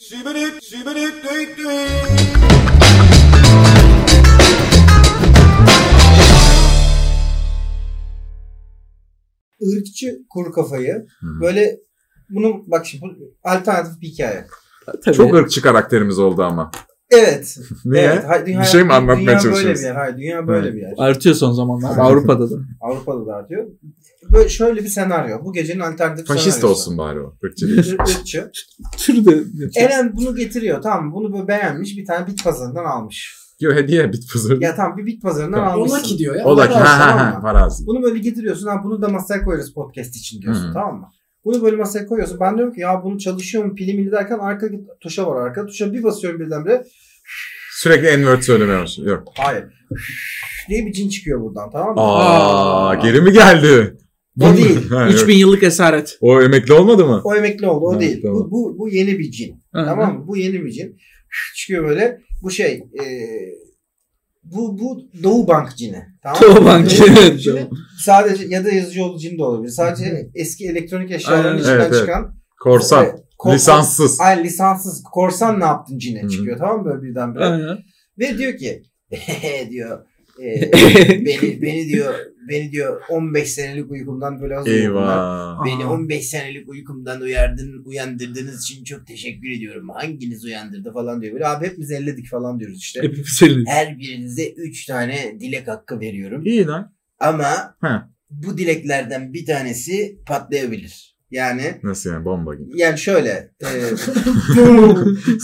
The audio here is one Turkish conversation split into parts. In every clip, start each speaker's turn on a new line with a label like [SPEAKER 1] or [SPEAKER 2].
[SPEAKER 1] Şibirik, şibirik, düik düik.
[SPEAKER 2] ırkçı kuru kafayı böyle bunu bak şimdi bu alternatif bir hikaye.
[SPEAKER 3] Tabii.
[SPEAKER 4] Çok ırkçı karakterimiz oldu ama.
[SPEAKER 2] Evet.
[SPEAKER 4] Niye?
[SPEAKER 2] Evet. Hay-
[SPEAKER 4] Bir şey mi
[SPEAKER 2] dünya-
[SPEAKER 4] anlatmaya
[SPEAKER 2] dünya Böyle bir
[SPEAKER 4] çalışıyorsun?
[SPEAKER 2] yer. Hayır, dünya böyle
[SPEAKER 4] Evet.
[SPEAKER 2] bir yer.
[SPEAKER 3] Artıyor son zamanlar. Avrupa'da da.
[SPEAKER 2] Avrupa'da da artıyor. Böyle şöyle bir senaryo. Bu gecenin alternatif
[SPEAKER 4] Faşist
[SPEAKER 2] senaryosu.
[SPEAKER 4] olsun bari o. Irkçı değil.
[SPEAKER 2] Ir- ırkçı.
[SPEAKER 3] Türü de yapacak.
[SPEAKER 2] Eren bunu getiriyor tamam mı? Bunu böyle beğenmiş bir tane bit pazarından almış.
[SPEAKER 4] Yo hediye bit pazarı.
[SPEAKER 2] Ya tamam bir bit pazarından
[SPEAKER 4] Tamam.
[SPEAKER 2] almışsın.
[SPEAKER 5] Ola ki diyor ya.
[SPEAKER 4] O da ki
[SPEAKER 2] Para
[SPEAKER 4] ha ha
[SPEAKER 2] alsın
[SPEAKER 4] ha
[SPEAKER 2] ama.
[SPEAKER 4] farazi.
[SPEAKER 2] Bunu böyle getiriyorsun. Ha, bunu da masaya koyarız podcast için diyorsun.
[SPEAKER 4] Hı.
[SPEAKER 2] Tamam mı? Bunu böyle masaya koyuyorsun. Ben diyorum ki ya bunu çalışıyor mu pili mili derken arka tuşa var arka. Tuşa bir basıyorum birdenbire.
[SPEAKER 4] Sürekli n-word söylemiyormuş. Yok.
[SPEAKER 2] Hayır. diye bir cin çıkıyor buradan tamam mı?
[SPEAKER 4] Aa, geri mi geldi?
[SPEAKER 2] O değil.
[SPEAKER 4] Ha, yok.
[SPEAKER 3] 3000 yıllık esaret.
[SPEAKER 4] O emekli olmadı mı?
[SPEAKER 2] O emekli oldu o
[SPEAKER 4] Evet,
[SPEAKER 2] değil.
[SPEAKER 4] tamam.
[SPEAKER 2] Bu, bu, bu yeni bir cin. Tamam mı? Bu yeni bir cin. Çıkıyor böyle. Bu şey e, bu bu Doğu Bank cini. Tamam mı?
[SPEAKER 3] Doğu Bank cini,
[SPEAKER 2] Bank
[SPEAKER 3] evet,
[SPEAKER 2] cini.
[SPEAKER 3] tamam.
[SPEAKER 2] Sadece ya da yazıcı cin de olabilir. Sadece eski elektronik eşyaların
[SPEAKER 3] Aynen.
[SPEAKER 2] içinden
[SPEAKER 4] Evet, evet.
[SPEAKER 2] çıkan
[SPEAKER 4] Korsan.
[SPEAKER 2] Evet, korsan-
[SPEAKER 4] Lisanssız.
[SPEAKER 2] Ay lisanssız korsan ne yaptın cine
[SPEAKER 4] Hı hı.
[SPEAKER 2] çıkıyor tamam mı böyle birdenbire.
[SPEAKER 3] Aynen.
[SPEAKER 2] Ve diyor ki diyor e, beni beni diyor beni diyor 15 senelik uykumdan böyle az uykumdan-
[SPEAKER 4] Eyvah.
[SPEAKER 1] Beni
[SPEAKER 3] Aha.
[SPEAKER 1] 15 senelik uykumdan uyardın, uyandırdığınız için çok teşekkür ediyorum. Hanginiz uyandırdı falan diyor. Böyle abi hepimiz elledik falan diyoruz işte.
[SPEAKER 3] Hepimiz eliniz.
[SPEAKER 1] Her birinize 3 tane dilek hakkı veriyorum.
[SPEAKER 4] İyi lan.
[SPEAKER 1] Ama
[SPEAKER 4] Ha.
[SPEAKER 1] bu dileklerden bir tanesi patlayabilir. Yani
[SPEAKER 4] Nasıl yani bomba gibi.
[SPEAKER 2] yani şöyle e,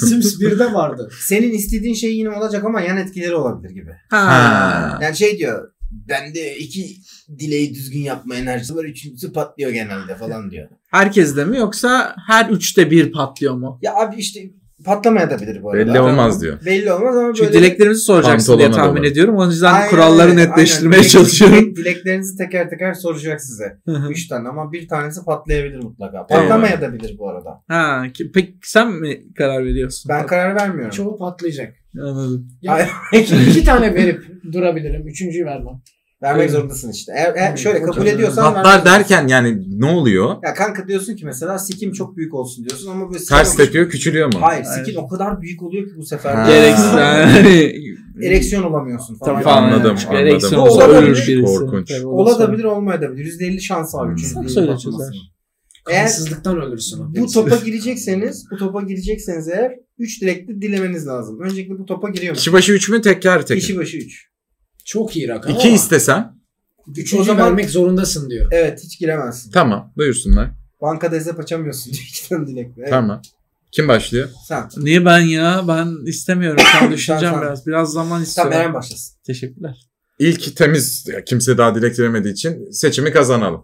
[SPEAKER 5] Sims 1'de vardı.
[SPEAKER 2] senin istediğin şey yine olacak ama yan etkileri olabilir gibi.
[SPEAKER 4] Ha.
[SPEAKER 2] Yani şey diyor
[SPEAKER 1] bende iki dileği düzgün yapma enerjisi var. Üçüncüsü patlıyor genelde falan diyor.
[SPEAKER 3] Herkes de mi yoksa her üçte bir patlıyor mu?
[SPEAKER 2] ya abi işte patlamaya da bilir bu arada.
[SPEAKER 4] Belli olmaz diyor.
[SPEAKER 2] Belli olmaz ama
[SPEAKER 3] Çünkü
[SPEAKER 2] böyle
[SPEAKER 3] dileklerimizi soracaksın diye
[SPEAKER 4] Pantolona
[SPEAKER 3] tahmin
[SPEAKER 4] dolar.
[SPEAKER 3] ediyorum. O yüzden
[SPEAKER 2] Aynen
[SPEAKER 3] kuralları
[SPEAKER 2] öyle,
[SPEAKER 3] netleştirmeye
[SPEAKER 2] aynen. Dilek-
[SPEAKER 3] çalışıyorum.
[SPEAKER 2] dilek- dileklerinizi teker teker soracak size.
[SPEAKER 3] Hı hı.
[SPEAKER 2] Üç tane ama bir tanesi patlayabilir mutlaka.
[SPEAKER 4] Eyvallah.
[SPEAKER 2] Patlamaya da bilir bu arada.
[SPEAKER 3] ha, ki- peki sen mi karar veriyorsun?
[SPEAKER 2] Ben karar vermiyorum.
[SPEAKER 5] Çoğu patlayacak.
[SPEAKER 3] Anladım.
[SPEAKER 5] Ya, iki tane verip durabilirim. Üçüncüyü vermem.
[SPEAKER 2] Vermek
[SPEAKER 3] Öyle.
[SPEAKER 2] zorundasın işte. Eğer, eğer şöyle kabul
[SPEAKER 3] Öyle.
[SPEAKER 2] ediyorsan vermek
[SPEAKER 4] Hatta derken yani ne oluyor?
[SPEAKER 2] Ya kanka diyorsun ki mesela sikim çok büyük olsun diyorsun ama böyle
[SPEAKER 4] Ters
[SPEAKER 2] sikim-
[SPEAKER 4] tepiyor küçülüyor mu?
[SPEAKER 2] Hayır
[SPEAKER 3] Hayır.
[SPEAKER 2] sikim o kadar büyük oluyor ki bu
[SPEAKER 4] Ha.
[SPEAKER 2] sefer.
[SPEAKER 3] Gereksiz. yani.
[SPEAKER 2] Ereksiyon olamıyorsun falan.
[SPEAKER 3] Tamam,
[SPEAKER 2] Yani.
[SPEAKER 4] Anladım,
[SPEAKER 3] yani. Çünkü Ereksiyon
[SPEAKER 2] anladım.
[SPEAKER 3] olsa
[SPEAKER 2] Olabilir.
[SPEAKER 3] ölür birisi.
[SPEAKER 4] Korkunç.
[SPEAKER 3] Tabii, o da sonra.
[SPEAKER 2] Olabilir olmayabilir. %50 şans var.
[SPEAKER 4] Hmm.
[SPEAKER 2] üçüncü
[SPEAKER 3] Sen
[SPEAKER 2] dilin
[SPEAKER 3] söyle
[SPEAKER 2] patlamasının.
[SPEAKER 3] çözer.
[SPEAKER 2] Eğer-
[SPEAKER 5] Kansızlıktan ölürsün. o.
[SPEAKER 2] Bu topa girecekseniz, bu topa girecekseniz eğer 3 dilekli dilemeniz lazım. Öncelikle bu topa giriyor musun?
[SPEAKER 4] Kişi başı 3 mü teker teker?
[SPEAKER 2] Kişi başı 3.
[SPEAKER 5] Çok iyi rakam
[SPEAKER 4] 2
[SPEAKER 5] ama
[SPEAKER 4] istesem
[SPEAKER 5] üçüncü
[SPEAKER 2] O zaman-
[SPEAKER 5] vermek zorundasın diyor.
[SPEAKER 2] Evet hiç giremezsin.
[SPEAKER 4] tamam buyursunlar.
[SPEAKER 2] Bankada hesap açamıyorsun diyor iki tane dilekli. Evet,
[SPEAKER 4] Tamam. Kim başlıyor?
[SPEAKER 2] Sen.
[SPEAKER 3] Niye ben ya? Ben istemiyorum. Sen düşüneceğim
[SPEAKER 2] Sen-
[SPEAKER 3] biraz. Biraz zaman istiyorum.
[SPEAKER 2] Sen Eren başlasın.
[SPEAKER 3] Teşekkürler.
[SPEAKER 4] İlk temiz ya kimse daha dilek dilemediği için seçimi kazanalım.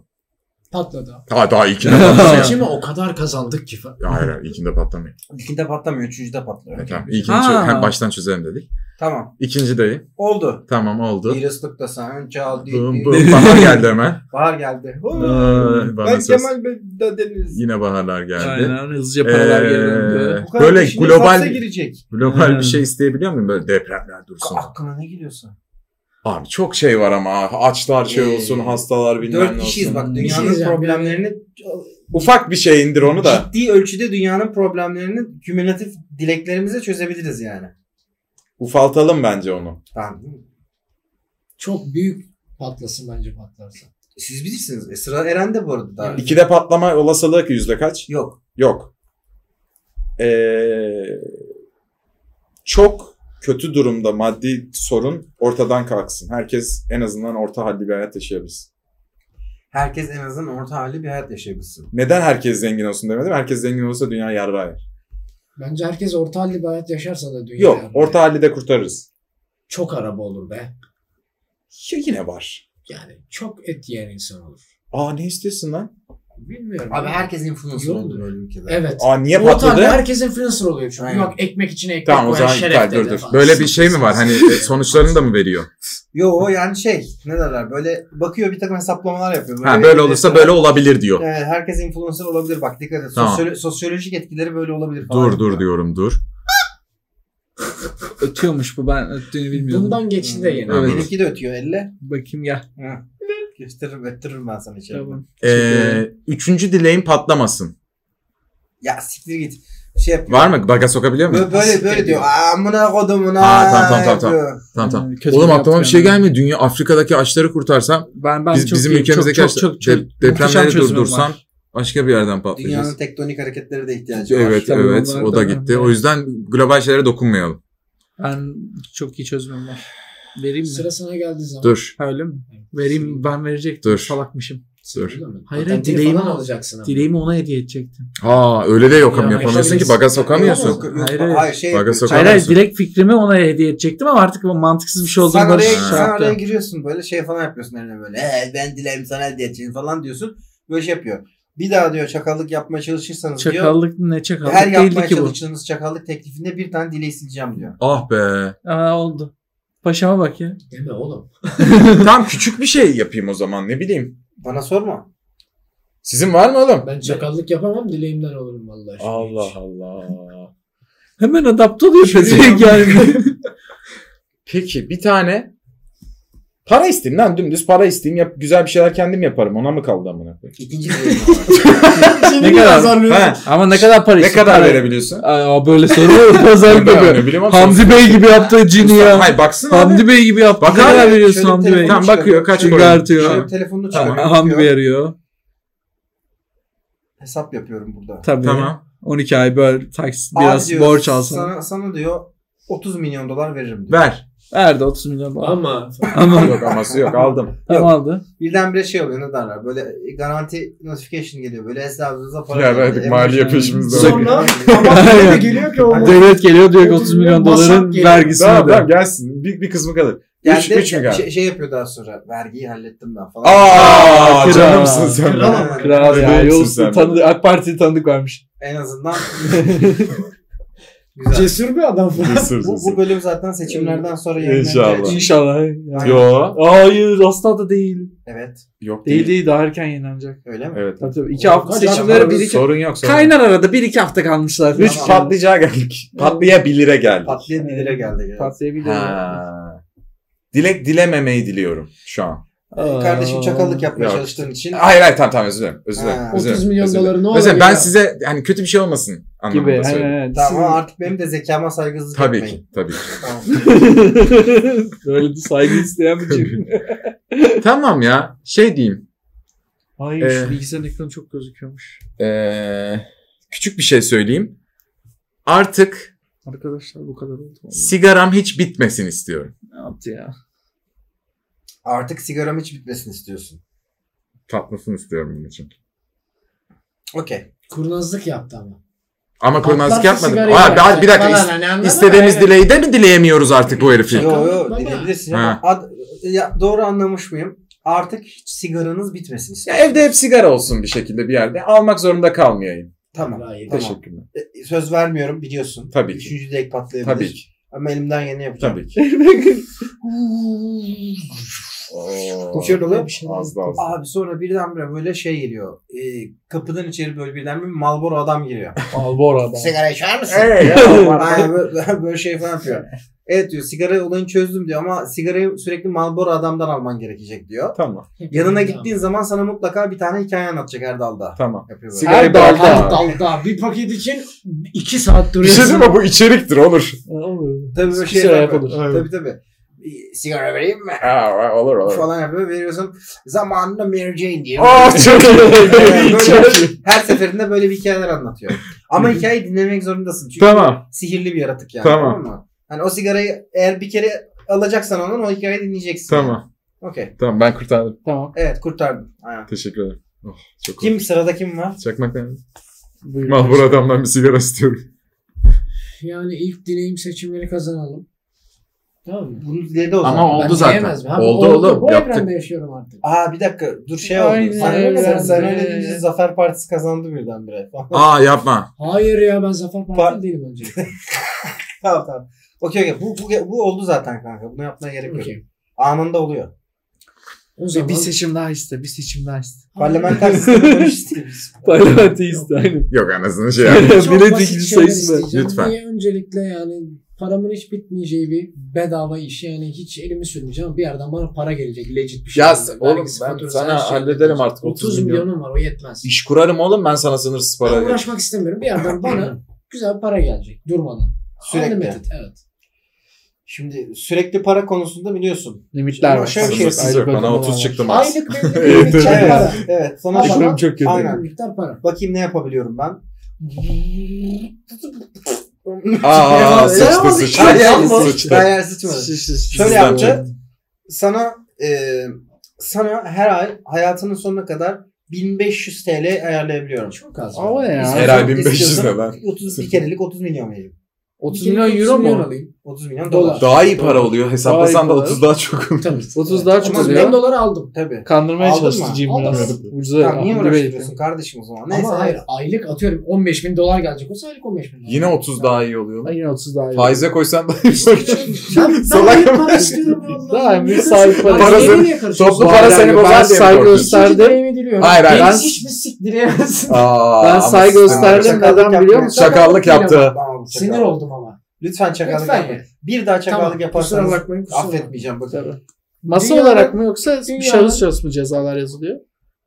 [SPEAKER 5] Patladı.
[SPEAKER 4] Ha daha ilkinde patlamıyor.
[SPEAKER 5] Seçimi o kadar kazandık ki. fa-
[SPEAKER 4] Ya hayır hayır ilkinde patlamıyor.
[SPEAKER 2] İlkinde patlamıyor, üçüncüde patlıyor.
[SPEAKER 4] Evet, tamam. İlkini
[SPEAKER 3] Ha.
[SPEAKER 4] çö- hem baştan çözelim dedik.
[SPEAKER 2] Tamam.
[SPEAKER 4] İkinci dayı.
[SPEAKER 2] Oldu.
[SPEAKER 4] Tamam oldu.
[SPEAKER 2] Bir ıslık da sen çal.
[SPEAKER 4] Bum,
[SPEAKER 2] değil.
[SPEAKER 4] bum. Bahar geldi hemen.
[SPEAKER 2] Bahar geldi. Huu.
[SPEAKER 4] Ay, bana
[SPEAKER 2] ben
[SPEAKER 4] söz.
[SPEAKER 2] Cemal Bey de Deniz.
[SPEAKER 4] Yine baharlar geldi.
[SPEAKER 3] Aynen. Hızlıca paralar
[SPEAKER 4] Ee,
[SPEAKER 3] ee... geri
[SPEAKER 2] Bu kadar
[SPEAKER 4] Böyle
[SPEAKER 2] kişinin
[SPEAKER 4] global-
[SPEAKER 2] hapse girecek.
[SPEAKER 4] Global
[SPEAKER 3] Hmm.
[SPEAKER 4] bir şey isteyebiliyor muyum? Böyle depremler dursun.
[SPEAKER 2] Aklına ne geliyorsa.
[SPEAKER 4] Abi çok şey var ama. Açlar şey
[SPEAKER 2] Ee,
[SPEAKER 4] olsun, hastalar bilmem ne
[SPEAKER 2] Dört
[SPEAKER 4] olsun.
[SPEAKER 2] kişiyiz bak.
[SPEAKER 3] Bir
[SPEAKER 5] şey
[SPEAKER 2] Dünyanın
[SPEAKER 5] diyeceğim.
[SPEAKER 2] problemlerini
[SPEAKER 4] Ufak bir şey indir onu da.
[SPEAKER 2] ciddi ölçüde dünyanın problemlerini kümülatif dileklerimize çözebiliriz yani.
[SPEAKER 4] Ufaltalım bence onu.
[SPEAKER 2] Tamam.
[SPEAKER 5] Çok büyük patlasın bence patlarsa.
[SPEAKER 2] Siz bilirsiniz. E, sıra Eren'de bu arada. Daha.
[SPEAKER 4] İkide patlama olasılığı yüzde kaç?
[SPEAKER 2] Yok.
[SPEAKER 4] Yok. Ee, çok kötü durumda maddi sorun ortadan kalksın. Herkes en azından orta halli bir hayat yaşayabilsin.
[SPEAKER 2] Herkes en azından orta hali bir hayat yaşayabilsin.
[SPEAKER 4] Neden herkes zengin olsun demedim. Herkes zengin olsa dünya yarrağı yer.
[SPEAKER 5] Bence herkes orta halli bir hayat yaşarsa da dünya
[SPEAKER 4] Yok
[SPEAKER 5] yani.
[SPEAKER 4] orta halli de kurtarırız.
[SPEAKER 5] Çok araba olur be.
[SPEAKER 4] Ya yine var.
[SPEAKER 5] Yani çok et yiyen insan olur.
[SPEAKER 4] Aa ne istiyorsun lan?
[SPEAKER 5] Bilmiyorum.
[SPEAKER 2] Abi
[SPEAKER 5] herkes
[SPEAKER 2] herkes influencer
[SPEAKER 5] Yok.
[SPEAKER 2] olur öyle ülkede.
[SPEAKER 5] Evet.
[SPEAKER 4] Aa niye
[SPEAKER 5] Orta halli
[SPEAKER 4] patladı?
[SPEAKER 5] herkes influencer oluyor çünkü.
[SPEAKER 2] Aynen.
[SPEAKER 5] Yok ekmek içine ekmek
[SPEAKER 4] Tamam o
[SPEAKER 5] koyan
[SPEAKER 4] zaman
[SPEAKER 5] şeref
[SPEAKER 4] iptal
[SPEAKER 5] dedi
[SPEAKER 4] dur dur.
[SPEAKER 5] falan.
[SPEAKER 4] Böyle bir şey mi var? Hani e, sonuçlarını da mı veriyor?
[SPEAKER 2] Yo o yani şey ne derler böyle bakıyor bir takım hesaplamalar yapıyor.
[SPEAKER 4] Ha böyle
[SPEAKER 5] şey
[SPEAKER 4] olursa böyle
[SPEAKER 2] olur.
[SPEAKER 4] olabilir diyor.
[SPEAKER 2] e, herkes influencer olabilir bak dikkat et.
[SPEAKER 4] Tamam.
[SPEAKER 2] Sosyolo- sosyolojik etkileri böyle olabilir falan.
[SPEAKER 4] Dur dur diyorum dur.
[SPEAKER 3] Ötüyormuş bu. Ben öttüğünü bilmiyordum.
[SPEAKER 5] Bundan geçti de yine.
[SPEAKER 4] Evet.
[SPEAKER 2] Benimki de ötüyor elle.
[SPEAKER 3] Bakayım gel.
[SPEAKER 2] Hı. Gösteririm öttürürüm ben sana içeri.
[SPEAKER 3] Tamam.
[SPEAKER 4] Ee, üçüncü dileğim patlamasın.
[SPEAKER 2] Ya siktir git. şey yapıyor.
[SPEAKER 4] Var mı? Baga sokabiliyor muyum?
[SPEAKER 2] Böyle böyle, böyle diyor. Amına kodumuna.
[SPEAKER 4] Ha, tamam, tamam, tamam,
[SPEAKER 2] yapıyor.
[SPEAKER 4] Tamam tamam.
[SPEAKER 3] Hmm, kötü
[SPEAKER 4] Oğlum
[SPEAKER 3] bir
[SPEAKER 4] aklıma bir şey
[SPEAKER 3] yaptı yani.
[SPEAKER 4] gelmiyor. Dünya Afrika'daki açları kurtarsam
[SPEAKER 3] Ben ben
[SPEAKER 4] biz,
[SPEAKER 3] çok
[SPEAKER 4] bizim
[SPEAKER 3] iyi,
[SPEAKER 4] ülkemizdeki
[SPEAKER 3] çok, çok, çok,
[SPEAKER 4] açlar
[SPEAKER 3] çok,
[SPEAKER 4] dep- depremleri
[SPEAKER 3] muhteşem çözümüm
[SPEAKER 4] durdursam
[SPEAKER 3] var.
[SPEAKER 4] başka bir yerden patlayacağız.
[SPEAKER 2] Dünyanın tektonik hareketleri de ihtiyacı var.
[SPEAKER 4] Evet
[SPEAKER 3] Tabii
[SPEAKER 4] evet
[SPEAKER 3] onlar
[SPEAKER 4] o
[SPEAKER 3] da
[SPEAKER 4] da gitti.
[SPEAKER 3] önemli.
[SPEAKER 4] O yüzden global şeylere dokunmayalım.
[SPEAKER 3] Ben çok iyi çözümüm var. Vereyim mi?
[SPEAKER 5] Sıra sana geldiği zaman.
[SPEAKER 4] Dur.
[SPEAKER 3] Öyle mi? Vereyim ben verecektim.
[SPEAKER 4] Dur.
[SPEAKER 3] Salakmışım.
[SPEAKER 4] Dur.
[SPEAKER 5] Değil mi?
[SPEAKER 3] Hayır,
[SPEAKER 5] Patentini
[SPEAKER 3] dileğimi
[SPEAKER 5] falan
[SPEAKER 3] al.
[SPEAKER 5] alacaksın ama.
[SPEAKER 3] Dileğimi ona hediye edecektim.
[SPEAKER 4] Aa öyle de yok
[SPEAKER 3] Ya,
[SPEAKER 4] yapamıyorsun ki
[SPEAKER 5] yapabilirsin.
[SPEAKER 4] baga sokamıyorsun.
[SPEAKER 2] Yok, yok,
[SPEAKER 3] Hayır,
[SPEAKER 2] hayır,
[SPEAKER 3] hayır.
[SPEAKER 2] şey.
[SPEAKER 4] Baga
[SPEAKER 2] yapıyor.
[SPEAKER 4] sokamıyorsun.
[SPEAKER 3] Hayır hayır direkt fikrimi ona hediye edecektim ama artık bu mantıksız bir şey olduğunu
[SPEAKER 2] Sen oraya,
[SPEAKER 3] barış
[SPEAKER 4] Ha.
[SPEAKER 2] sen
[SPEAKER 3] şey
[SPEAKER 2] oraya
[SPEAKER 3] yaptı.
[SPEAKER 2] giriyorsun böyle şey falan yapıyorsun eline böyle. Ee, ben dilerim sana hediye edeceğim falan diyorsun. Böyle şey yapıyor. Bir daha diyor çakallık yapmaya çalışırsanız diyor.
[SPEAKER 3] Çakallık ne çakallık
[SPEAKER 2] Her
[SPEAKER 3] değildi
[SPEAKER 2] yapmaya
[SPEAKER 3] ki bu.
[SPEAKER 2] çalıştığınız çakallık teklifinde bir tane dileği sileceğim diyor.
[SPEAKER 4] Ah be.
[SPEAKER 3] Aa oldu. Paşama bak ya.
[SPEAKER 5] Deme oğlum.
[SPEAKER 4] Tam küçük bir şey yapayım o zaman ne bileyim.
[SPEAKER 2] Bana sorma.
[SPEAKER 4] Sizin var mı oğlum?
[SPEAKER 5] Ben çakallık yapamam dileğimden olurum vallahi. şimdi
[SPEAKER 4] Allah
[SPEAKER 5] hiç.
[SPEAKER 4] Allah.
[SPEAKER 3] Hemen adapte oluyor
[SPEAKER 4] Şey
[SPEAKER 3] pezevenk yani.
[SPEAKER 4] Peki bir tane para isteyeyim lan dümdüz para isteyeyim yap güzel bir şeyler kendim yaparım ona mı kaldı amına koyayım?
[SPEAKER 2] İkinci dileğim var.
[SPEAKER 3] ne kadar?
[SPEAKER 2] Şey,
[SPEAKER 4] Ha,
[SPEAKER 3] Ama ne kadar para
[SPEAKER 4] ne
[SPEAKER 3] istiyor?
[SPEAKER 4] kadar
[SPEAKER 3] Para-
[SPEAKER 4] verebiliyorsun?
[SPEAKER 3] Aa, böyle soruyor pazar
[SPEAKER 4] Ben
[SPEAKER 3] gibi.
[SPEAKER 4] ne bileyim abi.
[SPEAKER 3] Hamdi Bey gibi yaptı cini
[SPEAKER 4] Usta-
[SPEAKER 3] ya.
[SPEAKER 4] Hayır baksın abi.
[SPEAKER 3] Hamdi Bey gibi yaptı. Ne
[SPEAKER 4] Bakar
[SPEAKER 3] kadar
[SPEAKER 4] ya,
[SPEAKER 3] veriyorsun
[SPEAKER 2] şöyle
[SPEAKER 3] Hamdi Bey?
[SPEAKER 2] telefon-
[SPEAKER 4] Tamam bakıyor kaç
[SPEAKER 3] Şöyle
[SPEAKER 4] para.
[SPEAKER 3] artıyor.
[SPEAKER 2] Şöyle telefonunu
[SPEAKER 4] Tamam,
[SPEAKER 2] çıkarıyor.
[SPEAKER 3] Hamdi Bey
[SPEAKER 2] diyor.
[SPEAKER 3] arıyor.
[SPEAKER 2] Hesap yapıyorum burada.
[SPEAKER 3] Tabii.
[SPEAKER 4] Tamam.
[SPEAKER 3] 12 ay böyle taksi
[SPEAKER 2] Abi
[SPEAKER 3] biraz
[SPEAKER 2] diyor,
[SPEAKER 3] borç alsana.
[SPEAKER 2] Sana, sana diyor 30 milyon dolar veririm diyor.
[SPEAKER 4] Ver.
[SPEAKER 3] Verdi 30 milyon dolar.
[SPEAKER 5] Ama
[SPEAKER 3] Ama
[SPEAKER 4] Yok aması yok aldım.
[SPEAKER 3] tamam aldı.
[SPEAKER 2] Birdenbire şey oluyor ne derler böyle garanti notification geliyor böyle hesabınıza para
[SPEAKER 4] Ya
[SPEAKER 2] geliyor.
[SPEAKER 4] verdik
[SPEAKER 2] Emoji-
[SPEAKER 4] maliye peşimizde.
[SPEAKER 3] Sonra-
[SPEAKER 5] sonra ama öyle de geliyor ki o
[SPEAKER 3] Devlet geliyor diyor ki
[SPEAKER 5] 30
[SPEAKER 3] 30 milyon
[SPEAKER 5] milyon
[SPEAKER 3] doların
[SPEAKER 5] masraf geliyor.
[SPEAKER 3] vergisini
[SPEAKER 4] Tamam
[SPEAKER 3] öde.
[SPEAKER 4] tamam gelsin. Bir, bir kısmı kalır.
[SPEAKER 2] Yani
[SPEAKER 4] Üç-
[SPEAKER 2] de-
[SPEAKER 4] üç mü galiba?
[SPEAKER 2] şey, şey yapıyor daha sonra vergiyi hallettim ben falan.
[SPEAKER 4] Aa
[SPEAKER 3] Kral.
[SPEAKER 4] canımsın sen.
[SPEAKER 2] Kral.
[SPEAKER 4] be.
[SPEAKER 2] Tamam.
[SPEAKER 3] Kral ya
[SPEAKER 4] Yolsun
[SPEAKER 3] yolsun
[SPEAKER 4] sen.
[SPEAKER 3] tanıdık AK Parti tanıdık varmış.
[SPEAKER 2] En azından
[SPEAKER 4] Şey
[SPEAKER 2] güzel.
[SPEAKER 5] cesur bir adam.
[SPEAKER 4] Cesur,
[SPEAKER 2] bu, bu
[SPEAKER 4] cesur.
[SPEAKER 2] bölüm zaten seçimlerden sonra
[SPEAKER 4] İnşallah.
[SPEAKER 2] yayınlanacak.
[SPEAKER 3] İnşallah. Yani.
[SPEAKER 4] Yo.
[SPEAKER 3] Hayır asla da değil.
[SPEAKER 2] Evet.
[SPEAKER 4] Yok
[SPEAKER 3] Değil değil daha erken yayınlanacak.
[SPEAKER 2] Öyle mi?
[SPEAKER 4] Evet.
[SPEAKER 3] Tabii tabii. İki
[SPEAKER 5] Oğlum,
[SPEAKER 3] hafta
[SPEAKER 5] kaç
[SPEAKER 3] seçimlere
[SPEAKER 5] hafta
[SPEAKER 3] bir
[SPEAKER 5] var?
[SPEAKER 3] iki...
[SPEAKER 4] Sorun yok sorun. yok.
[SPEAKER 3] Kaynar arada bir iki hafta kalmışlar.
[SPEAKER 4] Üç
[SPEAKER 3] falan.
[SPEAKER 4] patlayacağı geldik. Patlayabilire geldik.
[SPEAKER 2] Patlayan bir lira geldi. ya.
[SPEAKER 3] Patlayabilir.
[SPEAKER 4] Ha. Dilek dilememeyi diliyorum şu an.
[SPEAKER 2] Ee, Kardeşim çakallık yapmaya
[SPEAKER 4] Yok.
[SPEAKER 2] çalıştığın için.
[SPEAKER 4] Hayır hayır tamam tamam özür dilerim. Özür
[SPEAKER 2] Ha.
[SPEAKER 4] dilerim. özür
[SPEAKER 5] 30
[SPEAKER 4] dilerim,
[SPEAKER 5] milyon
[SPEAKER 4] özür dilerim.
[SPEAKER 5] doları ne olur
[SPEAKER 4] Mesela
[SPEAKER 5] ya?
[SPEAKER 4] ben size hani kötü bir şey olmasın anlamında
[SPEAKER 3] Gibi.
[SPEAKER 4] söyledim.
[SPEAKER 3] Evet.
[SPEAKER 2] Tamam ama artık benim de zekama saygısızlık
[SPEAKER 4] Tabii
[SPEAKER 2] etmeyin.
[SPEAKER 4] ki tabii ki.
[SPEAKER 2] Tamam.
[SPEAKER 3] Böyle bir saygı isteyen bir çocuk.
[SPEAKER 4] tamam ya şey diyeyim.
[SPEAKER 3] Hayır
[SPEAKER 4] Ee,
[SPEAKER 3] şu bilgisayarın ekranı çok gözüküyormuş.
[SPEAKER 4] Ee, küçük bir şey söyleyeyim. Artık
[SPEAKER 3] Arkadaşlar bu kadar oldu.
[SPEAKER 4] sigaram hiç bitmesin istiyorum.
[SPEAKER 3] Ne yaptı ya?
[SPEAKER 2] Artık sigaram hiç bitmesin istiyorsun.
[SPEAKER 4] Tatlısını istiyorum bunun için.
[SPEAKER 2] Okey.
[SPEAKER 5] Kurnazlık yaptı ama.
[SPEAKER 4] Ama kurnazlık
[SPEAKER 5] Patlattı
[SPEAKER 4] yapmadım.
[SPEAKER 5] sigarayı
[SPEAKER 4] Aa, bir- bir dakika.
[SPEAKER 5] Falan
[SPEAKER 4] is-
[SPEAKER 5] hani anladın
[SPEAKER 4] istediğimiz
[SPEAKER 5] mı?
[SPEAKER 4] dileği de mi dileyemiyoruz artık bu herifi?
[SPEAKER 5] Yok.
[SPEAKER 2] Yo yo
[SPEAKER 5] Baba.
[SPEAKER 2] dileyebilirsin
[SPEAKER 4] Ha.
[SPEAKER 2] ama ad- ya, doğru anlamış mıyım? Artık hiç sigaranız bitmesin
[SPEAKER 4] Ya
[SPEAKER 2] istiyorsun.
[SPEAKER 4] evde hep sigara olsun bir şekilde bir yerde. Almak zorunda kalmayayım.
[SPEAKER 2] Tamam.
[SPEAKER 5] Hayır.
[SPEAKER 2] Tamam.
[SPEAKER 4] Teşekkürler.
[SPEAKER 2] E, Söz vermiyorum biliyorsun.
[SPEAKER 4] Tabii ki.
[SPEAKER 2] Üçüncü dilek patlayabilir.
[SPEAKER 4] Tabii ki.
[SPEAKER 2] Ama elimden yeni yapacağım.
[SPEAKER 4] Tabii ki.
[SPEAKER 2] Bu şey oluyor.
[SPEAKER 4] Azdı azdı.
[SPEAKER 2] Abi sonra birdenbire böyle şey geliyor. E, kapıdan içeri böyle birdenbire Malboro adam giriyor.
[SPEAKER 3] Albor adam.
[SPEAKER 2] sigara içer misin?
[SPEAKER 4] Hey, ya,
[SPEAKER 2] Aynen böyle, böyle şey falan yapıyor. Evet diyor sigara olayını çözdüm diyor ama sigarayı sürekli Malboro adamdan alman gerekecek diyor.
[SPEAKER 4] tamam
[SPEAKER 2] Yanına gittiğin zaman sana mutlaka bir tane hikaye anlatacak Erdal'da.
[SPEAKER 4] tamam.
[SPEAKER 2] Yapıyor böyle.
[SPEAKER 4] Sigara-
[SPEAKER 5] Her
[SPEAKER 4] Dalda.
[SPEAKER 5] dalda. dalda. Bir paket için 2 saat
[SPEAKER 4] Bir şey
[SPEAKER 5] duruyorsun.
[SPEAKER 4] diyeyim mi? Bu içeriktir olur.
[SPEAKER 3] Olur.
[SPEAKER 2] Tabii böyle
[SPEAKER 3] Sigara
[SPEAKER 2] şey yapıyor.
[SPEAKER 3] yapılır.
[SPEAKER 2] Tabii tabii. E, Sigara vereyim mi?
[SPEAKER 4] Aa, olur olur.
[SPEAKER 2] Falan yapıyor. Veriyorsun. Zamanında Mary Jane diye.
[SPEAKER 4] Aa, çok iyi. çok iyi.
[SPEAKER 2] Her seferinde Ee, böyle bir hikayeler anlatıyor. Ama hikayeyi dinlemek zorundasın. Çünkü
[SPEAKER 4] Tamam.
[SPEAKER 2] sihirli bir yaratık yani.
[SPEAKER 4] Tamam.
[SPEAKER 2] Tamam. mı? Hani o sigarayı eğer bir kere alacaksan ondan o hikayeyi dinleyeceksin.
[SPEAKER 4] Tamam.
[SPEAKER 2] Okey.
[SPEAKER 4] Tamam ben kurtardım.
[SPEAKER 3] Tamam.
[SPEAKER 2] Evet kurtardım. Aynen.
[SPEAKER 4] Teşekkür ederim. Oh, çok iyi.
[SPEAKER 2] Kim sırada kim var?
[SPEAKER 4] Çakmak nerede?
[SPEAKER 3] Buyurun.
[SPEAKER 4] Mahvur adamdan bir sigara istiyorum.
[SPEAKER 5] Yani ilk dileğim seçimleri kazanalım. Tamam mı?
[SPEAKER 2] Bunu dedi o zaman.
[SPEAKER 4] Ama oldu zaten.
[SPEAKER 5] diyemez miyim? Ha,
[SPEAKER 4] Oldu oğlum,
[SPEAKER 5] Bu
[SPEAKER 4] yaptık.
[SPEAKER 5] evrende yaşıyorum artık.
[SPEAKER 2] Aa bir dakika dur şey
[SPEAKER 3] Aynen
[SPEAKER 2] oldu. Sen öyle, sen,
[SPEAKER 5] öyle.
[SPEAKER 2] sen öyle deyince Zafer Partisi kazandı birdenbire. tamam
[SPEAKER 4] Aa yapma.
[SPEAKER 5] Hayır ya ben Zafer Partili
[SPEAKER 2] Par-
[SPEAKER 5] değilim önce.
[SPEAKER 2] tamam. Okey okey. Bu, bu, bu oldu zaten kanka. Buna yapmaya gerek yok.
[SPEAKER 5] Okey.
[SPEAKER 2] Anında oluyor.
[SPEAKER 5] O
[SPEAKER 3] Bir,
[SPEAKER 5] zaman
[SPEAKER 3] bir seçim daha iste. Bir seçim daha iste.
[SPEAKER 2] Parlamenter sistemi dönüştürüyoruz.
[SPEAKER 3] Parlamenti iste. Aynen.
[SPEAKER 4] Yok anasını şey yap.
[SPEAKER 3] Biri
[SPEAKER 5] basit
[SPEAKER 3] dikili
[SPEAKER 5] şeyler
[SPEAKER 3] sayısı var.
[SPEAKER 5] isteyeceğim.
[SPEAKER 4] Lütfen.
[SPEAKER 5] Niye öncelikle yani paramın hiç bitmeyeceği bir bedava iş yani hiç elimi sürmeyeceğim bir yerden bana para gelecek legit bir şey.
[SPEAKER 4] Ya
[SPEAKER 5] olacak.
[SPEAKER 4] oğlum
[SPEAKER 5] Vergisi,
[SPEAKER 4] ben
[SPEAKER 5] faturası,
[SPEAKER 4] sana
[SPEAKER 5] her şey
[SPEAKER 4] hallederim
[SPEAKER 5] gelecek.
[SPEAKER 4] artık
[SPEAKER 5] 30,
[SPEAKER 4] 30 milyon.
[SPEAKER 5] milyonum var o yetmez.
[SPEAKER 4] İş kurarım oğlum ben sana sınırsız para
[SPEAKER 5] Ben
[SPEAKER 4] veririm.
[SPEAKER 5] uğraşmak istemiyorum bir yerden bana Güzel para gelecek durmadan.
[SPEAKER 2] Sürekli.
[SPEAKER 5] Unlimited evet.
[SPEAKER 2] Şimdi sürekli para konusunda biliyorsun.
[SPEAKER 3] Limitler
[SPEAKER 2] Ama
[SPEAKER 3] var.
[SPEAKER 2] şöyle- şey-
[SPEAKER 4] Sınırsız yok. Bana 30 çıktı max.
[SPEAKER 5] Aylık belli bir miktar
[SPEAKER 2] Evet,
[SPEAKER 5] para.
[SPEAKER 2] evet. Sana
[SPEAKER 5] Ama-
[SPEAKER 2] şu-
[SPEAKER 4] Ekonomi çok kötü.
[SPEAKER 2] Aynen.
[SPEAKER 5] Bir miktar para.
[SPEAKER 2] bakayım ne yapabiliyorum ben.
[SPEAKER 4] Aa sıçtı
[SPEAKER 3] Yaramaz
[SPEAKER 4] sıçtı.
[SPEAKER 2] Hayır,
[SPEAKER 4] Sıçtı
[SPEAKER 2] ama-
[SPEAKER 4] sıçtı.
[SPEAKER 2] Hayır sıçmadı. Şöyle
[SPEAKER 4] Sizden
[SPEAKER 2] yaptı. Sana e, sana her ay hayatının sonuna kadar 1500 TL ayarlayabiliyorum.
[SPEAKER 5] Çok az.
[SPEAKER 3] Ama ne ya?
[SPEAKER 4] Her ay 1500 ne lan?
[SPEAKER 2] 30 bir kerelik 30 milyon vereyim.
[SPEAKER 3] 30 milyon euro mu?
[SPEAKER 5] alayım.
[SPEAKER 2] 30 milyon dolar.
[SPEAKER 5] Dolar.
[SPEAKER 4] Daha iyi para oluyor. Hesaplasan da
[SPEAKER 3] Daha iyi para.
[SPEAKER 4] 30 daha çok oluyor.
[SPEAKER 5] Tabii.
[SPEAKER 3] 30 daha çok
[SPEAKER 5] Ama
[SPEAKER 3] oluyor.
[SPEAKER 5] ben doları aldım.
[SPEAKER 2] Tabii.
[SPEAKER 3] Kandırmaya
[SPEAKER 2] Aldın
[SPEAKER 3] çalıştı
[SPEAKER 2] mı?
[SPEAKER 3] Jim
[SPEAKER 5] Aldın
[SPEAKER 3] Ramos.
[SPEAKER 5] mı?
[SPEAKER 3] Ucuza
[SPEAKER 2] Tamam, niye
[SPEAKER 3] Hamdi Bey
[SPEAKER 2] uğraştırıyorsun kardeşim o zaman? Neyse
[SPEAKER 5] Ama hayır
[SPEAKER 2] hayır.
[SPEAKER 5] aylık atıyorum 15 bin dolar gelecek olsa aylık 15 bin dolar.
[SPEAKER 4] Yine 30 daha iyi oluyor.
[SPEAKER 3] yapıyor. Yine 30 daha iyi.
[SPEAKER 4] Faize koysan daha iyi olur.
[SPEAKER 5] şey Ben, ben
[SPEAKER 4] Salak
[SPEAKER 5] aylık
[SPEAKER 4] mı?
[SPEAKER 5] para istiyorum ya.
[SPEAKER 3] Daha büyük sahip para.
[SPEAKER 4] Para
[SPEAKER 5] Parası.
[SPEAKER 4] seni-
[SPEAKER 5] Niye karışıyorsun?
[SPEAKER 4] Toplu para
[SPEAKER 3] Ben-
[SPEAKER 4] seni
[SPEAKER 3] ben
[SPEAKER 4] bozar diye mi
[SPEAKER 3] saygı
[SPEAKER 4] korkuyorsun?
[SPEAKER 5] İkinci
[SPEAKER 3] gösterdim.
[SPEAKER 5] deneyimi diliyorum.
[SPEAKER 4] Hayır, hayır,
[SPEAKER 5] Beni
[SPEAKER 4] ben-
[SPEAKER 5] hiçbir siktiremezsin.
[SPEAKER 4] Aa,
[SPEAKER 3] Ben
[SPEAKER 4] ama
[SPEAKER 3] saygı
[SPEAKER 4] sen-
[SPEAKER 3] gösterdim.
[SPEAKER 2] Şakallık
[SPEAKER 3] Neden biliyor
[SPEAKER 2] yapmaya-
[SPEAKER 3] musun?
[SPEAKER 4] Şakallık yaptı.
[SPEAKER 2] Tamam, çakal.
[SPEAKER 5] Sinir oldum ama.
[SPEAKER 2] Lütfen çakallık
[SPEAKER 5] Lütfen
[SPEAKER 2] yapmayın.
[SPEAKER 5] ya.
[SPEAKER 2] Bir daha çakallık
[SPEAKER 5] Tamam,
[SPEAKER 2] yaparsanız
[SPEAKER 5] Kusura bakmayın. Kusura bakmayın.
[SPEAKER 2] affetmeyeceğim bakın.
[SPEAKER 3] Tabii. Masa
[SPEAKER 5] Dünyada-
[SPEAKER 3] olarak mı yoksa bir
[SPEAKER 5] Dünyada-
[SPEAKER 3] şahıs şahıs mı cezalar yazılıyor?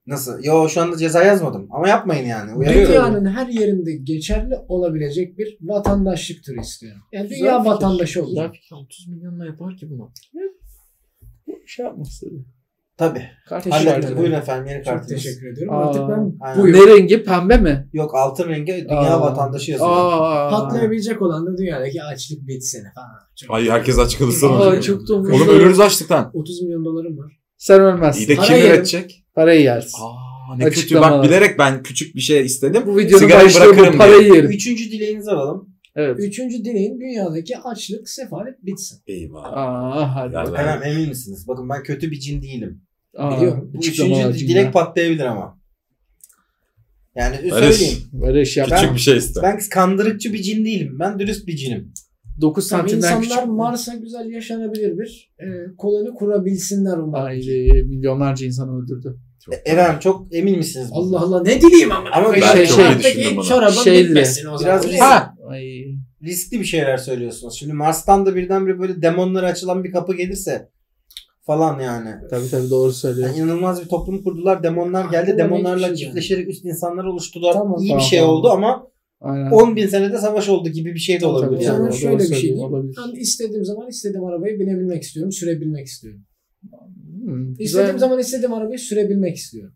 [SPEAKER 2] Nasıl? Yo şu anda ceza yazmadım ama yapmayın yani. Uyarıyorum.
[SPEAKER 5] Dünyanın her yerinde geçerli olabilecek bir vatandaşlık türü istiyorum. Yani dünya vatandaşı olacak.
[SPEAKER 3] fikir. 30 milyonla yapar ki bunu. Şey yapmasın.
[SPEAKER 2] Tabii.
[SPEAKER 3] Kardeşim.
[SPEAKER 5] Teşekkür
[SPEAKER 2] Hallettik.
[SPEAKER 5] ederim.
[SPEAKER 2] Buyurun efendim yeni
[SPEAKER 5] Çok
[SPEAKER 2] kartınız.
[SPEAKER 5] teşekkür ediyorum.
[SPEAKER 3] Aa.
[SPEAKER 5] Artık ben
[SPEAKER 2] Aynen.
[SPEAKER 5] buyum.
[SPEAKER 3] Ne rengi? Pembe mi?
[SPEAKER 2] Yok altın rengi dünya
[SPEAKER 3] Aa.
[SPEAKER 2] vatandaşı yazıyor.
[SPEAKER 3] Aa.
[SPEAKER 5] patlayabilecek olan da dünyadaki açlık bitsin. Ha, çok-
[SPEAKER 4] Ay herkes aç kalırsa ne
[SPEAKER 3] Aa,
[SPEAKER 4] olacak?
[SPEAKER 3] çok da umurumda
[SPEAKER 4] Oğlum
[SPEAKER 3] değil.
[SPEAKER 4] ölürüz açlıktan.
[SPEAKER 5] 30 milyon dolarım var.
[SPEAKER 3] Sen
[SPEAKER 4] İyi
[SPEAKER 3] ölmezsin.
[SPEAKER 4] de kim
[SPEAKER 5] Parayı yerim.
[SPEAKER 4] üretecek?
[SPEAKER 3] Parayı yersin.
[SPEAKER 4] Aa ne kötü.
[SPEAKER 3] Açıklamalar.
[SPEAKER 4] Bak bilerek ben küçük bir şey istedim.
[SPEAKER 3] Bu videonun
[SPEAKER 4] Sigarayı
[SPEAKER 3] başlığı bu.
[SPEAKER 4] bırakırım
[SPEAKER 3] Parayı yerim.
[SPEAKER 2] Üçüncü dileğinizi alalım.
[SPEAKER 3] Evet.
[SPEAKER 5] Üçüncü dileğim dünyadaki açlık, sefalet bitsin.
[SPEAKER 4] Eyvah.
[SPEAKER 3] Aa, hadi.
[SPEAKER 4] Yani ben-
[SPEAKER 2] Hemen emin misiniz? Bakın ben kötü bir cin değilim.
[SPEAKER 3] Aa,
[SPEAKER 5] Biliyorum.
[SPEAKER 2] Bu
[SPEAKER 3] açıklamalar
[SPEAKER 2] üçüncü
[SPEAKER 3] çünkü.
[SPEAKER 2] dilek patlayabilir ama. Yani
[SPEAKER 4] Öyle
[SPEAKER 2] söyleyeyim.
[SPEAKER 3] Böyle iş yap.
[SPEAKER 4] küçük
[SPEAKER 2] Ben-
[SPEAKER 4] bir şey iste.
[SPEAKER 2] Ben kandırıkçı bir cin değilim. Ben dürüst bir cinim.
[SPEAKER 3] 9
[SPEAKER 5] Tabii
[SPEAKER 3] santimden
[SPEAKER 5] insanlar
[SPEAKER 3] küçük.
[SPEAKER 5] Mars'a güzel yaşanabilir bir e, koloni kurabilsinler umarım.
[SPEAKER 3] Aile milyonlarca insan öldürdü.
[SPEAKER 4] Çok-
[SPEAKER 2] Efendim çok emin misiniz? bundan?
[SPEAKER 5] Allah Allah ne dileyim ama.
[SPEAKER 2] Ama
[SPEAKER 4] Ben
[SPEAKER 3] şey-
[SPEAKER 4] çok
[SPEAKER 3] şey-
[SPEAKER 4] iyi düşündüm bunu.
[SPEAKER 5] Çorabın
[SPEAKER 3] Şey
[SPEAKER 5] bitmesin o zaman.
[SPEAKER 2] Biraz
[SPEAKER 5] Neyse.
[SPEAKER 2] risk-
[SPEAKER 4] Ha!
[SPEAKER 3] Ay.
[SPEAKER 2] riskli bir şeyler söylüyorsunuz. Şimdi Mars'tan da birdenbire böyle demonlara açılan bir kapı gelirse falan yani.
[SPEAKER 3] Tabii tabii doğru söylüyor.
[SPEAKER 2] Yani inanılmaz bir toplum kurdular.
[SPEAKER 3] Ah,
[SPEAKER 2] Demonlar geldi.
[SPEAKER 5] Aklıma ne
[SPEAKER 2] Demonlarla
[SPEAKER 5] geçti yani?
[SPEAKER 2] çiftleşerek üst insanlar oluştular.
[SPEAKER 5] Tamam,
[SPEAKER 2] İyi
[SPEAKER 3] şey tamam,
[SPEAKER 2] bir şey
[SPEAKER 3] tamam.
[SPEAKER 2] oldu ama
[SPEAKER 3] Aynen.
[SPEAKER 2] 10 bin senede savaş oldu gibi bir şey de olabilir
[SPEAKER 3] Tabii,
[SPEAKER 2] yani.
[SPEAKER 5] Sana
[SPEAKER 3] doğru
[SPEAKER 5] şöyle bir şey
[SPEAKER 3] söylüyor,
[SPEAKER 5] diyeyim.
[SPEAKER 3] olabilir.
[SPEAKER 5] Ben istediğim zaman istediğim arabaya binebilmek istiyorum, sürebilmek istiyorum.
[SPEAKER 3] Hmm, güzel.
[SPEAKER 5] İstediğim zaman istediğim arabayı sürebilmek istiyorum.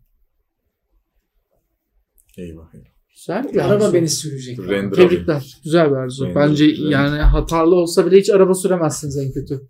[SPEAKER 4] Eyvah.
[SPEAKER 3] Güzel bir
[SPEAKER 5] Araba
[SPEAKER 3] arzu.
[SPEAKER 5] beni sürecek.
[SPEAKER 4] Render alayım.
[SPEAKER 3] Tebrikler. Güzel bir arzu.
[SPEAKER 4] Render,
[SPEAKER 3] Bence
[SPEAKER 4] render.
[SPEAKER 3] yani hatalı olsa bile hiç araba süremezsiniz en kötü.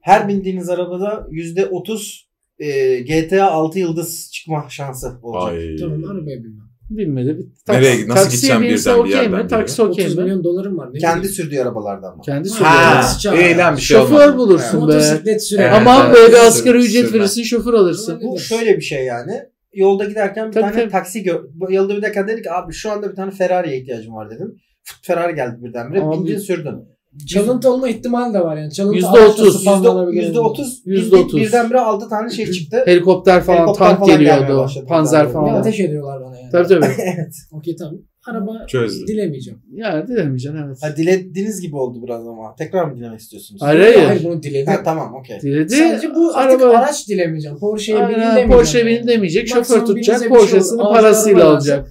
[SPEAKER 2] Her bindiğiniz arabada %30 e, GTA 6 yıldız çıkma şansı olacak.
[SPEAKER 4] Ay.
[SPEAKER 5] Tamam arabaya binmem.
[SPEAKER 3] Bilmedi. Bir
[SPEAKER 4] Nereye- nasıl gideceğim
[SPEAKER 3] binse
[SPEAKER 4] birden bir
[SPEAKER 3] okey
[SPEAKER 4] yerden
[SPEAKER 3] mi?
[SPEAKER 4] bir
[SPEAKER 3] Taksi okey
[SPEAKER 5] 30
[SPEAKER 3] mi?
[SPEAKER 5] milyon dolarım var. Ne
[SPEAKER 2] Kendi
[SPEAKER 5] bileyim.
[SPEAKER 2] sürdüğü arabalarda ama.
[SPEAKER 3] Kendi
[SPEAKER 4] Ha,
[SPEAKER 3] sürüyor.
[SPEAKER 5] Nasıl çağır?
[SPEAKER 4] iyi lan bir şey olmaz.
[SPEAKER 3] Şoför bulursun be.
[SPEAKER 5] Motosiklet sürer.
[SPEAKER 4] Evet,
[SPEAKER 3] Aman
[SPEAKER 4] evet.
[SPEAKER 3] be bir
[SPEAKER 4] Sür-
[SPEAKER 3] asgari ücret
[SPEAKER 4] sürme.
[SPEAKER 3] verirsin şoför alırsın.
[SPEAKER 5] Bu
[SPEAKER 2] Bu şöyle bir şey yani. Yolda giderken bir
[SPEAKER 3] Tabii,
[SPEAKER 2] tane
[SPEAKER 3] tabii.
[SPEAKER 2] taksi gö- bu- yolda giderken dedi ki abi şu anda bir tane Ferrari'ye ihtiyacım var dedim. Fıt, Ferrari geldi birdenbire.
[SPEAKER 3] Abi.
[SPEAKER 2] Bindin sürdün.
[SPEAKER 5] Çalıntı olma ihtimali de var yani. Çalıntı
[SPEAKER 3] Yüzde
[SPEAKER 5] araçta
[SPEAKER 3] otuz,
[SPEAKER 5] spamlanabilir.
[SPEAKER 2] Yüzde otuz.
[SPEAKER 3] Yüzde
[SPEAKER 2] bindin,
[SPEAKER 3] otuz.
[SPEAKER 2] Birdenbire 6 tane şey çıktı.
[SPEAKER 3] Helikopter falan,
[SPEAKER 2] Helikopter
[SPEAKER 3] tank
[SPEAKER 2] falan gelmeye
[SPEAKER 3] geliyordu.
[SPEAKER 2] başladı.
[SPEAKER 3] Panzer
[SPEAKER 2] Ya
[SPEAKER 5] Ne
[SPEAKER 3] falan.
[SPEAKER 5] ateş ediyorlar bana yani.
[SPEAKER 3] Tabii tabii.
[SPEAKER 5] Okey tamam. Araba
[SPEAKER 4] Çözdüm.
[SPEAKER 5] dilemeyeceğim.
[SPEAKER 3] Ya dilemeyeceksin evet.
[SPEAKER 2] ha, dilediğiniz gibi oldu biraz ama. Tekrar mı dilemek istiyorsunuz?
[SPEAKER 3] Hayır hayır.
[SPEAKER 5] Hayır bunu diledim.
[SPEAKER 2] Ha, tamam okey.
[SPEAKER 3] Diledi.
[SPEAKER 5] Sadece bu artık
[SPEAKER 3] araba-
[SPEAKER 5] araç dilemeyeceğim. Porsche'ye binin
[SPEAKER 3] Aynen,
[SPEAKER 5] demeyeceğim.
[SPEAKER 3] Porsche beni demeyecek.
[SPEAKER 5] Maksimum
[SPEAKER 3] Şoför tutacak.
[SPEAKER 5] birinize bir şey
[SPEAKER 3] Porsche'sini
[SPEAKER 5] olur.
[SPEAKER 3] parasıyla
[SPEAKER 5] Alacağın
[SPEAKER 3] alacak.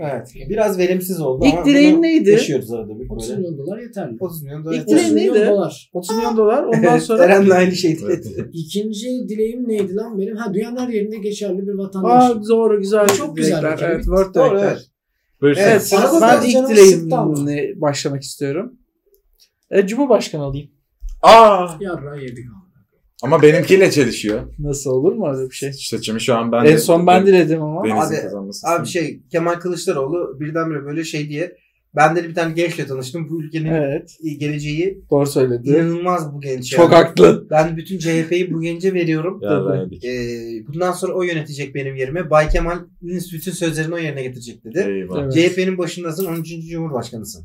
[SPEAKER 2] Evet. Biraz verimsiz oldu
[SPEAKER 3] İlk
[SPEAKER 2] ama
[SPEAKER 3] dileğin
[SPEAKER 2] bunu
[SPEAKER 3] neydi?
[SPEAKER 2] Yaşıyoruz arada bir
[SPEAKER 5] 30
[SPEAKER 2] böyle.
[SPEAKER 5] milyon dolar yeterli.
[SPEAKER 2] 30 milyon
[SPEAKER 3] İlk
[SPEAKER 2] dolar.
[SPEAKER 3] dileğin
[SPEAKER 5] Dileğim neydi?
[SPEAKER 3] neydi?
[SPEAKER 5] Dolar.
[SPEAKER 3] 30 milyon dolar ondan
[SPEAKER 2] Evet,
[SPEAKER 3] sonra.
[SPEAKER 2] Eren'le aynı şey
[SPEAKER 4] Evet.
[SPEAKER 2] dedi.
[SPEAKER 5] İkinci dileğim neydi lan benim? Ha dünyanın her yerinde geçerli bir
[SPEAKER 3] Aa
[SPEAKER 5] vatandaşlık.
[SPEAKER 3] doğru güzel.
[SPEAKER 5] Çok güzel
[SPEAKER 3] dilekler.
[SPEAKER 5] bir kere.
[SPEAKER 3] Evet, word
[SPEAKER 2] Doğru
[SPEAKER 3] dilekler.
[SPEAKER 2] evet.
[SPEAKER 4] Böyle
[SPEAKER 2] Evet.
[SPEAKER 4] evet.
[SPEAKER 3] Evet,
[SPEAKER 2] Sana
[SPEAKER 3] ben
[SPEAKER 2] da
[SPEAKER 3] ilk
[SPEAKER 5] canım sıktı ama.
[SPEAKER 3] dileğimle başlamak istiyorum. E, Cumhurbaşkanı olayım.
[SPEAKER 4] Aa.
[SPEAKER 5] Yarra yedik abi.
[SPEAKER 4] Ama benimkiyle çelişiyor.
[SPEAKER 3] Nasıl olur mu öyle bir şey?
[SPEAKER 4] İşte şimdi şu an ben
[SPEAKER 3] en son ben diledim ama.
[SPEAKER 4] Deniz'in
[SPEAKER 2] Abi-
[SPEAKER 4] kazanması.
[SPEAKER 2] Abi şey Kemal Kılıçdaroğlu birdenbire böyle şey diye ben de bir tane gençle tanıştım. Bu ülkenin
[SPEAKER 3] Evet.
[SPEAKER 2] geleceği
[SPEAKER 3] Doğru söyledi.
[SPEAKER 2] inanılmaz bu genç.
[SPEAKER 4] Çok
[SPEAKER 2] yani.
[SPEAKER 4] haklı.
[SPEAKER 2] Ben bütün CHP'yi bu gence veriyorum.
[SPEAKER 4] Ya ben yedik.
[SPEAKER 2] Ee, bundan sonra o yönetecek benim yerime. Bay Kemal'in bütün sözlerini o yerine getirecek dedi.
[SPEAKER 4] Eyvah.
[SPEAKER 3] Evet.
[SPEAKER 2] CHP'nin başındasın 13. Cumhurbaşkanısın.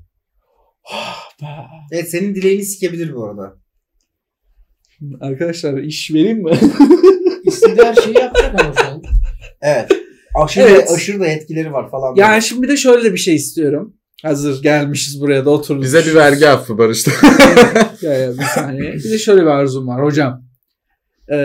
[SPEAKER 2] Evet senin dileğini sikebilir bu arada.
[SPEAKER 3] Arkadaşlar iş vereyim mi?
[SPEAKER 5] İstediği her şeyi yapacak ama şu an.
[SPEAKER 2] Evet. Aşırı,
[SPEAKER 3] Evet.
[SPEAKER 2] aşırı da etkileri var falan.
[SPEAKER 3] yani şimdi bir de şöyle bir şey istiyorum. Hazır gelmişiz buraya da oturmuş.
[SPEAKER 4] Bize
[SPEAKER 3] Şey
[SPEAKER 4] bir vergi affı Barış'ta.
[SPEAKER 3] ya, ya, bir saniye. Bir de şöyle bir arzum var hocam. e,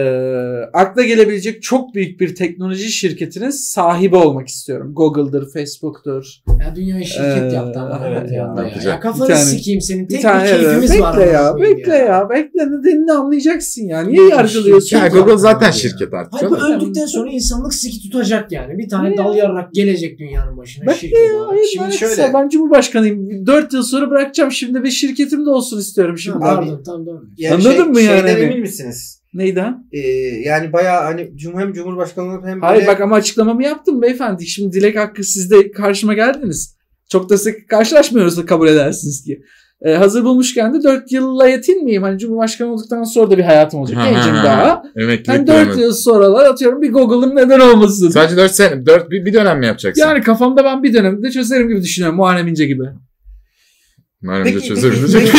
[SPEAKER 3] akla gelebilecek çok büyük bir teknoloji şirketinin sahibi olmak istiyorum. Google'dır, Facebook'tur.
[SPEAKER 5] Ya dünya şirket
[SPEAKER 3] Ee,
[SPEAKER 5] yaptı ama.
[SPEAKER 1] evet
[SPEAKER 5] Evet, ya.
[SPEAKER 4] yapacak.
[SPEAKER 5] ya kafanı
[SPEAKER 3] Bir tane-
[SPEAKER 5] sikeyim senin. Tek bir,
[SPEAKER 3] evet,
[SPEAKER 5] keyfimiz
[SPEAKER 3] bekle
[SPEAKER 5] var.
[SPEAKER 3] ya,
[SPEAKER 5] amına koyayım
[SPEAKER 3] bekle ya. Bekle nedenini anlayacaksın yani. Niye
[SPEAKER 5] Bir şey
[SPEAKER 3] yargılıyorsun?
[SPEAKER 5] şirket
[SPEAKER 4] Ya
[SPEAKER 3] ki?
[SPEAKER 4] Google zaten
[SPEAKER 5] Ya.
[SPEAKER 4] şirket artık.
[SPEAKER 5] Hayır bu
[SPEAKER 4] canım.
[SPEAKER 5] öldükten sonra insanlık siki tutacak yani. Bir tane
[SPEAKER 3] Ne
[SPEAKER 5] dal yararak gelecek dünyanın başına.
[SPEAKER 3] Bak
[SPEAKER 5] şirket olarak.
[SPEAKER 3] Hayır,
[SPEAKER 2] Şimdi
[SPEAKER 3] ben
[SPEAKER 2] şöyle-
[SPEAKER 3] şöyle. Ben Cumhurbaşkanıyım. 4 yıl sonra bırakacağım. Şimdi bir şirketim de olsun istiyorum
[SPEAKER 5] Tamam,
[SPEAKER 3] şimdi.
[SPEAKER 2] Abi-
[SPEAKER 5] pardon, tamam, doğru.
[SPEAKER 2] Yani
[SPEAKER 3] Anladın
[SPEAKER 2] şey-
[SPEAKER 3] mı yani
[SPEAKER 2] Şeyden
[SPEAKER 3] hani?
[SPEAKER 2] emin misiniz?
[SPEAKER 3] Neydi ha?
[SPEAKER 2] Ee, yani bayağı hani cum hem Cumhurbaşkanlığı hem böyle...
[SPEAKER 3] Hayır bak ama açıklamamı yaptım beyefendi. Şimdi dilek hakkı siz de karşıma geldiniz. Çok da sık karşılaşmıyoruz da kabul edersiniz ki. Ee, hazır bulmuşken de 4 yılla yetinmeyeyim. Hani Cumhurbaşkanı olduktan sonra da bir hayatım olacak.
[SPEAKER 4] Ha,
[SPEAKER 3] Gencim
[SPEAKER 4] ha,
[SPEAKER 3] daha.
[SPEAKER 4] Emeklilik
[SPEAKER 3] Ben 4
[SPEAKER 4] dönemi.
[SPEAKER 3] yıl sonralar atıyorum bir Google'ım neden olmasın.
[SPEAKER 4] Sadece 4 sene. 4 bir, bir dönem mi yapacaksın?
[SPEAKER 3] Yani kafamda ben bir dönemde çözerim gibi düşünüyorum. Muharrem İnce gibi.
[SPEAKER 4] Umarım
[SPEAKER 2] Peki,
[SPEAKER 4] da çözeriz.
[SPEAKER 2] peki,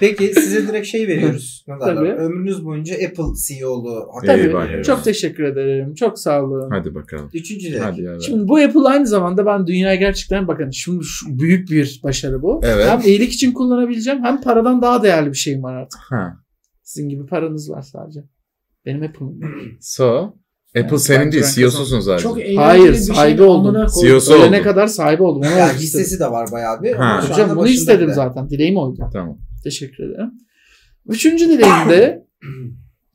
[SPEAKER 2] Peki size direkt şey veriyoruz. Ne derler?
[SPEAKER 3] Tabii.
[SPEAKER 2] Ömrünüz boyunca Apple CEO'lu hak
[SPEAKER 4] Tabii.
[SPEAKER 2] ediyor.
[SPEAKER 4] bari.
[SPEAKER 3] Çok teşekkür ederim. Çok sağ olun.
[SPEAKER 4] Hadi bakalım.
[SPEAKER 2] Üçüncü direkt.
[SPEAKER 4] Hadi ya.
[SPEAKER 3] Şimdi bu Apple aynı zamanda ben dünyaya gerçekten bakın şimdi şu büyük bir başarı bu.
[SPEAKER 4] Evet.
[SPEAKER 3] Hem iyilik için kullanabileceğim hem paradan daha değerli bir şeyim var artık.
[SPEAKER 4] Ha.
[SPEAKER 3] Sizin gibi paranız var sadece. Benim Apple'ım. yok.
[SPEAKER 4] So. Apple
[SPEAKER 3] Yani
[SPEAKER 4] senin
[SPEAKER 3] bence
[SPEAKER 4] değil. E
[SPEAKER 3] ben
[SPEAKER 4] CEO'susun zaten.
[SPEAKER 5] Çok eğlenceli
[SPEAKER 3] Hayır,
[SPEAKER 5] bir şey.
[SPEAKER 3] saygı oldum.
[SPEAKER 5] amına koy.
[SPEAKER 4] CEO Nasıl
[SPEAKER 3] Ölene
[SPEAKER 4] oldu?
[SPEAKER 3] kadar sahibi oldum. Ona
[SPEAKER 2] Ya
[SPEAKER 3] olmak istedim.
[SPEAKER 2] hissesi de var bayağı bir.
[SPEAKER 4] Ha.
[SPEAKER 2] Ama şu
[SPEAKER 3] Hocam
[SPEAKER 2] anda
[SPEAKER 3] bunu
[SPEAKER 2] başında
[SPEAKER 3] istedim
[SPEAKER 2] bile.
[SPEAKER 3] zaten. Dileğim oydu.
[SPEAKER 4] Tamam.
[SPEAKER 3] Teşekkür ederim. Üçüncü dileğim de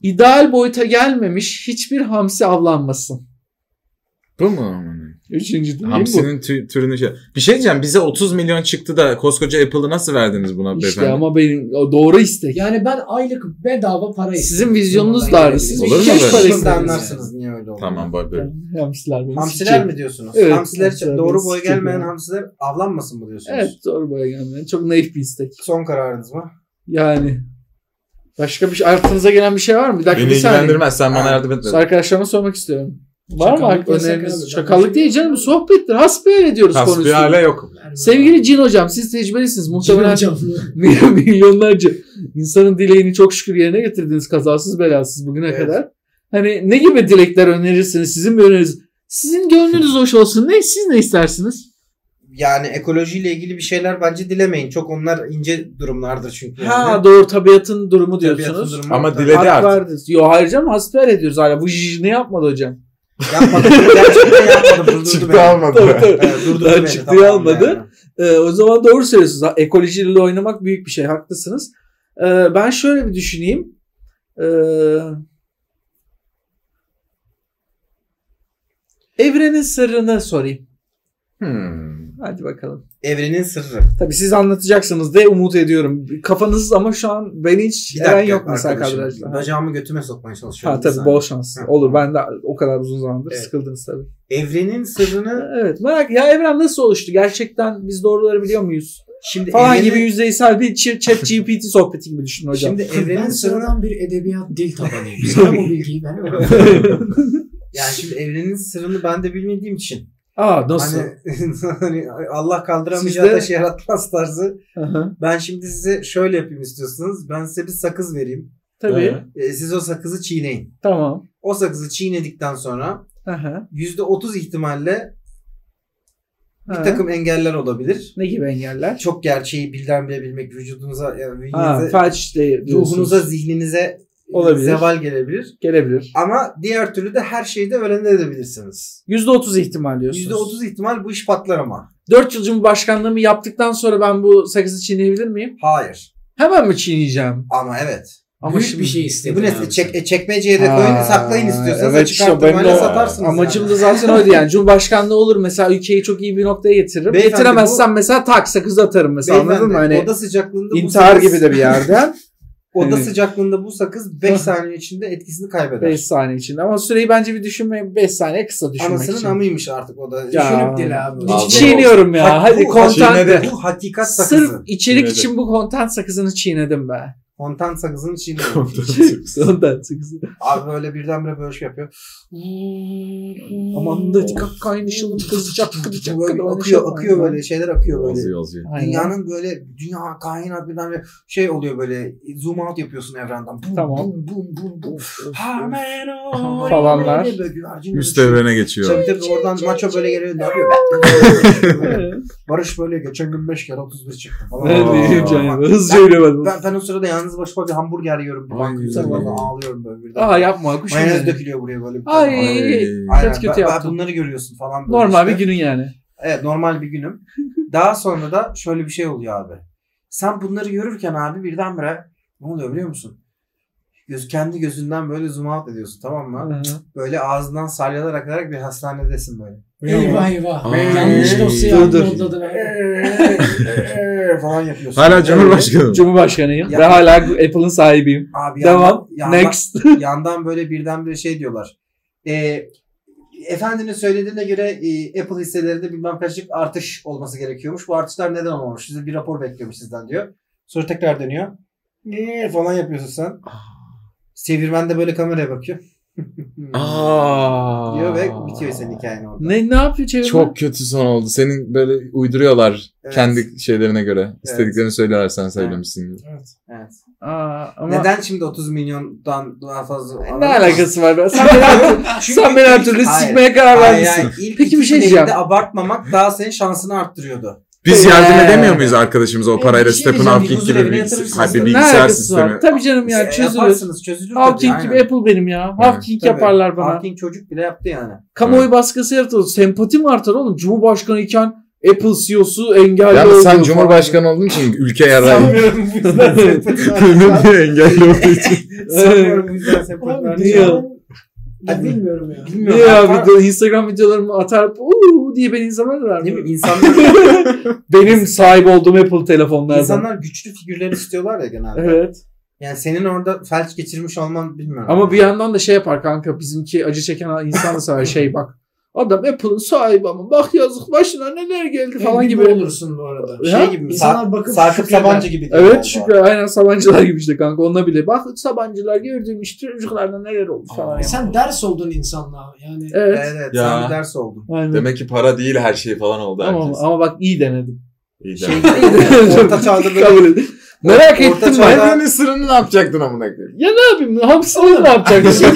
[SPEAKER 3] ideal boyuta gelmemiş hiçbir hamsi avlanmasın.
[SPEAKER 4] Bu mu?
[SPEAKER 3] Üçüncü dileğim bu.
[SPEAKER 4] Hamsinin tü- türünü şey. Bir şey diyeceğim. Bize 30 milyon çıktı da koskoca Apple'ı nasıl verdiniz buna
[SPEAKER 3] İşte
[SPEAKER 4] beyefendi?
[SPEAKER 3] ama benim o doğru istek.
[SPEAKER 5] Yani ben aylık bedava para
[SPEAKER 3] Sizin vizyonunuz da ağrı. Siz
[SPEAKER 4] Olur mu
[SPEAKER 3] ihtiyaç
[SPEAKER 4] böyle?
[SPEAKER 3] para
[SPEAKER 2] Şimdi
[SPEAKER 3] istediniz.
[SPEAKER 2] anlarsınız şey niye öyle oldu.
[SPEAKER 4] Tamam böyle böyle.
[SPEAKER 3] Hamsiler beni
[SPEAKER 2] Hamsiler
[SPEAKER 3] sikecek.
[SPEAKER 2] mi diyorsunuz?
[SPEAKER 3] Evet,
[SPEAKER 2] hamsiler,
[SPEAKER 3] hamsiler
[SPEAKER 2] doğru
[SPEAKER 3] beni
[SPEAKER 2] boya
[SPEAKER 3] sikecek
[SPEAKER 2] gelmeyen
[SPEAKER 3] yani.
[SPEAKER 2] hamsiler avlanmasın mı diyorsunuz?
[SPEAKER 3] Evet doğru boya gelmeyen. Çok naif bir istek.
[SPEAKER 2] Son kararınız mı?
[SPEAKER 3] Yani. Başka bir şey, aklınıza gelen bir şey var mı? Bir dakika
[SPEAKER 4] Beni
[SPEAKER 3] bir saniye.
[SPEAKER 4] ilgilendirmez. Sen bana
[SPEAKER 2] Ha.
[SPEAKER 4] yardım etme.
[SPEAKER 3] Arkadaşlarıma sormak istiyorum. Var mı
[SPEAKER 5] Çakallık
[SPEAKER 3] ak-
[SPEAKER 5] yasak
[SPEAKER 3] öneriniz?
[SPEAKER 5] abi.
[SPEAKER 3] Çakallık değil canım. Sohbettir. Hasbihal ediyoruz
[SPEAKER 4] Hasbihale
[SPEAKER 3] konusunu.
[SPEAKER 4] yok.
[SPEAKER 3] Sevgili Cin Hocam siz tecrübelisiniz. Muhtemelen
[SPEAKER 5] Hocam.
[SPEAKER 3] milyonlarca insanın dileğini çok şükür yerine getirdiniz kazasız belasız bugüne
[SPEAKER 2] Evet.
[SPEAKER 3] kadar. Hani ne gibi dilekler önerirsiniz? Sizin bir öneriniz? Sizin gönlünüz hoş olsun. Ne siz ne istersiniz?
[SPEAKER 2] Yani ekolojiyle ilgili bir şeyler bence dilemeyin. Çok onlar ince durumlardır çünkü. yani.
[SPEAKER 3] Ha doğru tabiatın durumu
[SPEAKER 2] Tabiatın
[SPEAKER 3] diyorsunuz.
[SPEAKER 2] durumu-
[SPEAKER 4] Ama
[SPEAKER 2] Tabii.
[SPEAKER 4] dile- Dedi
[SPEAKER 3] Hak
[SPEAKER 4] artık.
[SPEAKER 3] verdiniz. Yo hayır canım hasbihal ediyoruz hala. Bu jiji ne yapmadı hocam?
[SPEAKER 2] Yapmadım. Gerçekten yapmadım. Durdurdu beni.
[SPEAKER 4] Çıktı almadı.
[SPEAKER 2] Evet, durdurdu
[SPEAKER 3] Daha
[SPEAKER 2] beni,
[SPEAKER 3] çıktığı
[SPEAKER 2] tamam
[SPEAKER 3] almadı.
[SPEAKER 2] yani.
[SPEAKER 3] Ee, o zaman doğru söylüyorsunuz. Ha, Ekolojiyle oynamak büyük bir şey. Haklısınız. Ee, ben şöyle bir düşüneyim. Ee, evrenin sırrını sorayım.
[SPEAKER 4] Hmm.
[SPEAKER 3] Hadi bakalım.
[SPEAKER 2] Evrenin sırrı.
[SPEAKER 3] Tabii siz anlatacaksınız diye umut ediyorum. Kafanız ama şu an ben hiç
[SPEAKER 2] Bir
[SPEAKER 3] eren
[SPEAKER 2] dakika
[SPEAKER 3] yok mesela
[SPEAKER 2] arkadaşım.
[SPEAKER 3] kadrajda. Ha.
[SPEAKER 2] Bacağımı götüme sokmaya çalışıyorum.
[SPEAKER 3] Ha
[SPEAKER 2] bir
[SPEAKER 3] tabii
[SPEAKER 2] saniye.
[SPEAKER 3] bol şans.
[SPEAKER 2] Ha.
[SPEAKER 3] Olur ben de o kadar uzun zamandır
[SPEAKER 2] Evet.
[SPEAKER 3] sıkıldınız tabii.
[SPEAKER 2] Evrenin sırrını
[SPEAKER 3] Evet merak ya evren nasıl oluştu? Gerçekten biz doğruları biliyor muyuz?
[SPEAKER 2] şimdi
[SPEAKER 3] falan
[SPEAKER 2] evrenin-
[SPEAKER 3] gibi yüzeysel bir ch- chat GPT sohbeti gibi düşünün hocam.
[SPEAKER 2] Şimdi
[SPEAKER 5] Ben
[SPEAKER 2] evrenin sırrını
[SPEAKER 5] sıradan bir edebiyat dil tabanıyım. Sana bu bilgiyi veremem.
[SPEAKER 2] yani şimdi evrenin sırrını ben de bilmediğim için
[SPEAKER 3] Aa nasıl?
[SPEAKER 2] hani, hani Allah kaldıramayacağı
[SPEAKER 3] Sizde-
[SPEAKER 2] taşı yaratmaz tarzı.
[SPEAKER 3] Aha,
[SPEAKER 2] Ben şimdi size şöyle yapayım istiyorsanız. Ben size bir sakız vereyim.
[SPEAKER 3] Tabii.
[SPEAKER 4] Ee?
[SPEAKER 2] Ee, siz o sakızı çiğneyin.
[SPEAKER 3] Tamam.
[SPEAKER 2] O sakızı çiğnedikten sonra
[SPEAKER 3] Aha,
[SPEAKER 2] %30 ihtimalle bir
[SPEAKER 3] ha.
[SPEAKER 2] takım engeller olabilir.
[SPEAKER 3] ne gibi engeller?
[SPEAKER 2] Çok gerçeği bilden bile bilmek vücudunuza, yani
[SPEAKER 3] Ha,
[SPEAKER 2] bünyenize,
[SPEAKER 3] felç de
[SPEAKER 2] ruhunuza,
[SPEAKER 3] ruhunuza
[SPEAKER 2] zihninize
[SPEAKER 3] Olabilir.
[SPEAKER 2] zeval gelebilir.
[SPEAKER 3] gelebilir.
[SPEAKER 2] Ama diğer türlü de her şeyi de öğrenebilirsiniz.
[SPEAKER 3] %30 ihtimal diyorsunuz. %30.
[SPEAKER 2] %30 ihtimal bu iş patlar ama.
[SPEAKER 3] 4 yıl Cumhurbaşkanlığımı yaptıktan sonra ben bu sakızı çiğneyebilir miyim?
[SPEAKER 2] Hayır.
[SPEAKER 3] Hemen mi çiğneyeceğim?
[SPEAKER 2] Ama evet.
[SPEAKER 3] Ama
[SPEAKER 5] Büyük
[SPEAKER 3] şimdi-
[SPEAKER 5] bir şey
[SPEAKER 2] E
[SPEAKER 5] istedim.
[SPEAKER 2] bu ne?
[SPEAKER 5] abi.
[SPEAKER 2] Çek, e, çekmeceye de
[SPEAKER 3] Ha,
[SPEAKER 2] koyun saklayın istiyorsanız.
[SPEAKER 3] evet
[SPEAKER 2] Evet,
[SPEAKER 3] işte
[SPEAKER 2] Çıkarttırmayla
[SPEAKER 3] benim de
[SPEAKER 2] satarsınız.
[SPEAKER 3] Amacım
[SPEAKER 2] yani.
[SPEAKER 3] da zaten oydu yani. Cumhurbaşkanlığı olur mesela ülkeyi çok iyi bir noktaya getiririm.
[SPEAKER 2] Beyefendi,
[SPEAKER 3] Getiremezsem mesela tak sakızı atarım mesela
[SPEAKER 2] Beyefendi,
[SPEAKER 3] anladın mı? Hani
[SPEAKER 2] oda sıcaklığında bu
[SPEAKER 3] intihar Hani-
[SPEAKER 2] sakız-
[SPEAKER 3] gibi de bir yerden.
[SPEAKER 2] Oda
[SPEAKER 3] Evet.
[SPEAKER 2] sıcaklığında bu sakız 5 saniye içinde etkisini kaybeder.
[SPEAKER 3] 5 saniye içinde ama süreyi bence bir düşünme 5 saniye kısa düşünmek
[SPEAKER 2] Anasının
[SPEAKER 3] için.
[SPEAKER 2] amıymış artık o da.
[SPEAKER 3] Ya.
[SPEAKER 5] Düşünüp dil abi.
[SPEAKER 4] Al.
[SPEAKER 3] Hiç çiğniyorum ya.
[SPEAKER 2] Hak-
[SPEAKER 3] Hadi
[SPEAKER 2] bu-
[SPEAKER 3] kontan.
[SPEAKER 4] Çiğnedi.
[SPEAKER 2] Bu hakikat sakızı.
[SPEAKER 3] Sırf içerik
[SPEAKER 4] Çiğnedi.
[SPEAKER 3] için bu kontan sakızını çiğnedim be.
[SPEAKER 2] Kontan sakızını çiğniyor.
[SPEAKER 3] kontan sakızı.
[SPEAKER 2] Abi böyle birdenbire böyle şey yapıyor.
[SPEAKER 3] Aman da dikkat kaynaşalım kızacak kızacak.
[SPEAKER 2] Böyle
[SPEAKER 3] kızacak.
[SPEAKER 2] akıyor, akıyor böyle şeyler akıyor böyle.
[SPEAKER 4] Yazıyor yazıyor.
[SPEAKER 3] Aynen.
[SPEAKER 2] Dünyanın böyle dünya kainat birden böyle şey oluyor böyle zoom out yapıyorsun evrenden. Bum,
[SPEAKER 3] Tamam.
[SPEAKER 2] Bum bum bum bum. Amen, o,
[SPEAKER 3] Falanlar.
[SPEAKER 2] böyle güvercin
[SPEAKER 4] Üst
[SPEAKER 2] böyle
[SPEAKER 4] evrene
[SPEAKER 2] şey.
[SPEAKER 4] geçiyor.
[SPEAKER 2] Tabii tabii oradan maço böyle geliyor. Ne yapıyor? Barış böyle geçen gün 5 kere 31 çıktı falan.
[SPEAKER 3] Ne
[SPEAKER 4] Aa.
[SPEAKER 3] diyeyim canım? Hızlı yürüyorum.
[SPEAKER 2] Ben, ben o sırada yalnız yalnız başıma bir hamburger yiyorum. Bir
[SPEAKER 5] Ay,
[SPEAKER 2] bakıyorsa
[SPEAKER 5] ay.
[SPEAKER 2] valla ağlıyorum böyle birden.
[SPEAKER 3] Aa yapma kuş
[SPEAKER 2] Mayonez
[SPEAKER 3] gözü.
[SPEAKER 2] dökülüyor buraya böyle. bir
[SPEAKER 3] Ay,
[SPEAKER 2] tane.
[SPEAKER 3] ay, ay.
[SPEAKER 2] Aynen,
[SPEAKER 3] kötü
[SPEAKER 2] ben- ben
[SPEAKER 3] yaptın.
[SPEAKER 2] bunları görüyorsun falan. böyle
[SPEAKER 3] Normal
[SPEAKER 2] işte.
[SPEAKER 3] bir günün yani.
[SPEAKER 2] Evet normal bir günüm. Daha sonra da şöyle bir şey oluyor abi. Sen bunları görürken abi birdenbire ne oluyor biliyor musun? Göz, kendi gözünden böyle zoom out ediyorsun tamam mı?
[SPEAKER 3] Hı.
[SPEAKER 2] Böyle ağzından salyalar akarak bir hastanedesin böyle.
[SPEAKER 5] Eyvah eyvah.
[SPEAKER 4] Ay.
[SPEAKER 5] Yanlış dosyayı
[SPEAKER 3] Dur, dur.
[SPEAKER 5] uploadladın abi.
[SPEAKER 2] falan yapıyorsun.
[SPEAKER 4] Hala Cumhurbaşkanı.
[SPEAKER 3] Cumhurbaşkanıyım
[SPEAKER 2] Ya-
[SPEAKER 3] ve hala Apple'ın sahibiyim.
[SPEAKER 2] Abi
[SPEAKER 3] Devam.
[SPEAKER 2] yandan-
[SPEAKER 3] Next.
[SPEAKER 2] yandan böyle birdenbire şey diyorlar. E, efendinin söylediğine göre e, Apple hisselerinde bilmem kaçlık artış olması gerekiyormuş. Bu artışlar neden olmamış? Size bir rapor bekliyormuş sizden diyor. Sonra tekrar dönüyor. Ne falan yapıyorsun sen.
[SPEAKER 3] Ah.
[SPEAKER 2] Çevirmen de böyle kameraya bakıyor.
[SPEAKER 4] Aa.
[SPEAKER 2] diyor ve bitiyor senin hikayen orada.
[SPEAKER 3] Ne ne yapıyor çevirmen?
[SPEAKER 4] Çok kötü son oldu. Senin böyle uyduruyorlar
[SPEAKER 2] Evet.
[SPEAKER 4] kendi şeylerine göre. İstediklerini söylüyorlar sen söylemişsin gibi.
[SPEAKER 2] Evet.
[SPEAKER 3] Aa, ama
[SPEAKER 2] Neden şimdi 30 milyondan daha fazla?
[SPEAKER 3] Ne alakası var? be? Sen beni her türlü,
[SPEAKER 2] Çünkü-
[SPEAKER 3] sen beni her türlü
[SPEAKER 2] Hayır.
[SPEAKER 3] sikmeye karar
[SPEAKER 2] Hayır,
[SPEAKER 3] vermişsin.
[SPEAKER 2] hayır. İlk
[SPEAKER 3] Peki bir
[SPEAKER 2] iki
[SPEAKER 3] şey
[SPEAKER 2] deneyimde
[SPEAKER 3] diyeceğim.
[SPEAKER 2] abartmamak daha senin şansını arttırıyordu.
[SPEAKER 4] Biz
[SPEAKER 3] Ee,
[SPEAKER 4] yardım edemiyor muyuz arkadaşımıza o
[SPEAKER 5] bir
[SPEAKER 4] parayla
[SPEAKER 5] şey
[SPEAKER 4] Stephen
[SPEAKER 5] diyeceğim,
[SPEAKER 4] Hawking
[SPEAKER 2] bir huzur
[SPEAKER 4] gibi bir,
[SPEAKER 2] evine
[SPEAKER 4] bilgis-
[SPEAKER 2] yatırırsınız.
[SPEAKER 4] ha, bir
[SPEAKER 2] Ne
[SPEAKER 3] Ne
[SPEAKER 4] bilgisayar
[SPEAKER 3] alakası
[SPEAKER 4] sistemi?
[SPEAKER 3] var? Tabii canım
[SPEAKER 2] E,
[SPEAKER 3] ya çözülür.
[SPEAKER 2] Yaparsınız çözülür.
[SPEAKER 3] Hawking
[SPEAKER 2] tabii,
[SPEAKER 3] gibi
[SPEAKER 2] aynen.
[SPEAKER 3] Apple benim ya.
[SPEAKER 4] Evet.
[SPEAKER 3] Hawking
[SPEAKER 2] Tabii.
[SPEAKER 3] yaparlar bana.
[SPEAKER 2] Hawking çocuk bile yaptı yani.
[SPEAKER 3] Kamuoyu baskısı yaratılır. Sempatim artar oğlum. Cumhurbaşkanı iken Apple CEO'su engelli
[SPEAKER 4] Yalnız sen
[SPEAKER 3] oldu
[SPEAKER 4] Cumhurbaşkanı olduğun için ülke yarar.
[SPEAKER 2] Sanmıyorum bu yüzden sepeti
[SPEAKER 4] Ne diye engelli olduğu için.
[SPEAKER 2] Sanmıyorum bu yüzden sepeti
[SPEAKER 5] Abi
[SPEAKER 2] vermişler.
[SPEAKER 3] diyor.
[SPEAKER 5] diyor.
[SPEAKER 2] Hadi.
[SPEAKER 5] Bilmiyorum ya.
[SPEAKER 3] Ne
[SPEAKER 2] şey- Bilmiyorum.
[SPEAKER 3] ya
[SPEAKER 2] Hatta-
[SPEAKER 3] video, Instagram videolarımı atar uuu diye beni insanlar
[SPEAKER 2] Ne bileyim
[SPEAKER 3] mı?
[SPEAKER 2] insanlar,
[SPEAKER 3] Benim sahip olduğum Apple telefonlardan.
[SPEAKER 2] insanlar güçlü figürler istiyorlar ya genelde.
[SPEAKER 3] Evet.
[SPEAKER 2] Yani senin orada felç geçirmiş olman bilmiyorum.
[SPEAKER 3] Ama bir yandan da şey yapar kanka bizimki acı çeken insan da sana şey bak. Adam Apple'ın sahibi ama bak yazık başına neler geldi falan gibi.
[SPEAKER 5] olursun bu arada.
[SPEAKER 3] Ya,
[SPEAKER 2] şey gibi mi?
[SPEAKER 5] İnsanlar
[SPEAKER 2] Sa-
[SPEAKER 5] bakıp
[SPEAKER 2] Sarkıp
[SPEAKER 5] şükreder.
[SPEAKER 2] Sabancı gibi. diyor
[SPEAKER 3] Evet
[SPEAKER 2] galiba.
[SPEAKER 3] çünkü aynen Sabancılar gibi işte kanka onunla bile. Bak Sabancılar gördüğüm işte çocuklardan neler oldu falan.
[SPEAKER 5] E
[SPEAKER 3] yani.
[SPEAKER 5] Sen ders oldun insanlığa. Yani
[SPEAKER 3] Evet.
[SPEAKER 2] Evet, evet
[SPEAKER 4] Ya.
[SPEAKER 2] sen bir ders oldun.
[SPEAKER 3] Aynen.
[SPEAKER 4] Demek ki para değil her şey falan oldu
[SPEAKER 3] ama,
[SPEAKER 4] herkes.
[SPEAKER 3] ama bak iyi denedim.
[SPEAKER 4] İyi
[SPEAKER 2] Şey,
[SPEAKER 4] de.
[SPEAKER 2] orta çağda böyle
[SPEAKER 3] Kabul edin. Merak
[SPEAKER 2] Orta
[SPEAKER 3] ettim
[SPEAKER 2] çağda-
[SPEAKER 3] ben.
[SPEAKER 4] Hayvanın ısırığını ne yapacaktın amına koyayım?
[SPEAKER 3] Ya ne yapayım? Hamsileri ne yapacaksın?
[SPEAKER 4] Hapsileri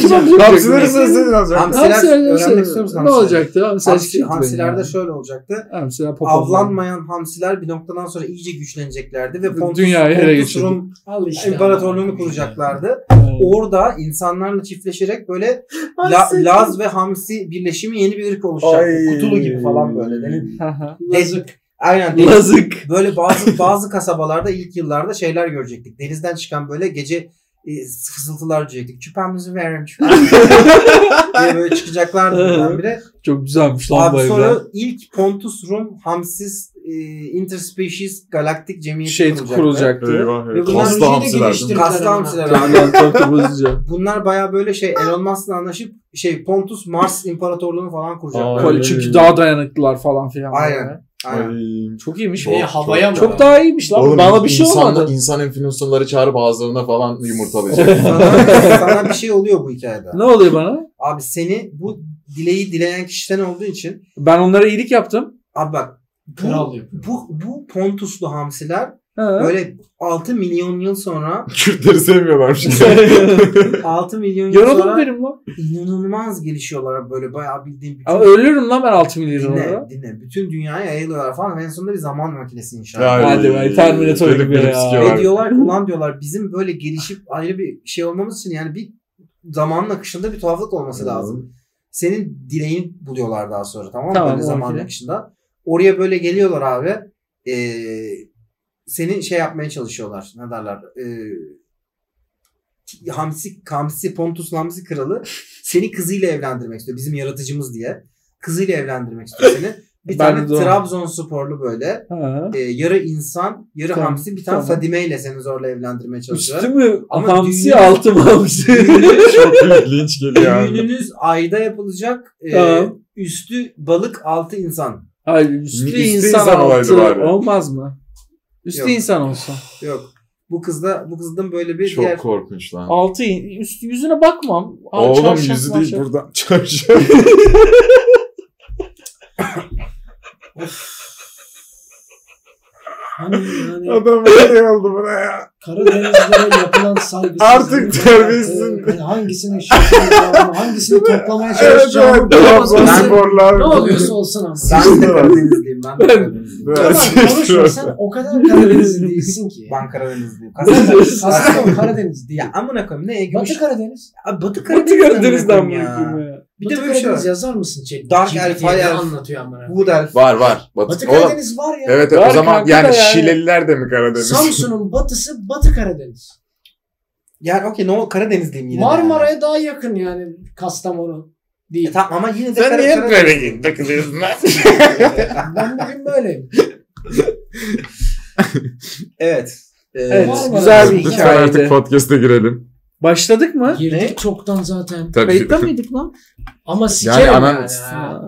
[SPEAKER 4] ısırığını ne yapacaktın?
[SPEAKER 2] Hamsiler- öğrenmek istiyor musun
[SPEAKER 3] Hamsiler ne
[SPEAKER 2] hamsileri?
[SPEAKER 3] olacaktı? Hamsiler
[SPEAKER 2] Hamsi,
[SPEAKER 3] siktir beni
[SPEAKER 2] hamsilerde
[SPEAKER 3] ya.
[SPEAKER 2] şöyle olacaktı.
[SPEAKER 3] Hamsiler popo.
[SPEAKER 2] Avlanmayan hamsiler bir noktadan sonra iyice güçleneceklerdi ve Pontus,
[SPEAKER 3] Dünyayı ele
[SPEAKER 2] Pontus
[SPEAKER 3] geçirdi.
[SPEAKER 2] Rum
[SPEAKER 5] al işte.
[SPEAKER 2] imparatorluğunu kuracaklardı. Orada insanlarla çiftleşerek böyle La,
[SPEAKER 5] Hamsi.
[SPEAKER 2] Laz ve Hamsi birleşimi yeni bir ırk oluşacak. Kutulu gibi falan böyle. Deniz-
[SPEAKER 5] Yazık.
[SPEAKER 2] Aynen. deniz-
[SPEAKER 3] Lazık.
[SPEAKER 2] böyle bazı bazı kasabalarda ilk yıllarda şeyler görecektik. Denizden çıkan böyle gece e, fısıltılar diyecektik. Küpemizi verin küpemizi verin diye böyle çıkacaklardı birdenbire.
[SPEAKER 3] Çok güzelmiş lan bu
[SPEAKER 2] Abi
[SPEAKER 3] evler.
[SPEAKER 2] sonra ilk Pontus Rum Hamsis e, Interspecies Galaktik Cemiyeti
[SPEAKER 3] Şey kurulacaktı.
[SPEAKER 2] Ve
[SPEAKER 4] Eyvah.
[SPEAKER 2] bunlar
[SPEAKER 5] Kaslı
[SPEAKER 4] Hasta
[SPEAKER 5] müziği de
[SPEAKER 4] hamsilerdim.
[SPEAKER 5] geliştirdi.
[SPEAKER 2] Kaslı hamsiler abi.
[SPEAKER 3] Aynen, tatlı bozucu.
[SPEAKER 2] Bunlar baya böyle şey Elon Musk'la anlaşıp şey Pontus Mars İmparatorluğunu falan kuracaklar.
[SPEAKER 4] Aynen.
[SPEAKER 3] Kol- Çünkü daha dayanıklılar falan filan.
[SPEAKER 2] Aynen.
[SPEAKER 3] böyle.
[SPEAKER 2] Aynen.
[SPEAKER 3] Çok iyiymiş.
[SPEAKER 5] Şeye havaya mı?
[SPEAKER 3] Şey, Çok daha iyiymiş lan.
[SPEAKER 4] Oğlum,
[SPEAKER 3] Bana bir şey
[SPEAKER 4] insan-
[SPEAKER 3] olmadı.
[SPEAKER 4] İnsan enflasyonları çağırıp ağızlarına falan yumurtalayacak.
[SPEAKER 2] sana, sana bir şey oluyor bu hikayede.
[SPEAKER 3] Ne oluyor bana?
[SPEAKER 2] Abi seni bu dileği dileyen kişiden olduğu için
[SPEAKER 3] Ben onlara iyilik yaptım.
[SPEAKER 2] abi bak bu,
[SPEAKER 5] Kral yapıyor.
[SPEAKER 2] bu, bu Pontuslu hamsiler
[SPEAKER 3] Ha.
[SPEAKER 2] böyle 6 milyon yıl sonra
[SPEAKER 4] Kürtleri sevmiyorlarmış.
[SPEAKER 2] 6 milyon yıl
[SPEAKER 3] Yaralım
[SPEAKER 2] sonra
[SPEAKER 3] benim lan.
[SPEAKER 2] inanılmaz gelişiyorlar böyle bayağı bildiğin bütün
[SPEAKER 3] Ama ölürüm lan ben 6 milyon
[SPEAKER 2] dinle,
[SPEAKER 3] orada.
[SPEAKER 2] dinle bütün dünyaya yayılıyorlar falan en sonunda bir zaman makinesi inşa ediyorlar.
[SPEAKER 4] Yani,
[SPEAKER 3] Hadi be, Terminator
[SPEAKER 4] dönüp
[SPEAKER 3] gibi
[SPEAKER 4] dönüp
[SPEAKER 3] ya.
[SPEAKER 4] sikiyorlar.
[SPEAKER 2] Ve diyorlar ki ulan diyorlar bizim böyle gelişip ayrı bir şey olmamız için yani bir zamanın akışında bir tuhaflık olması lazım. Senin dileğini buluyorlar daha sonra tamam mı?
[SPEAKER 3] Tamam,
[SPEAKER 2] böyle zamanın
[SPEAKER 3] okey.
[SPEAKER 2] akışında. Oraya böyle geliyorlar abi. Ee, senin şey yapmaya çalışıyorlar. Ne derler? Ee, Hamsi, Kamsi, Pontus Hamsi kralı seni kızıyla evlendirmek istiyor. Bizim yaratıcımız diye. Kızıyla evlendirmek istiyor seni. Bir
[SPEAKER 3] Ben
[SPEAKER 2] tane
[SPEAKER 3] de doğru.
[SPEAKER 2] Trabzonsporlu böyle
[SPEAKER 3] Ha.
[SPEAKER 2] e, yarı insan, yarı
[SPEAKER 3] Tamam,
[SPEAKER 2] hamsi bir tane
[SPEAKER 3] tamam.
[SPEAKER 2] Fadime ile seni zorla evlendirmeye
[SPEAKER 3] Üstü
[SPEAKER 2] çalışıyorlar.
[SPEAKER 3] mü?
[SPEAKER 2] Ama
[SPEAKER 3] Hamsi
[SPEAKER 2] dünya-
[SPEAKER 3] altı mı hamsi?
[SPEAKER 4] Çok büyük linç geliyor abi.
[SPEAKER 2] Düğününüz ayda yapılacak. E,
[SPEAKER 3] Tamam.
[SPEAKER 2] Üstü balık, altı insan.
[SPEAKER 3] Hayır üstü,
[SPEAKER 4] Üstü
[SPEAKER 3] insan,
[SPEAKER 4] insan olaydı
[SPEAKER 3] altı
[SPEAKER 4] bari.
[SPEAKER 3] olmaz mı? Üstü
[SPEAKER 2] Yok.
[SPEAKER 3] insan olsa.
[SPEAKER 2] Yok. Bu kızda bu kızın böyle bir diğer
[SPEAKER 4] Çok korkunç lan.
[SPEAKER 3] Altı in- üstü yüzüne bakmam. Aa,
[SPEAKER 4] Oğlum
[SPEAKER 3] çarşaf,
[SPEAKER 4] yüzü değil
[SPEAKER 3] marşaf.
[SPEAKER 4] buradan çarşaf.
[SPEAKER 5] Hani yani
[SPEAKER 4] Adam ne oldu buraya?
[SPEAKER 5] Karadenizlere yapılan saygısızlık.
[SPEAKER 4] Artık terbiyesizsin.
[SPEAKER 5] Yani hangisini şişireceğim, hangisini toplamaya
[SPEAKER 4] Evet,
[SPEAKER 5] çalışacağım.
[SPEAKER 6] Ben-
[SPEAKER 5] ne oluyorsa olsun ama.
[SPEAKER 6] Ben de Karadenizliyim. Ben de Karadenizliyim.
[SPEAKER 5] Tamam, konuşma
[SPEAKER 4] Evet.
[SPEAKER 5] sen o kadar Karadenizli değilsin ki.
[SPEAKER 6] Ben Karadenizliyim.
[SPEAKER 5] Aslında o Karadeniz değil.
[SPEAKER 2] Ya amına koyayım ne gümüş.
[SPEAKER 5] Batı Karadeniz.
[SPEAKER 2] Abi Batı
[SPEAKER 3] Batı
[SPEAKER 2] Karadeniz.
[SPEAKER 3] Karadeniz'den bu hüküm ya.
[SPEAKER 2] Bir de
[SPEAKER 5] Batı
[SPEAKER 2] böyle şey
[SPEAKER 5] Karadeniz
[SPEAKER 2] var.
[SPEAKER 5] yazar mısın? Çek,
[SPEAKER 2] Dark
[SPEAKER 5] GPT
[SPEAKER 2] Elf, High Elf.
[SPEAKER 5] Anlatıyor amına.
[SPEAKER 2] Bu der.
[SPEAKER 4] Var var.
[SPEAKER 5] Batı
[SPEAKER 4] Oğlum,
[SPEAKER 5] Karadeniz var ya.
[SPEAKER 4] Evet evet,
[SPEAKER 3] Var
[SPEAKER 4] o zaman
[SPEAKER 3] kanka
[SPEAKER 4] yani,
[SPEAKER 3] da yani.
[SPEAKER 4] Şileliler de mi Karadeniz?
[SPEAKER 5] Samsun'un batısı Batı Karadeniz.
[SPEAKER 2] Yani okey ne o Karadenizliyim yine. de yani.
[SPEAKER 5] Marmara'ya daha yakın yani Kastamonu
[SPEAKER 2] E
[SPEAKER 5] değil.
[SPEAKER 2] tamam ama yine de
[SPEAKER 4] Sen
[SPEAKER 2] Kara-
[SPEAKER 4] niye
[SPEAKER 2] Karadeniz-
[SPEAKER 4] böyle takılıyorsun lan?
[SPEAKER 5] ben bugün böyleyim.
[SPEAKER 2] Evet. Ee,
[SPEAKER 3] Evet,
[SPEAKER 5] Var mı?
[SPEAKER 3] güzel bir
[SPEAKER 5] Lütfen
[SPEAKER 4] Lütfen artık
[SPEAKER 3] hikayeydi.
[SPEAKER 4] podcast'e girelim.
[SPEAKER 3] Başladık mı?
[SPEAKER 5] Girdik çoktan zaten.
[SPEAKER 4] Tabii.
[SPEAKER 3] Kayıtta mıydık lan?
[SPEAKER 5] Ama sikerim yani.
[SPEAKER 4] ana-
[SPEAKER 5] ha.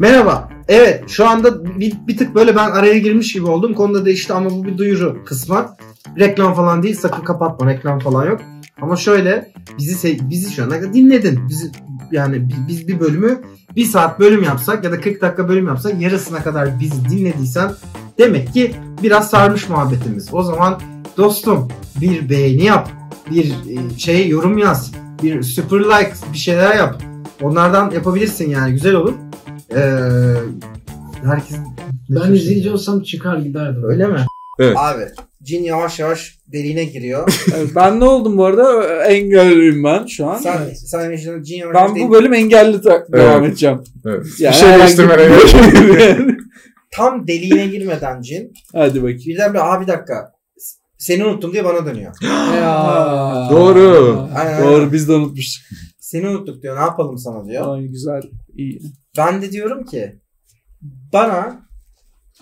[SPEAKER 6] Merhaba. Evet şu anda bir, bir tık böyle ben araya girmiş gibi oldum. Konuda değişti ama bu bir duyuru kısmen. Reklam falan değil sakın kapatma reklam falan yok. Ama şöyle bizi se- bizi şu ana kadar dinledin. Bizi, yani bi- biz bir bölümü bir saat bölüm yapsak ya da 40 dakika bölüm yapsak yarısına kadar bizi dinlediysen demek ki biraz sarmış muhabbetimiz. O zaman dostum bir beğeni yap, bir e, şey yorum yaz, bir super like bir şeyler yap. Onlardan yapabilirsin yani güzel olur. Ee, herkes
[SPEAKER 5] Ben izleyici olsam çıkar giderdim.
[SPEAKER 6] Öyle mi?
[SPEAKER 2] Abi cin yavaş yavaş deliğine giriyor.
[SPEAKER 3] Evet, ben ne oldum bu arada? Ö- Engelliyim ben şu an.
[SPEAKER 2] sen sen yaşadın cin yavaş
[SPEAKER 3] Ben
[SPEAKER 2] yavaş
[SPEAKER 3] bu
[SPEAKER 2] deli-
[SPEAKER 3] bölüm engelli ta- devam
[SPEAKER 4] Evet.
[SPEAKER 3] edeceğim.
[SPEAKER 4] Evet.
[SPEAKER 3] Yani
[SPEAKER 4] bir şey
[SPEAKER 3] herhangi-
[SPEAKER 4] değiştirmene gerek yok.
[SPEAKER 2] tam deliğine girmeden cin
[SPEAKER 3] Hadi bakayım.
[SPEAKER 2] birden bir abi bir dakika seni unuttum diye bana dönüyor.
[SPEAKER 3] Ya.
[SPEAKER 4] Doğru.
[SPEAKER 2] Aynen,
[SPEAKER 3] Doğru
[SPEAKER 2] aynen.
[SPEAKER 3] biz de unutmuştuk.
[SPEAKER 2] Seni unuttuk diyor ne yapalım sana diyor.
[SPEAKER 3] Ay, güzel. iyi.
[SPEAKER 2] Ben de diyorum ki bana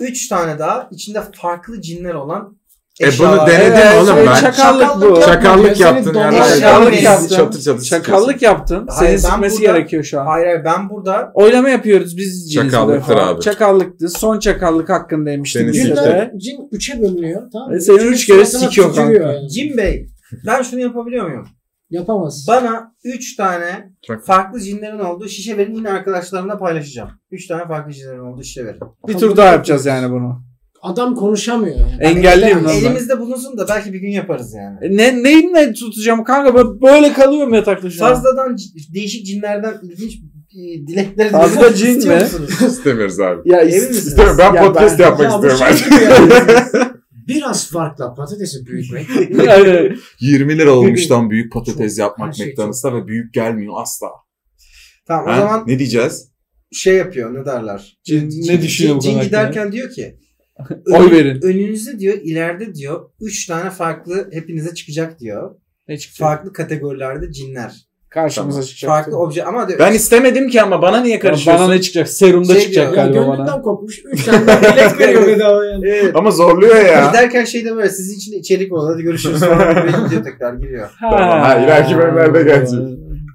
[SPEAKER 2] 3 tane daha içinde farklı cinler olan
[SPEAKER 4] E bunu
[SPEAKER 2] eşyalar.
[SPEAKER 4] denedin
[SPEAKER 2] Evet.
[SPEAKER 4] oğlum
[SPEAKER 3] şey,
[SPEAKER 4] ben.
[SPEAKER 3] Şakallık bu.
[SPEAKER 5] Şakallık ya.
[SPEAKER 4] Şakallık
[SPEAKER 5] Seni
[SPEAKER 4] yaptın
[SPEAKER 5] dolan-
[SPEAKER 4] yani.
[SPEAKER 2] Şakallık yaptın.
[SPEAKER 4] Çatır çatır.
[SPEAKER 3] Şakallık yaptın.
[SPEAKER 2] Hayır, ben
[SPEAKER 3] Senin sıkması
[SPEAKER 2] burada-
[SPEAKER 3] gerekiyor şu an.
[SPEAKER 2] Hayır hayır ben burada
[SPEAKER 3] Oylama yapıyoruz biz ciniz
[SPEAKER 4] Çakallıktır
[SPEAKER 3] bu defa.
[SPEAKER 4] abi.
[SPEAKER 3] Çakallıktı. Son çakallık hakkındaymıştık.
[SPEAKER 4] Senin
[SPEAKER 3] biz de.
[SPEAKER 4] siktir.
[SPEAKER 5] Günler cin 3'e bölünüyor. Tamam
[SPEAKER 3] E, senin
[SPEAKER 5] Üçünün
[SPEAKER 3] üç kere
[SPEAKER 5] suratına
[SPEAKER 3] sikiyor
[SPEAKER 5] tükürüyor
[SPEAKER 3] kanka.
[SPEAKER 5] yani.
[SPEAKER 2] Cin Bey ben şunu yapabiliyor muyum?
[SPEAKER 5] Yapamaz.
[SPEAKER 2] Bana 3 tane
[SPEAKER 4] Çok-
[SPEAKER 2] farklı cinlerin olduğu şişe verin yine arkadaşlarımla paylaşacağım. 3 tane farklı cinlerin olduğu şişe verin.
[SPEAKER 3] Bir tur daha yapacağız yani bunu.
[SPEAKER 5] Adam konuşamıyor.
[SPEAKER 3] Engelliyim lan ben.
[SPEAKER 2] Elimizde bulunsun da belki bir gün yaparız yani.
[SPEAKER 3] E, Ne, neyimle tutacağım kanka? Ben böyle kalıyorum yatakta şu an.
[SPEAKER 2] Fazladan c- değişik cinlerden ilginç e, dilekleri
[SPEAKER 3] Fazla
[SPEAKER 2] dinlemek
[SPEAKER 3] cin
[SPEAKER 2] istiyor
[SPEAKER 3] mi?
[SPEAKER 2] musunuz?
[SPEAKER 4] İstemiyoruz abi.
[SPEAKER 3] Ya
[SPEAKER 2] Emin
[SPEAKER 3] is-
[SPEAKER 2] misiniz?
[SPEAKER 4] İstemiyorum. Ben
[SPEAKER 3] Ya
[SPEAKER 4] podcast
[SPEAKER 3] ben-
[SPEAKER 4] yapmak
[SPEAKER 5] Ya bu
[SPEAKER 4] istiyorum.
[SPEAKER 5] şey
[SPEAKER 4] artık.
[SPEAKER 5] gibi yani. Biraz farkla patatesi büyütmek.
[SPEAKER 3] Aynen.
[SPEAKER 4] 20 lira olmuş lan büyük patates
[SPEAKER 5] her
[SPEAKER 4] yapmak
[SPEAKER 5] şey
[SPEAKER 4] McDonald's'ta ve büyük gelmiyor asla.
[SPEAKER 2] Tamam o
[SPEAKER 4] Ha?
[SPEAKER 2] zaman
[SPEAKER 4] Ne diyeceğiz?
[SPEAKER 2] şey yapıyor ne derler?
[SPEAKER 3] Cin- ne düşünüyor bu
[SPEAKER 2] Cin, cin
[SPEAKER 3] konu hakkında?
[SPEAKER 2] giderken diyor ki
[SPEAKER 3] Oy verin.
[SPEAKER 2] önünüzde diyor ileride diyor 3 tane farklı hepinize çıkacak diyor.
[SPEAKER 3] Ne çıkacak?
[SPEAKER 2] Farklı kategorilerde cinler.
[SPEAKER 3] Karşımıza çıkacak.
[SPEAKER 2] Farklı obje ama diyor,
[SPEAKER 4] Ben istemedim ki ama bana niye
[SPEAKER 3] Ya Bana
[SPEAKER 4] karışıyorsun?
[SPEAKER 3] ne çıkacak? Serumda
[SPEAKER 2] Şey
[SPEAKER 3] çıkacak
[SPEAKER 5] Ya
[SPEAKER 3] galiba bana.
[SPEAKER 5] gönlümden kopmuş. 3 tane bilet veriyor bedava yani.
[SPEAKER 2] Evet.
[SPEAKER 4] Ama zorluyor ya.
[SPEAKER 2] Giderken şey de böyle sizin için de içerik oldu hadi görüşürüz falan gibi gidiyor tekrar giriyor.
[SPEAKER 4] Tamam, ha, ileriki bölümlerde gelecek.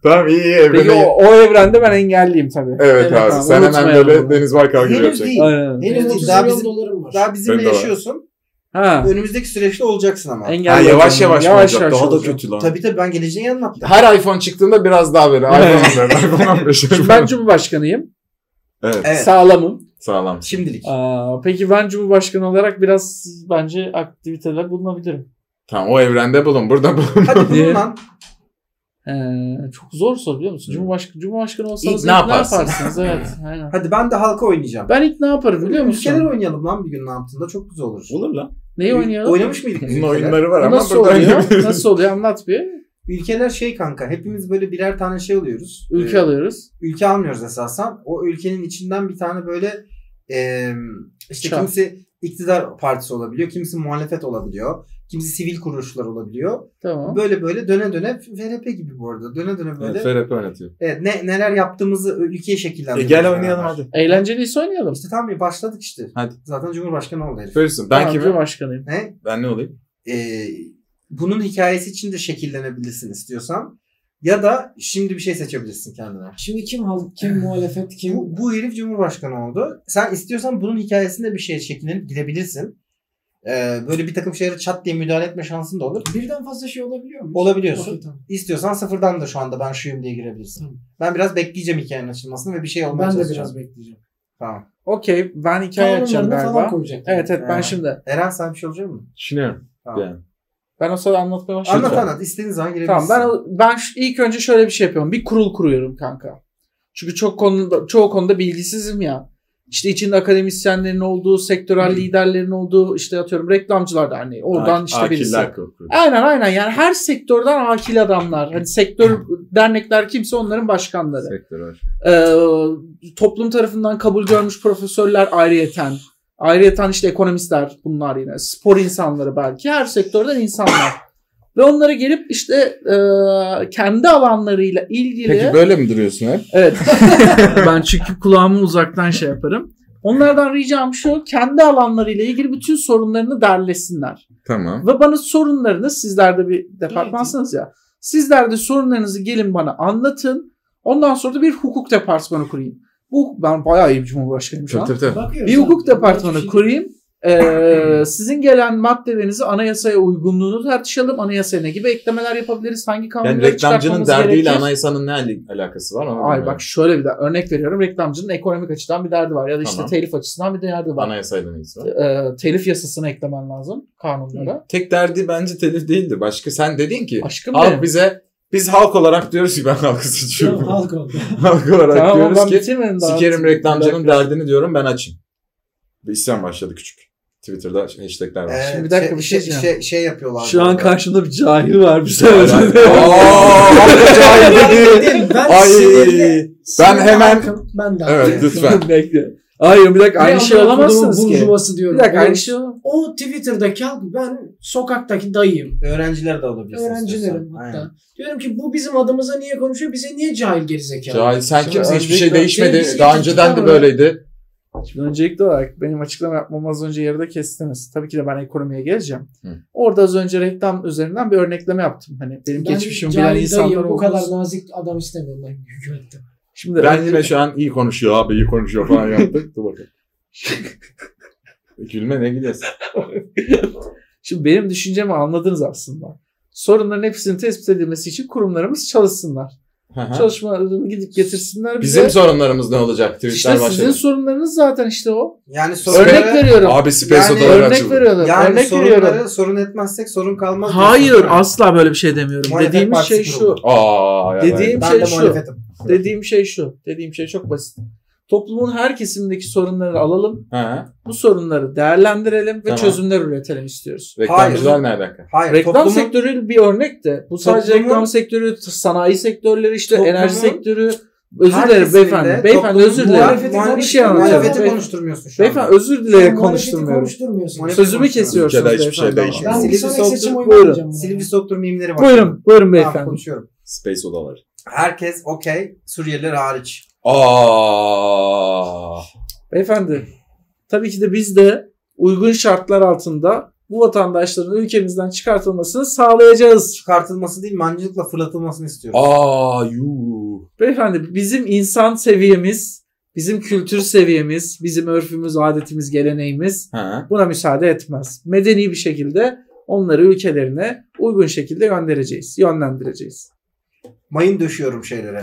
[SPEAKER 4] Tamam iyi iyi.
[SPEAKER 3] Peki
[SPEAKER 4] Böyle-
[SPEAKER 3] o, o evrende ben engelliyim tabii.
[SPEAKER 4] Evet,
[SPEAKER 5] Evet,
[SPEAKER 4] abi
[SPEAKER 3] tamam,
[SPEAKER 4] sen hemen
[SPEAKER 3] unutmayalım
[SPEAKER 4] böyle
[SPEAKER 3] bunu.
[SPEAKER 4] Deniz Baykal gibi
[SPEAKER 2] Henüz
[SPEAKER 4] yapacaksın.
[SPEAKER 2] değil.
[SPEAKER 3] Aynen.
[SPEAKER 2] Henüz
[SPEAKER 5] Benim
[SPEAKER 2] değil.
[SPEAKER 5] 30
[SPEAKER 3] şey
[SPEAKER 2] Daha,
[SPEAKER 5] milyon
[SPEAKER 2] bizim,
[SPEAKER 5] dolarım var.
[SPEAKER 2] daha bizimle
[SPEAKER 4] Benim de var.
[SPEAKER 2] yaşıyorsun.
[SPEAKER 3] Ha.
[SPEAKER 2] Önümüzdeki süreçte olacaksın ama.
[SPEAKER 4] Ha,
[SPEAKER 3] Engelliyim.
[SPEAKER 4] yavaş yavaş,
[SPEAKER 3] Yavaş
[SPEAKER 4] olacak.
[SPEAKER 3] yavaş
[SPEAKER 4] Daha da
[SPEAKER 3] olacak.
[SPEAKER 4] kötü lan.
[SPEAKER 2] Tabii tabii ben geleceğini anlattım.
[SPEAKER 4] Her iPhone çıktığında biraz daha böyle. iPhone
[SPEAKER 3] Evet.
[SPEAKER 4] 14, iPhone 15.
[SPEAKER 3] Şimdi ben Cumhurbaşkanıyım.
[SPEAKER 4] Evet.
[SPEAKER 2] Evet.
[SPEAKER 3] Sağlamım.
[SPEAKER 4] Sağlam.
[SPEAKER 2] Şimdilik.
[SPEAKER 3] Aa, peki ben Cumhurbaşkanı olarak biraz bence aktiviteler bulunabilirim.
[SPEAKER 4] Tamam o evrende bulun. Burada bulun.
[SPEAKER 2] Hadi
[SPEAKER 3] Diye-
[SPEAKER 2] bunun lan.
[SPEAKER 3] Ee, çok zor soru biliyor musun?
[SPEAKER 4] Hı.
[SPEAKER 3] Cumhurbaşkanı, Cumhurbaşkanı olsanız
[SPEAKER 4] İlk
[SPEAKER 3] ilk
[SPEAKER 4] ne
[SPEAKER 3] ne
[SPEAKER 4] yaparsın?
[SPEAKER 3] yaparsınız? evet. Aynen.
[SPEAKER 2] Hadi ben de halka oynayacağım.
[SPEAKER 3] Ben ilk ne yaparım biliyor
[SPEAKER 2] Ülkeler
[SPEAKER 3] musun?
[SPEAKER 2] oynayalım lan bir gün ne yaptığında çok güzel olur.
[SPEAKER 4] Olur lan.
[SPEAKER 3] Neyi oynayalım?
[SPEAKER 2] Oynamış mıydık biz
[SPEAKER 4] Bunun
[SPEAKER 2] ülkeler?
[SPEAKER 4] oyunları var
[SPEAKER 3] Bu
[SPEAKER 4] ama
[SPEAKER 3] Nasıl
[SPEAKER 4] burada
[SPEAKER 3] oluyor? Nasıl oluyor? Anlat bir.
[SPEAKER 2] Ülkeler şey kanka hepimiz böyle birer tane şey alıyoruz.
[SPEAKER 3] Ülke
[SPEAKER 2] Ee,
[SPEAKER 3] alıyoruz.
[SPEAKER 2] ülke almıyoruz esasen. O ülkenin içinden bir tane böyle eee işte
[SPEAKER 3] Çağ.
[SPEAKER 2] kimisi iktidar partisi olabiliyor, kimisi muhalefet olabiliyor, kimisi sivil kuruluşlar olabiliyor.
[SPEAKER 3] Tamam.
[SPEAKER 2] Böyle böyle döne döne FRP gibi bu arada. Döne döne böyle. Evet,
[SPEAKER 4] FRP oynatıyor.
[SPEAKER 2] ne, neler yaptığımızı ülkeyi
[SPEAKER 4] E
[SPEAKER 2] şekillendiriyoruz.
[SPEAKER 4] gel oynayalım
[SPEAKER 2] beraber.
[SPEAKER 4] hadi.
[SPEAKER 3] Eğlenceliyse oynayalım.
[SPEAKER 2] İşte tam bir başladık işte.
[SPEAKER 4] Hadi.
[SPEAKER 2] Zaten Cumhurbaşkanı oldu herif.
[SPEAKER 4] Görürsün. Ben
[SPEAKER 3] Tamam,
[SPEAKER 4] kimim?
[SPEAKER 3] Cumhurbaşkanıyım.
[SPEAKER 2] Ne?
[SPEAKER 4] Ben ne olayım?
[SPEAKER 2] Eee, bunun hikayesi için de şekillenebilirsin istiyorsan. Ya da şimdi bir şey seçebilirsin kendine.
[SPEAKER 5] Şimdi kim halk, kim muhalefet, kim
[SPEAKER 2] Bu, bu herif Cumhurbaşkanı oldu. Sen istiyorsan bunun hikayesinde bir şey şekillenip gidebilirsin. Ee, böyle bir takım şeylere çat diye müdahale etme şansın da olur.
[SPEAKER 5] birden fazla şey olabiliyor mu?
[SPEAKER 2] Olabiliyorsun.
[SPEAKER 5] Okey, tamam.
[SPEAKER 2] İstiyorsan sıfırdan da şu anda ben şuyum diye girebilirsin.
[SPEAKER 5] Tamam.
[SPEAKER 2] Ben biraz bekleyeceğim hikayenin açılmasını ve bir şey olmaya
[SPEAKER 5] Ben de
[SPEAKER 2] çalışacağım.
[SPEAKER 5] biraz bekleyeceğim.
[SPEAKER 2] Tamam.
[SPEAKER 3] Okey ben hikaye
[SPEAKER 5] Kanunlarını
[SPEAKER 3] açacağım
[SPEAKER 5] falan
[SPEAKER 3] galiba.
[SPEAKER 5] koyacak.
[SPEAKER 3] Evet evet ben
[SPEAKER 2] Ee,
[SPEAKER 3] şimdi.
[SPEAKER 2] Eren sen bir şey olacak mı?
[SPEAKER 4] Düşünüyorum.
[SPEAKER 2] Tamam.
[SPEAKER 4] Yani.
[SPEAKER 3] Ben o sırada anlatmaya başladım.
[SPEAKER 1] Anlat anlat. İstediğin zaman
[SPEAKER 3] Tamam
[SPEAKER 1] girebilirsin.
[SPEAKER 3] ben o- ben şu- ilk önce şöyle bir şey yapıyorum. Bir kurul kuruyorum kanka. Çünkü çok konuda çoğu konuda bilgisizim ya. İşte içinde akademisyenlerin olduğu, sektörel liderlerin olduğu, işte atıyorum reklamcılar da hani oradan
[SPEAKER 4] Ak-
[SPEAKER 3] işte birisi.
[SPEAKER 4] akiller kurdu.
[SPEAKER 3] Aynen aynen yani her sektörden akil adamlar. Hani sektör dernekler kimse onların başkanları.
[SPEAKER 4] Sektör var.
[SPEAKER 3] Ee, toplum tarafından kabul görmüş profesörler ayrıyeten. Ayrıyeten işte ekonomistler bunlar yine. Spor insanları belki. Her sektörden insanlar. Ve onlara gelip işte e, kendi alanlarıyla ilgili...
[SPEAKER 4] Peki böyle mi duruyorsun hep?
[SPEAKER 3] Evet. ben çünkü kulağımı uzaktan şey yaparım. Onlardan ricam şu kendi alanlarıyla ilgili bütün sorunlarını derlesinler.
[SPEAKER 4] Tamam.
[SPEAKER 3] Ve bana sorunlarını sizler de bir departmansınız ya. Sizler de sorunlarınızı gelin bana anlatın. Ondan sonra da bir hukuk departmanı kurayım. Bu ben bayağı iyi bir cumhurbaşkanıyım şu
[SPEAKER 4] Tabii
[SPEAKER 3] an.
[SPEAKER 4] tabii tabii.
[SPEAKER 5] Bakıyoruz.
[SPEAKER 3] Bir
[SPEAKER 5] abi,
[SPEAKER 3] hukuk
[SPEAKER 5] bunlar
[SPEAKER 3] departmanı
[SPEAKER 5] hiçbir şey-
[SPEAKER 3] kurayım. Ee, sizin gelen maddelerinizi anayasaya uygunluğunu tartışalım. Anayasaya ne gibi eklemeler yapabiliriz? Hangi kanunları
[SPEAKER 4] Yani reklamcının
[SPEAKER 3] çıkartmamız
[SPEAKER 4] derdiyle
[SPEAKER 3] gerekir?
[SPEAKER 4] anayasanın ne al- alakası var? Onu
[SPEAKER 3] Ay
[SPEAKER 4] bilmiyorum.
[SPEAKER 3] bak şöyle bir de örnek veriyorum. Reklamcının ekonomik açıdan bir derdi var ya da işte
[SPEAKER 4] Tamam.
[SPEAKER 3] telif açısından bir derdi var.
[SPEAKER 4] Anayasayla ne ilgisi var?
[SPEAKER 3] Ee, telif yasasını eklemen lazım kanunlara.
[SPEAKER 4] Tek derdi bence telif değildi. Başka sen dedin ki
[SPEAKER 3] Aşkım
[SPEAKER 4] halk
[SPEAKER 3] benim.
[SPEAKER 4] bize biz halk olarak diyoruz ki ben halkı
[SPEAKER 5] Tamam,
[SPEAKER 4] seçiyorum.
[SPEAKER 5] halk oldu.
[SPEAKER 4] halk olarak
[SPEAKER 3] Tamam, ben
[SPEAKER 4] diyoruz ki
[SPEAKER 3] bitirmedim daha.
[SPEAKER 4] sikerim reklamcının
[SPEAKER 3] Dakika.
[SPEAKER 4] derdini diyorum ben açayım. Bir isyan başladı küçük. Twitter'da hashtagler var.
[SPEAKER 1] Ee,
[SPEAKER 3] Şimdi bir dakika,
[SPEAKER 1] şey,
[SPEAKER 3] bir şey
[SPEAKER 1] şey,
[SPEAKER 3] diyeceğim.
[SPEAKER 1] şey, şey yapıyorlar.
[SPEAKER 3] Şu an
[SPEAKER 1] galiba.
[SPEAKER 3] karşında bir cahil var bir sefer.
[SPEAKER 4] Ben- Aa, halka cahil dedi.
[SPEAKER 5] ben
[SPEAKER 4] Ay.
[SPEAKER 5] sinirli-
[SPEAKER 4] Ben
[SPEAKER 5] sinirli
[SPEAKER 4] hemen-
[SPEAKER 5] halkım, Ben de
[SPEAKER 4] Evet,
[SPEAKER 5] halkım.
[SPEAKER 4] lütfen.
[SPEAKER 3] Bekle. Hayır bir dakika
[SPEAKER 5] Ne
[SPEAKER 3] aynı şey
[SPEAKER 5] amına kodumun
[SPEAKER 3] olamazsınız ki.
[SPEAKER 5] Burjuvası diyorum.
[SPEAKER 3] Bir dakika
[SPEAKER 5] O-
[SPEAKER 3] aynı şey olamaz.
[SPEAKER 5] O Twitter'daki halk ben sokaktaki dayıyım.
[SPEAKER 1] Öğrenciler de olabilirsin.
[SPEAKER 5] Öğrencilerim
[SPEAKER 1] istiyorsan.
[SPEAKER 5] hatta.
[SPEAKER 1] Aynen.
[SPEAKER 5] Diyorum ki bu bizim adımıza niye konuşuyor? Bize niye cahil gerizekalı?
[SPEAKER 4] Cahil sen kimsin hiçbir şey
[SPEAKER 3] Öncelikle-
[SPEAKER 4] değişmedi.
[SPEAKER 5] Öncelikle-
[SPEAKER 4] Daha önceden de böyleydi.
[SPEAKER 3] Şimdi öncelikli olarak benim açıklama yapmam az önce yarıda kestiniz. Tabii ki de ben ekonomiye geleceğim.
[SPEAKER 4] Hı.
[SPEAKER 3] Orada az önce reklam üzerinden bir örnekleme yaptım. Hani benim
[SPEAKER 5] Ben
[SPEAKER 3] geçmişim
[SPEAKER 5] cahil
[SPEAKER 3] bilen
[SPEAKER 5] dayıyım,
[SPEAKER 3] insanlar
[SPEAKER 5] Bu
[SPEAKER 3] olduğu-
[SPEAKER 5] kadar nazik adam istemiyorum ben hükümette.
[SPEAKER 3] Şimdi
[SPEAKER 4] Ben
[SPEAKER 3] öncelikle-
[SPEAKER 4] yine şu an iyi konuşuyor abi iyi konuşuyor falan yaptık. Dur bakalım. E, Gülme ne gülüyorsun?
[SPEAKER 3] Şimdi benim düşüncemi anladınız aslında. Sorunların hepsinin tespit edilmesi için kurumlarımız çalışsınlar.
[SPEAKER 4] Hı hı.
[SPEAKER 3] Çalışmalarını gidip getirsinler bize.
[SPEAKER 4] Bizim sorunlarımız ne olacak? Tweetler
[SPEAKER 3] işte sizin
[SPEAKER 4] başladı.
[SPEAKER 3] sorunlarınız zaten işte o.
[SPEAKER 1] Yani sorunları,
[SPEAKER 3] Örnek veriyorum.
[SPEAKER 4] Abi Space
[SPEAKER 1] Yani
[SPEAKER 4] odaları
[SPEAKER 3] Örnek
[SPEAKER 4] açıldı.
[SPEAKER 3] veriyorum.
[SPEAKER 1] yani
[SPEAKER 3] örnek
[SPEAKER 1] sorunları
[SPEAKER 3] veriyorum.
[SPEAKER 1] sorun etmezsek sorun kalmaz.
[SPEAKER 3] Hayır
[SPEAKER 1] diyorsun.
[SPEAKER 3] asla böyle bir şey demiyorum.
[SPEAKER 1] Muhalefet
[SPEAKER 3] dediğim
[SPEAKER 1] partisi
[SPEAKER 3] şey şu.
[SPEAKER 1] kuruldu.
[SPEAKER 4] Aa, ya
[SPEAKER 3] Dediğim
[SPEAKER 1] Ben
[SPEAKER 3] şey
[SPEAKER 1] de
[SPEAKER 3] şu.
[SPEAKER 1] muhalefetim.
[SPEAKER 3] Dediğim şey şu. Dediğim şey çok basit. Toplumun her kesimindeki sorunları alalım.
[SPEAKER 4] ben- Hı hı.
[SPEAKER 3] Bu sorunları değerlendirelim ve
[SPEAKER 4] Tamam.
[SPEAKER 3] çözümler üretelim istiyoruz.
[SPEAKER 4] Reklamcılar ne alaka?
[SPEAKER 1] Hayır
[SPEAKER 3] Reklam
[SPEAKER 1] toplumun-
[SPEAKER 3] sektörü bir örnek de. Bu sadece
[SPEAKER 1] Toplumun-
[SPEAKER 3] reklam sektörü, sanayi sektörleri işte
[SPEAKER 1] Toplumun
[SPEAKER 3] enerji sektörü. Özür
[SPEAKER 1] her
[SPEAKER 3] dilerim
[SPEAKER 1] kesiminde
[SPEAKER 3] beyefendi. Beyefendi
[SPEAKER 1] toplumun
[SPEAKER 3] özür dilerim.
[SPEAKER 1] muhalefeti
[SPEAKER 3] Bir
[SPEAKER 1] konuş-
[SPEAKER 3] şey anlatacağım.
[SPEAKER 1] Muhalefeti
[SPEAKER 3] Beyefendi-
[SPEAKER 1] konuşturmuyorsun şu anda.
[SPEAKER 3] Beyefendi özür dileyerek
[SPEAKER 5] Muhalefeti
[SPEAKER 3] konuşturmuyorum.
[SPEAKER 5] konuşturmuyorsun.
[SPEAKER 1] Muhalefet-
[SPEAKER 3] Sözümü
[SPEAKER 1] konuşturmuyorum.
[SPEAKER 3] kesiyorsunuz
[SPEAKER 4] Ülkede hiçbir şey
[SPEAKER 3] beyefendi ama.
[SPEAKER 4] değişmiyor.
[SPEAKER 5] Ben bir
[SPEAKER 1] Silivri
[SPEAKER 5] sonraki
[SPEAKER 1] soğuktur.
[SPEAKER 5] seçim oyu
[SPEAKER 3] Buyurun.
[SPEAKER 5] vereceğim buna.
[SPEAKER 1] Silivri Soktur mimleri var.
[SPEAKER 3] Buyurun, buyurun
[SPEAKER 1] Tamam,
[SPEAKER 3] beyefendi.
[SPEAKER 1] konuşuyorum.
[SPEAKER 4] Space odaları.
[SPEAKER 1] Herkes okey. Suriyeliler hariç.
[SPEAKER 4] Aa.
[SPEAKER 3] Beyefendi, tabii ki de biz de uygun şartlar altında bu vatandaşların ülkemizden çıkartılmasını sağlayacağız.
[SPEAKER 1] Çıkartılması değil mancınıkla fırlatılmasını istiyoruz.
[SPEAKER 4] Aa yuu.
[SPEAKER 3] Beyefendi, bizim insan seviyemiz, bizim kültür seviyemiz, bizim örfümüz, adetimiz, geleneğimiz
[SPEAKER 4] Ha.
[SPEAKER 3] buna müsaade etmez. Medeni bir şekilde onları ülkelerine uygun şekilde göndereceğiz, yönlendireceğiz.
[SPEAKER 1] Mayın döşüyorum şeylere.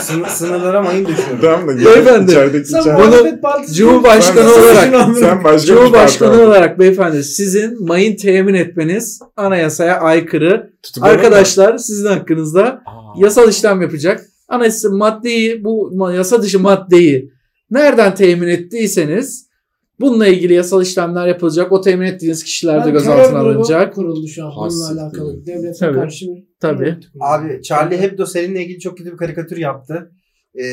[SPEAKER 1] Sın- sınırlara mayın döşüyorum.
[SPEAKER 4] da
[SPEAKER 3] Beyefendi,
[SPEAKER 4] içerideki
[SPEAKER 5] Sen
[SPEAKER 4] içeride-
[SPEAKER 5] muhalefet partisi-
[SPEAKER 3] Cumhurbaşkanı
[SPEAKER 4] Sen-
[SPEAKER 3] olarak-
[SPEAKER 4] Sen başka bir
[SPEAKER 3] Cumhurbaşkanı
[SPEAKER 4] parti-
[SPEAKER 3] olarak beyefendi sizin mayın temin etmeniz anayasaya aykırı.
[SPEAKER 4] Tutuklanır mı?
[SPEAKER 3] Arkadaşlar sizin hakkınızda
[SPEAKER 4] Aa.
[SPEAKER 3] yasal işlem yapacak. Anayasa maddeyi bu ma- yasa dışı maddeyi nereden temin ettiyseniz bununla ilgili yasal işlemler yapılacak. O temin ettiğiniz kişiler de
[SPEAKER 5] Ben
[SPEAKER 3] gözaltına
[SPEAKER 5] terör grubu
[SPEAKER 3] alınacak.
[SPEAKER 5] kuruldu şu an bununla
[SPEAKER 4] Hassiktir.
[SPEAKER 5] alakalı. Devlete
[SPEAKER 3] Tabii.
[SPEAKER 5] karşı bir
[SPEAKER 3] Tabii.
[SPEAKER 1] Abi Charlie Hebdo seninle ilgili çok kötü bir karikatür yaptı. Ee,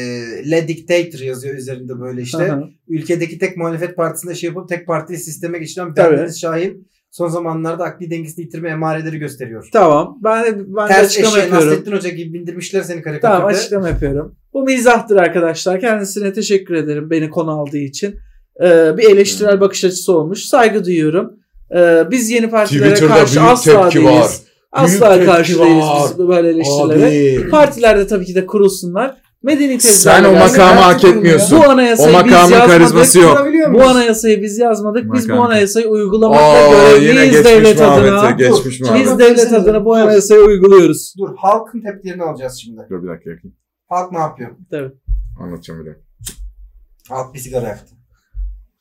[SPEAKER 1] Le Dictator yazıyor üzerinde böyle işte.
[SPEAKER 3] Hı hı.
[SPEAKER 1] Ülkedeki tek muhalefet partisinde şey yapıp tek partili sisteme geçiren
[SPEAKER 3] Tabii.
[SPEAKER 1] Bendeniz Şahin son zamanlarda akli dengesini yitirme emareleri gösteriyor.
[SPEAKER 3] Tamam. Ben ben de
[SPEAKER 1] Ters
[SPEAKER 3] açıklama
[SPEAKER 1] eşeğe
[SPEAKER 3] yapıyorum.
[SPEAKER 1] Nasrettin Hoca gibi bindirmişler seni karikatürde.
[SPEAKER 3] Tamam açıklama yapıyorum. Bu mizahtır arkadaşlar. Kendisine teşekkür ederim beni konu aldığı için. Ee, bir eleştirel
[SPEAKER 4] Hı.
[SPEAKER 3] bakış açısı olmuş. Saygı duyuyorum. Ee, biz yeni partilere
[SPEAKER 4] Twitter'da
[SPEAKER 3] karşı
[SPEAKER 4] büyük
[SPEAKER 3] asla
[SPEAKER 4] tepki
[SPEAKER 3] değiliz.
[SPEAKER 4] var.
[SPEAKER 3] Asla
[SPEAKER 4] tepki
[SPEAKER 3] karşı değiliz
[SPEAKER 4] var.
[SPEAKER 3] biz bu böyle eleştirilere.
[SPEAKER 4] Abi.
[SPEAKER 3] Partilerde tabii ki de kurulsunlar. Medeni tezler.
[SPEAKER 4] Sen o
[SPEAKER 3] gelsin.
[SPEAKER 4] makamı hak
[SPEAKER 5] Gerçekten
[SPEAKER 4] etmiyorsun.
[SPEAKER 3] Bu
[SPEAKER 4] O
[SPEAKER 3] anayasayı biz
[SPEAKER 4] makamın
[SPEAKER 3] yazmadık.
[SPEAKER 4] karizması yok.
[SPEAKER 3] Bu anayasayı biz yazmadık. Biz bu
[SPEAKER 4] Makam.
[SPEAKER 3] anayasayı uygulamakla
[SPEAKER 4] Aa yine
[SPEAKER 3] görevliyiz devlet
[SPEAKER 4] geçmiş
[SPEAKER 3] adına.
[SPEAKER 4] muhabbeti. Geçmiş muhabbeti.
[SPEAKER 3] Biz devlet adına bu anayasayı uyguluyoruz.
[SPEAKER 1] Dur halkın tepkilerini alacağız şimdi.
[SPEAKER 4] Dur bir dakika yakayım.
[SPEAKER 1] Halk ne yapıyor?
[SPEAKER 4] Anlatacağım bir dakika.
[SPEAKER 1] Halk bir sigara yaktı.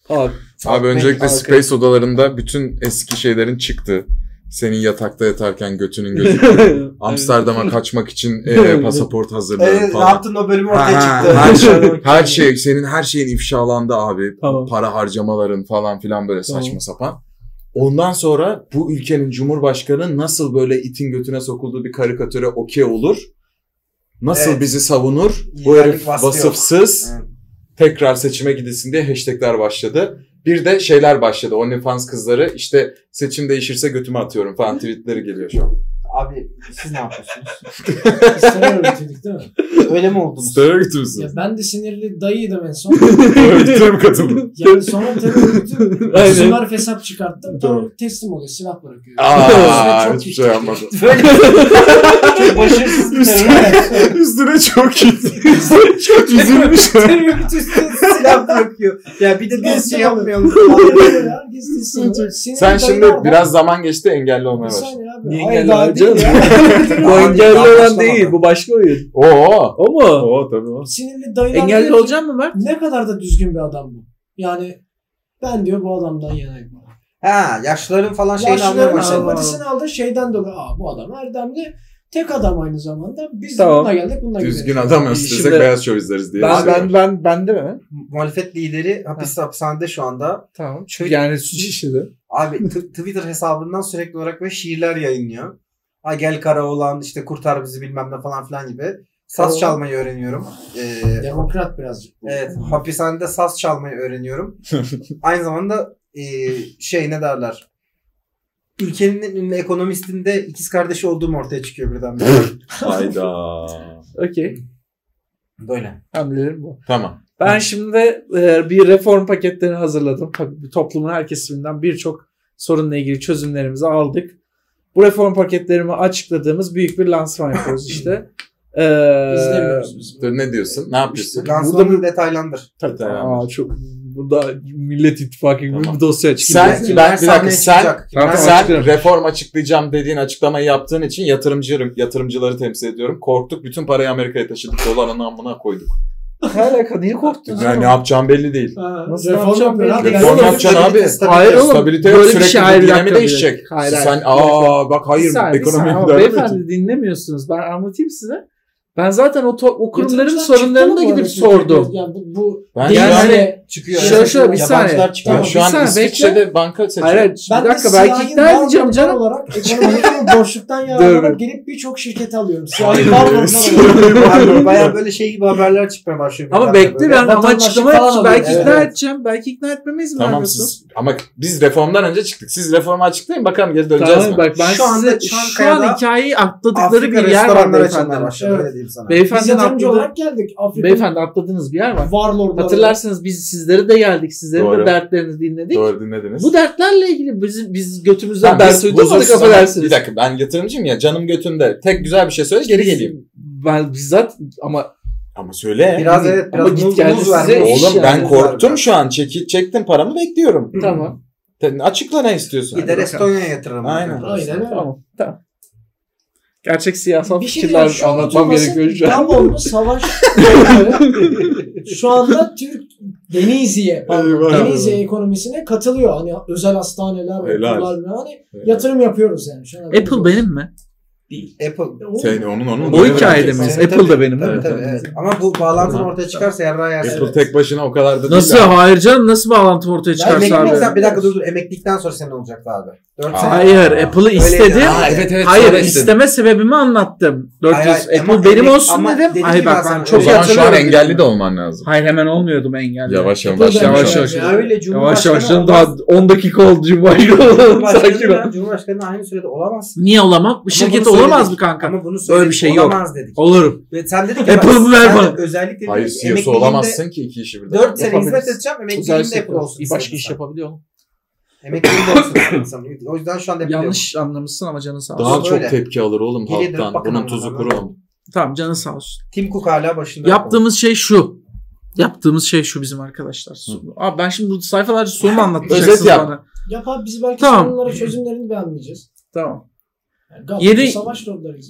[SPEAKER 3] Abi,
[SPEAKER 4] Abi öncelikle
[SPEAKER 1] Halk-
[SPEAKER 4] Space odalarında bütün eski şeylerin çıktı. Senin yatakta yatarken götünün gözü. Amsterdam'a kaçmak için e, pasaport
[SPEAKER 1] Ee,
[SPEAKER 4] hazırlığı
[SPEAKER 2] Evet, ne
[SPEAKER 4] falan.
[SPEAKER 2] yaptın o bölüm
[SPEAKER 4] Ha,
[SPEAKER 2] ortaya
[SPEAKER 4] ha,
[SPEAKER 2] çıktı.
[SPEAKER 4] her, şey, her şey, senin her şeyin ifşalandı abi.
[SPEAKER 3] Tamam.
[SPEAKER 4] para harcamaların falan filan böyle saçma
[SPEAKER 3] Tamam.
[SPEAKER 4] sapan. Ondan sonra bu ülkenin cumhurbaşkanı nasıl böyle itin götüne sokulduğu bir karikatüre okey olur. Nasıl
[SPEAKER 2] Evet.
[SPEAKER 4] bizi savunur. Bu
[SPEAKER 2] Liderlik
[SPEAKER 4] herif
[SPEAKER 2] vasfı yok.
[SPEAKER 4] vasıfsız.
[SPEAKER 2] Evet.
[SPEAKER 4] Tekrar seçime gidilsin diye hashtagler başladı. Bir de şeyler başladı. OnlyFans kızları işte seçim değişirse götüme atıyorum falan tweetleri geliyor şu an.
[SPEAKER 2] Abi siz ne yapıyorsunuz?
[SPEAKER 5] Sinir örtüydük değil mi?
[SPEAKER 2] Öyle mi oldunuz?
[SPEAKER 4] Störe
[SPEAKER 5] Ya
[SPEAKER 4] götürmüşsünüz.
[SPEAKER 5] ben de sinirli dayıydım en son.
[SPEAKER 4] Öyle mi katıldım?
[SPEAKER 5] Yani sonra tabii bütün
[SPEAKER 3] Aynen.
[SPEAKER 5] sular fesat çıkarttım. Tamam teslim oluyor. Silah bırakıyor.
[SPEAKER 4] Aa,
[SPEAKER 5] Üstüne çok
[SPEAKER 4] hiçbir şey
[SPEAKER 5] gittik.
[SPEAKER 4] yapmadım.
[SPEAKER 2] Böyle çok başarısız bir terör.
[SPEAKER 4] Üstüne çok gitti. çok üzülmüş.
[SPEAKER 2] Terörist üstüne silah bırakıyor. Ya bir de biz şey yapmayalım.
[SPEAKER 5] Herkes teslim oluyor. Sinirli
[SPEAKER 4] Sen şimdi
[SPEAKER 5] dayılar var.
[SPEAKER 4] biraz zaman geçti engelli
[SPEAKER 5] Bir
[SPEAKER 4] olmaya başladın.
[SPEAKER 5] saniye abi.
[SPEAKER 3] Niye
[SPEAKER 5] Hayır,
[SPEAKER 3] engelli
[SPEAKER 5] daha
[SPEAKER 3] var
[SPEAKER 5] değil
[SPEAKER 3] canım?
[SPEAKER 5] ya.
[SPEAKER 3] Bu engelli olan değil. Bu başka oyun.
[SPEAKER 4] Oo.
[SPEAKER 3] O mu?
[SPEAKER 4] Oo tabii o.
[SPEAKER 5] Sinirli dayılar. diyor
[SPEAKER 3] Engelli
[SPEAKER 5] ki,
[SPEAKER 3] olacak mı Mert?
[SPEAKER 5] Ne kadar da düzgün bir adam bu. Yani ben diyor bu adamdan yanayım.
[SPEAKER 2] Ha yaşlıların falan şeyini almaya
[SPEAKER 5] Yaşlıların
[SPEAKER 2] başladım.
[SPEAKER 5] sempatisini aldı şeyden dolayı. Aa bu adam erdemli. Tek adam aynı zamanda. Biz
[SPEAKER 3] Tamam.
[SPEAKER 5] bununla geldik bununla
[SPEAKER 4] Düzgün
[SPEAKER 5] gidelim.
[SPEAKER 4] adam öldürsek
[SPEAKER 3] Şimdi-
[SPEAKER 4] beyaz şov izleriz diye. bir
[SPEAKER 3] Ben,
[SPEAKER 4] şey var.
[SPEAKER 3] ben, ben, ben de mi?
[SPEAKER 2] Muhalefet lideri hapis hapishanede şu anda.
[SPEAKER 3] Tamam. Çünkü yani suç işledi.
[SPEAKER 2] Abi t- Twitter hesabından sürekli olarak böyle şiirler yayınlıyor. Ha gel Karaoğlan işte kurtar bizi bilmem ne falan filan gibi. Saz çalmayı öğreniyorum. Ee,
[SPEAKER 5] Demokrat birazcık.
[SPEAKER 2] Evet, hapishanede saz çalmayı öğreniyorum. Aynı zamanda e, şey ne derler? Ülkenin en ünlü ekonomistinde ikiz kardeşi olduğum ortaya çıkıyor birden.
[SPEAKER 4] Hayda.
[SPEAKER 3] Okey.
[SPEAKER 2] Böyle.
[SPEAKER 3] Hamlelerim bu.
[SPEAKER 4] tamam.
[SPEAKER 3] Ben şimdi e, bir reform paketlerini hazırladım. Tabii bir toplumun her kesiminden birçok sorunla ilgili çözümlerimizi aldık. Bu reform paketlerimi açıkladığımız büyük bir lansman yapıyoruz işte. Ee,
[SPEAKER 5] İzlemiyoruz biz.
[SPEAKER 4] Dur ne diyorsun? Ne yapıyorsun?
[SPEAKER 2] İşte Lansmanı detaylandır.
[SPEAKER 4] Tabii, tamam.
[SPEAKER 3] Aa, çok burada Millet İttifakı gibi
[SPEAKER 4] Tamam.
[SPEAKER 3] bir dosya açık.
[SPEAKER 2] Kimler
[SPEAKER 4] Sen, ben, bir dakika,
[SPEAKER 2] sahneye
[SPEAKER 4] sen,
[SPEAKER 2] çıkacak?
[SPEAKER 3] Tamam,
[SPEAKER 2] Kimler-
[SPEAKER 3] tamam.
[SPEAKER 4] sen
[SPEAKER 3] açıklıyorum.
[SPEAKER 4] reform açıklayacağım dediğin açıklamayı yaptığın için yatırımcı, yatırımcıları temsil ediyorum. Korktuk bütün parayı Amerika'ya taşıdık. Dolar anamına koyduk.
[SPEAKER 3] Ne alaka? Niye korktun?
[SPEAKER 4] Yani ne yapacağım belli değil.
[SPEAKER 5] Ha,
[SPEAKER 3] Nasıl
[SPEAKER 5] reform
[SPEAKER 3] yapacağım
[SPEAKER 5] yapıyor
[SPEAKER 3] belli
[SPEAKER 5] abi.
[SPEAKER 4] Reform
[SPEAKER 5] Yani-
[SPEAKER 4] yapacaksın abi.
[SPEAKER 3] Hayır oğlum.
[SPEAKER 4] Stabilite yok.
[SPEAKER 3] böyle bir
[SPEAKER 4] Sürekli
[SPEAKER 3] şey,
[SPEAKER 4] bir
[SPEAKER 3] hayır, bir
[SPEAKER 4] dinami
[SPEAKER 3] dakika, bir
[SPEAKER 4] değişecek.
[SPEAKER 3] dakika. Hayır,
[SPEAKER 4] Sen
[SPEAKER 3] hayır.
[SPEAKER 4] aa bak hayır
[SPEAKER 3] Bir saniye, bir
[SPEAKER 4] ekonomiye
[SPEAKER 3] saniye. Ama
[SPEAKER 4] müdahale edeceksin.
[SPEAKER 3] Beyefendi dinlemiyorsunuz. Ben anlatayım size. Ben zaten o, to- o kurumların
[SPEAKER 5] Yatırımcılar
[SPEAKER 3] sorunlarını da
[SPEAKER 5] çıktı mı bu
[SPEAKER 3] gidip
[SPEAKER 5] arada Türkiye'de?
[SPEAKER 3] sordum.
[SPEAKER 5] Ya bu, bu
[SPEAKER 4] Ben
[SPEAKER 3] Yani-
[SPEAKER 4] şu an-
[SPEAKER 5] yani
[SPEAKER 2] çıkıyor.
[SPEAKER 4] Şey-
[SPEAKER 3] Şöyle şöyle bir saniye.
[SPEAKER 2] Yabancılar çıkıyor.
[SPEAKER 4] Ben
[SPEAKER 3] Tamam,
[SPEAKER 4] şu
[SPEAKER 3] bir
[SPEAKER 4] an
[SPEAKER 3] saniye,
[SPEAKER 4] İsviçre'de banka
[SPEAKER 3] Hayır,
[SPEAKER 4] seçiyorum.
[SPEAKER 3] hayır,
[SPEAKER 5] ben
[SPEAKER 3] bir dakika
[SPEAKER 5] de
[SPEAKER 3] belki
[SPEAKER 5] siyahi
[SPEAKER 3] ikna
[SPEAKER 5] Barbarlar
[SPEAKER 3] edeceğim canım.
[SPEAKER 5] olarak ekonomik boşluktan yararlanarak gelip birçok şirket alıyorum. Siyahi barbarlar olarak.
[SPEAKER 2] Abi, Bayağı böyle şey gibi haberler çıkmaya başlıyor.
[SPEAKER 3] Ama
[SPEAKER 2] birden
[SPEAKER 3] bekle
[SPEAKER 2] böyle.
[SPEAKER 3] ben ama
[SPEAKER 5] Vatandaşlık
[SPEAKER 3] açıklama
[SPEAKER 5] falan
[SPEAKER 3] yapacağım. Belki
[SPEAKER 5] alıyor.
[SPEAKER 3] ikna
[SPEAKER 5] Evet.
[SPEAKER 3] edeceğim. Belki ikna etmeme izin
[SPEAKER 4] Tamam
[SPEAKER 3] vermiyorsun.
[SPEAKER 4] siz ama biz reformdan önce çıktık. Siz reformu açıklayın bakalım geri döneceğiz mi?
[SPEAKER 3] bak ben
[SPEAKER 2] Şu anda
[SPEAKER 3] size şu
[SPEAKER 2] Çankaya'da
[SPEAKER 3] an hikayeyi atladıkları
[SPEAKER 2] Afrika
[SPEAKER 3] bir yer var
[SPEAKER 2] restoranları açılmaya
[SPEAKER 3] beyefendi.
[SPEAKER 2] başladı.
[SPEAKER 5] Evet.
[SPEAKER 2] Öyle diyeyim sana.
[SPEAKER 5] Biz
[SPEAKER 3] Beyefendi
[SPEAKER 5] yatırımcı
[SPEAKER 3] atladı,
[SPEAKER 5] olarak geldik. Afrika'nın
[SPEAKER 3] beyefendi atladığınız bir yer var.
[SPEAKER 5] varlordları.
[SPEAKER 3] Hatırlarsanız biz sizlere de geldik. Sizlerin
[SPEAKER 4] Doğru.
[SPEAKER 3] de dertlerini dinledik.
[SPEAKER 4] Doğru dinlediniz.
[SPEAKER 3] Bu dertlerle ilgili biz, biz götümüzden
[SPEAKER 4] Ha,
[SPEAKER 3] ders
[SPEAKER 4] biz
[SPEAKER 3] uydurmadık
[SPEAKER 4] huzursuz ama- Bir
[SPEAKER 3] affedersiniz.
[SPEAKER 4] dakika ben yatırımcıyım ya canım götümde. Tek güzel bir şey söyle geri geleyim.
[SPEAKER 3] Ben bizzat ama
[SPEAKER 4] Ama söyle.
[SPEAKER 2] Biraz evet
[SPEAKER 3] Ama
[SPEAKER 2] biraz
[SPEAKER 3] git
[SPEAKER 2] muz,
[SPEAKER 3] geldi
[SPEAKER 2] muz ver.
[SPEAKER 3] size
[SPEAKER 2] muz.
[SPEAKER 3] iş
[SPEAKER 4] Oğlum
[SPEAKER 3] yani.
[SPEAKER 4] ben korktum şu an. Çeki, çektim paramı bekliyorum.
[SPEAKER 3] tamam.
[SPEAKER 4] Te- Açıkla ne istiyorsun?
[SPEAKER 2] Gider Estonya'ya yatırırım.
[SPEAKER 4] Aynen.
[SPEAKER 5] Aynen öyle.
[SPEAKER 3] Tamam. Tamam. Gerçek siyasal
[SPEAKER 5] Bir şey diyeceğim,
[SPEAKER 3] fikirler
[SPEAKER 5] şu an
[SPEAKER 3] anlatmam
[SPEAKER 5] oturması
[SPEAKER 3] gerekiyor şu an.
[SPEAKER 5] Gabonlu savaş. şu anda Türk Denizli'ye pardon,
[SPEAKER 4] Eyvah.
[SPEAKER 5] Denizli ekonomisine katılıyor. Hani özel hastaneler,
[SPEAKER 4] Helal.
[SPEAKER 5] okullar hani yatırım yapıyoruz yani. Şu an
[SPEAKER 3] Apple benim mi?
[SPEAKER 2] Apple.
[SPEAKER 4] Sen onun onun.
[SPEAKER 3] O
[SPEAKER 4] Doğru.
[SPEAKER 3] hikayede miyiz? Apple da benim değil
[SPEAKER 2] Tabii
[SPEAKER 3] mi?
[SPEAKER 2] tabii. Evet. Ama bu bağlantının ortaya çıkarsa yarrağı yersin.
[SPEAKER 4] Apple tek başına o kadar da değil.
[SPEAKER 3] Nasıl?
[SPEAKER 4] abi.
[SPEAKER 3] Hayır canım nasıl bağlantı ortaya
[SPEAKER 2] Ya
[SPEAKER 3] çıkarsa abi?
[SPEAKER 2] emeklilikten bir dakika dur dur emeklilikten sonra senin olacaktı abi. 4
[SPEAKER 4] Aa.
[SPEAKER 2] sene.
[SPEAKER 3] Hayır
[SPEAKER 4] Aa,
[SPEAKER 3] Apple'ı
[SPEAKER 2] öyleydi.
[SPEAKER 3] istedim.
[SPEAKER 4] Aa, evet, evet,
[SPEAKER 3] Hayır
[SPEAKER 4] sonra istedim.
[SPEAKER 3] isteme sebebimi anlattım. 400
[SPEAKER 2] Hayır, hayır,
[SPEAKER 3] Apple
[SPEAKER 2] ama
[SPEAKER 3] benim
[SPEAKER 2] dedik-
[SPEAKER 3] olsun
[SPEAKER 2] ama
[SPEAKER 3] dedim.
[SPEAKER 2] dedim
[SPEAKER 3] Ay
[SPEAKER 2] ki
[SPEAKER 3] bak
[SPEAKER 2] ben
[SPEAKER 3] ben
[SPEAKER 2] sana-
[SPEAKER 3] çok
[SPEAKER 4] O zaman şu an
[SPEAKER 3] hatırlıyorum.
[SPEAKER 4] engelli de olman lazım.
[SPEAKER 3] Hayır hemen olmuyordum engelli.
[SPEAKER 4] Yavaş yavaş.
[SPEAKER 5] Apple'da
[SPEAKER 3] Yavaş
[SPEAKER 5] yani.
[SPEAKER 3] yavaş.
[SPEAKER 5] Ya
[SPEAKER 2] öyle
[SPEAKER 3] Yavaş
[SPEAKER 2] Cumhurbaşkanı
[SPEAKER 3] yavaş canım,
[SPEAKER 2] olamaz-
[SPEAKER 3] daha 10 dakika oldu Cumhurbaşkanı. Sakin ol.
[SPEAKER 2] Cumhurbaşkanı, Cumhurbaşkanı aynı sürede olamazsın.
[SPEAKER 3] Niye olamam? Bu
[SPEAKER 2] Ama
[SPEAKER 3] şirket
[SPEAKER 2] bunu
[SPEAKER 3] olamaz
[SPEAKER 2] söyledik.
[SPEAKER 3] mı kanka?
[SPEAKER 2] Ama bunu söyledik.
[SPEAKER 3] bir şey yok.
[SPEAKER 2] Olamaz dedik.
[SPEAKER 3] Olurum.
[SPEAKER 2] Ve sen dedin ki
[SPEAKER 3] Apple'ı
[SPEAKER 2] bak,
[SPEAKER 3] ver
[SPEAKER 2] sen
[SPEAKER 3] bana.
[SPEAKER 2] Özellikle
[SPEAKER 4] Hayır
[SPEAKER 2] dedin ki
[SPEAKER 4] CEO'su
[SPEAKER 2] emekliliğimde
[SPEAKER 4] olamazsın ki iki işi birden.
[SPEAKER 2] 4 sene hizmet
[SPEAKER 3] Yapabiliriz.
[SPEAKER 2] edeceğim emekliliğimde Apple olsun. istedim
[SPEAKER 3] şey Başka iş
[SPEAKER 2] sana.
[SPEAKER 3] yapabiliyor mu?
[SPEAKER 2] Emekliliğimde olsun istedim sana. O yüzden şu anda yapıyorum.
[SPEAKER 3] Yanlış anlamışsın ama canın sağ olsun.
[SPEAKER 4] Daha çok
[SPEAKER 2] Böyle.
[SPEAKER 4] tepki alır oğlum
[SPEAKER 2] Geriye dönüp
[SPEAKER 4] halktan.
[SPEAKER 2] bakın
[SPEAKER 4] Bunun
[SPEAKER 2] ama
[SPEAKER 4] tuzu
[SPEAKER 2] bana.
[SPEAKER 4] kuru oldu.
[SPEAKER 3] Tamam canın sağ olsun.
[SPEAKER 2] Tim Cook hala başında.
[SPEAKER 3] Yaptığımız şey şu. Yaptığımız şey şu bizim arkadaşlar. Su- Abi ben şimdi bu sayfalarca sorumu anlatacaksınız
[SPEAKER 4] Özet yap.
[SPEAKER 3] bana.
[SPEAKER 5] Yap abi biz belki
[SPEAKER 3] Tamam.
[SPEAKER 5] sorunlara çözümlerini beğenmeyeceğiz.
[SPEAKER 3] Tamım.
[SPEAKER 5] Yani Gabonlu
[SPEAKER 3] Yeni-
[SPEAKER 5] savaş rolleri.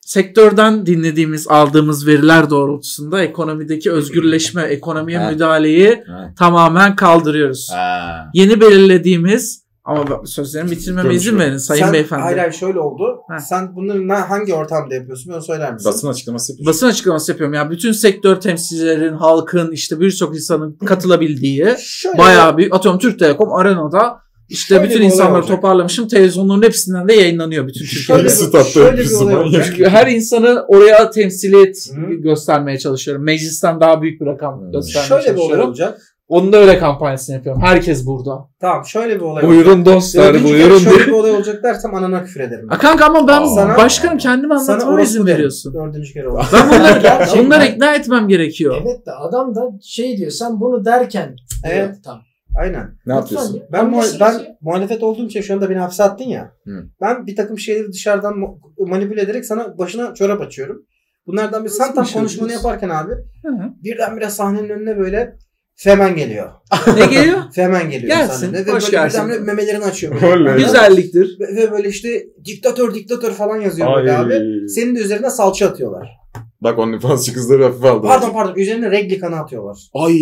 [SPEAKER 3] sektörden dinlediğimiz aldığımız veriler doğrultusunda ekonomideki özgürleşme, ekonomiye
[SPEAKER 4] Ha.
[SPEAKER 3] müdahaleyi
[SPEAKER 4] Ha.
[SPEAKER 3] tamamen kaldırıyoruz.
[SPEAKER 4] Ha.
[SPEAKER 3] Yeni belirlediğimiz Ama bak, sözlerimi bitirmeme
[SPEAKER 7] Görüşürüz.
[SPEAKER 3] izin verin sayın
[SPEAKER 2] sen,
[SPEAKER 3] beyefendi.
[SPEAKER 2] Hayır hayır şöyle oldu.
[SPEAKER 3] Heh.
[SPEAKER 2] Sen bunları na- hangi ortamda yapıyorsun? Onu söyler misin?
[SPEAKER 7] Basın açıklaması yapıyor.
[SPEAKER 3] Basın açıklaması yapıyorum ya. Bütün sektör temsilcilerin, halkın, işte birçok insanın katılabildiği
[SPEAKER 2] Şöyle
[SPEAKER 3] bayağı büyük. Atıyorum Türk Telekom Arena'da işte
[SPEAKER 2] Şöyle bir
[SPEAKER 3] bütün
[SPEAKER 2] olay
[SPEAKER 3] insanları
[SPEAKER 2] olacak.
[SPEAKER 3] toplamışım. Televizyonların hepsinden de yayınlanıyor bütün
[SPEAKER 2] Şöyle
[SPEAKER 3] Türkiye'de.
[SPEAKER 2] bir- şey
[SPEAKER 7] Hepsi tatlı
[SPEAKER 2] şöyle bir
[SPEAKER 7] öyküsü
[SPEAKER 2] olay
[SPEAKER 7] manyak.
[SPEAKER 2] olacak.
[SPEAKER 3] Her insanı oraya temsiliyet
[SPEAKER 2] Hı.
[SPEAKER 3] göstermeye çalışıyorum. Meclisten daha büyük bir rakam
[SPEAKER 7] Hı.
[SPEAKER 3] göstermeye
[SPEAKER 2] Şöyle bir olay
[SPEAKER 3] çalışıyorum.
[SPEAKER 2] olacak.
[SPEAKER 3] Onun da öyle kampanyasını yapıyorum. Herkes burada.
[SPEAKER 2] Tamam şöyle bir olay olacak.
[SPEAKER 7] Buyurun dostlar
[SPEAKER 2] Dördüncü kere
[SPEAKER 7] buyurun.
[SPEAKER 2] Şöyle bir olay olacak dersem anana küfür ederim.
[SPEAKER 3] A kanka ama ben
[SPEAKER 7] Aa. Sana-
[SPEAKER 3] başkanım kendimi anlatmama
[SPEAKER 2] orospu
[SPEAKER 3] izin
[SPEAKER 2] derim.
[SPEAKER 3] veriyorsun.
[SPEAKER 2] Dördüncü kere olacak.
[SPEAKER 3] Ben bunları,
[SPEAKER 5] Gerçekten.
[SPEAKER 3] bunları ikna etmem gerekiyor.
[SPEAKER 5] Evet de adam da şey diyor sen bunu derken diyor.
[SPEAKER 2] Evet.
[SPEAKER 5] Tamam.
[SPEAKER 2] Aynen.
[SPEAKER 7] Ne yapıyorsun?
[SPEAKER 5] Lütfen ya.
[SPEAKER 2] Ben, muha-
[SPEAKER 3] şey,
[SPEAKER 5] Anlasın
[SPEAKER 2] ben
[SPEAKER 5] bizi.
[SPEAKER 2] muhalefet olduğum için şu anda beni hapse attın ya.
[SPEAKER 7] Hı.
[SPEAKER 2] Ben bir takım şeyleri dışarıdan mu- manipüle ederek sana başına çorap açıyorum. Bunlardan bir sen
[SPEAKER 3] Nasıl
[SPEAKER 2] tam
[SPEAKER 3] bir şey
[SPEAKER 2] konuşmanı
[SPEAKER 3] yapıyorsun?
[SPEAKER 2] yaparken abi
[SPEAKER 3] Hı hı.
[SPEAKER 2] birdenbire sahnenin önüne böyle Femen geliyor.
[SPEAKER 3] ne geliyor?
[SPEAKER 2] Femen geliyor
[SPEAKER 3] Gelsin,
[SPEAKER 2] sahnede.
[SPEAKER 3] hoş
[SPEAKER 2] böyle
[SPEAKER 3] gelsin.
[SPEAKER 2] birdenbire memelerini açıyor.
[SPEAKER 7] Oley.
[SPEAKER 2] Böyle.
[SPEAKER 3] Güzelliktir.
[SPEAKER 2] Ve, ve böyle işte diktatör diktatör falan yazıyor
[SPEAKER 7] Ay.
[SPEAKER 2] böyle abi. Senin de üzerine salça atıyorlar.
[SPEAKER 4] Bak OnlyFans'çı kızları hafife aldı.
[SPEAKER 2] Pardon pardon üzerine reglikanı atıyorlar.
[SPEAKER 7] Ay.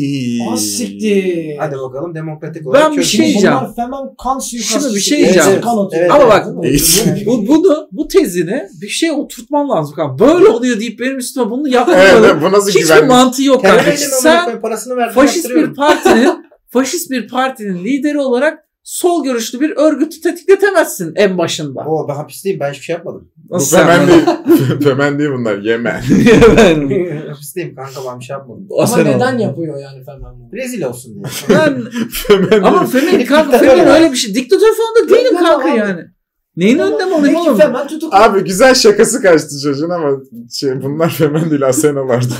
[SPEAKER 5] Ah siktir.
[SPEAKER 2] Hadi bakalım demokratik olarak
[SPEAKER 3] Ben bir
[SPEAKER 2] çözüm.
[SPEAKER 3] şey diyeceğim.
[SPEAKER 5] Bunlar hemen kan suikastı.
[SPEAKER 3] Şimdi bir şey
[SPEAKER 5] Evet,
[SPEAKER 2] diyeceğim.
[SPEAKER 5] kan atıyor.
[SPEAKER 2] Evet,
[SPEAKER 3] Ama bak-
[SPEAKER 5] Değil mi?
[SPEAKER 3] Bu, bunu, bu tezini bir şeye oturtmam lazım. kanka. Böyle oluyor deyip benim üstüme bunu
[SPEAKER 4] Evet,
[SPEAKER 3] yapmamanın
[SPEAKER 4] evet, bu nasıl
[SPEAKER 3] hiçbir
[SPEAKER 4] güvenlik?
[SPEAKER 3] mantığı yok.
[SPEAKER 2] Terör
[SPEAKER 3] kanka.
[SPEAKER 2] eylemi amına
[SPEAKER 3] Sen
[SPEAKER 2] koyayım, parasını verdim
[SPEAKER 3] faşist bir
[SPEAKER 2] yaptırıyorum.
[SPEAKER 3] partinin faşist bir partinin lideri olarak sol görüşlü bir örgütü tetikletemezsin en başında.
[SPEAKER 2] Oo ben hapisteyim ben hiçbir şey yapmadım.
[SPEAKER 4] Bu
[SPEAKER 3] sen
[SPEAKER 4] femen
[SPEAKER 3] lan?
[SPEAKER 4] değil. femen değil bunlar. Yemen.
[SPEAKER 3] ben
[SPEAKER 2] hapisteyim kanka ben bir şey yapmadım.
[SPEAKER 5] Ama
[SPEAKER 3] Aslan
[SPEAKER 5] neden
[SPEAKER 3] oldum.
[SPEAKER 5] yapıyor yani Femen bunu?
[SPEAKER 2] Rezil olsun diye.
[SPEAKER 3] Ben,
[SPEAKER 4] femen
[SPEAKER 3] ama
[SPEAKER 4] değil.
[SPEAKER 3] Femin kanka
[SPEAKER 2] Diktatör
[SPEAKER 3] Femin
[SPEAKER 2] ya.
[SPEAKER 3] öyle bir şey. Diktatör falan da değilim
[SPEAKER 5] Diktatör
[SPEAKER 3] kanka
[SPEAKER 5] abi.
[SPEAKER 3] yani. Neyin önünde mi olayım
[SPEAKER 5] Peki
[SPEAKER 3] oğlum?
[SPEAKER 5] Femen tutuklandı.
[SPEAKER 4] Abi güzel şakası kaçtı çocuğun ama şey, bunlar femen değil Asena vardı.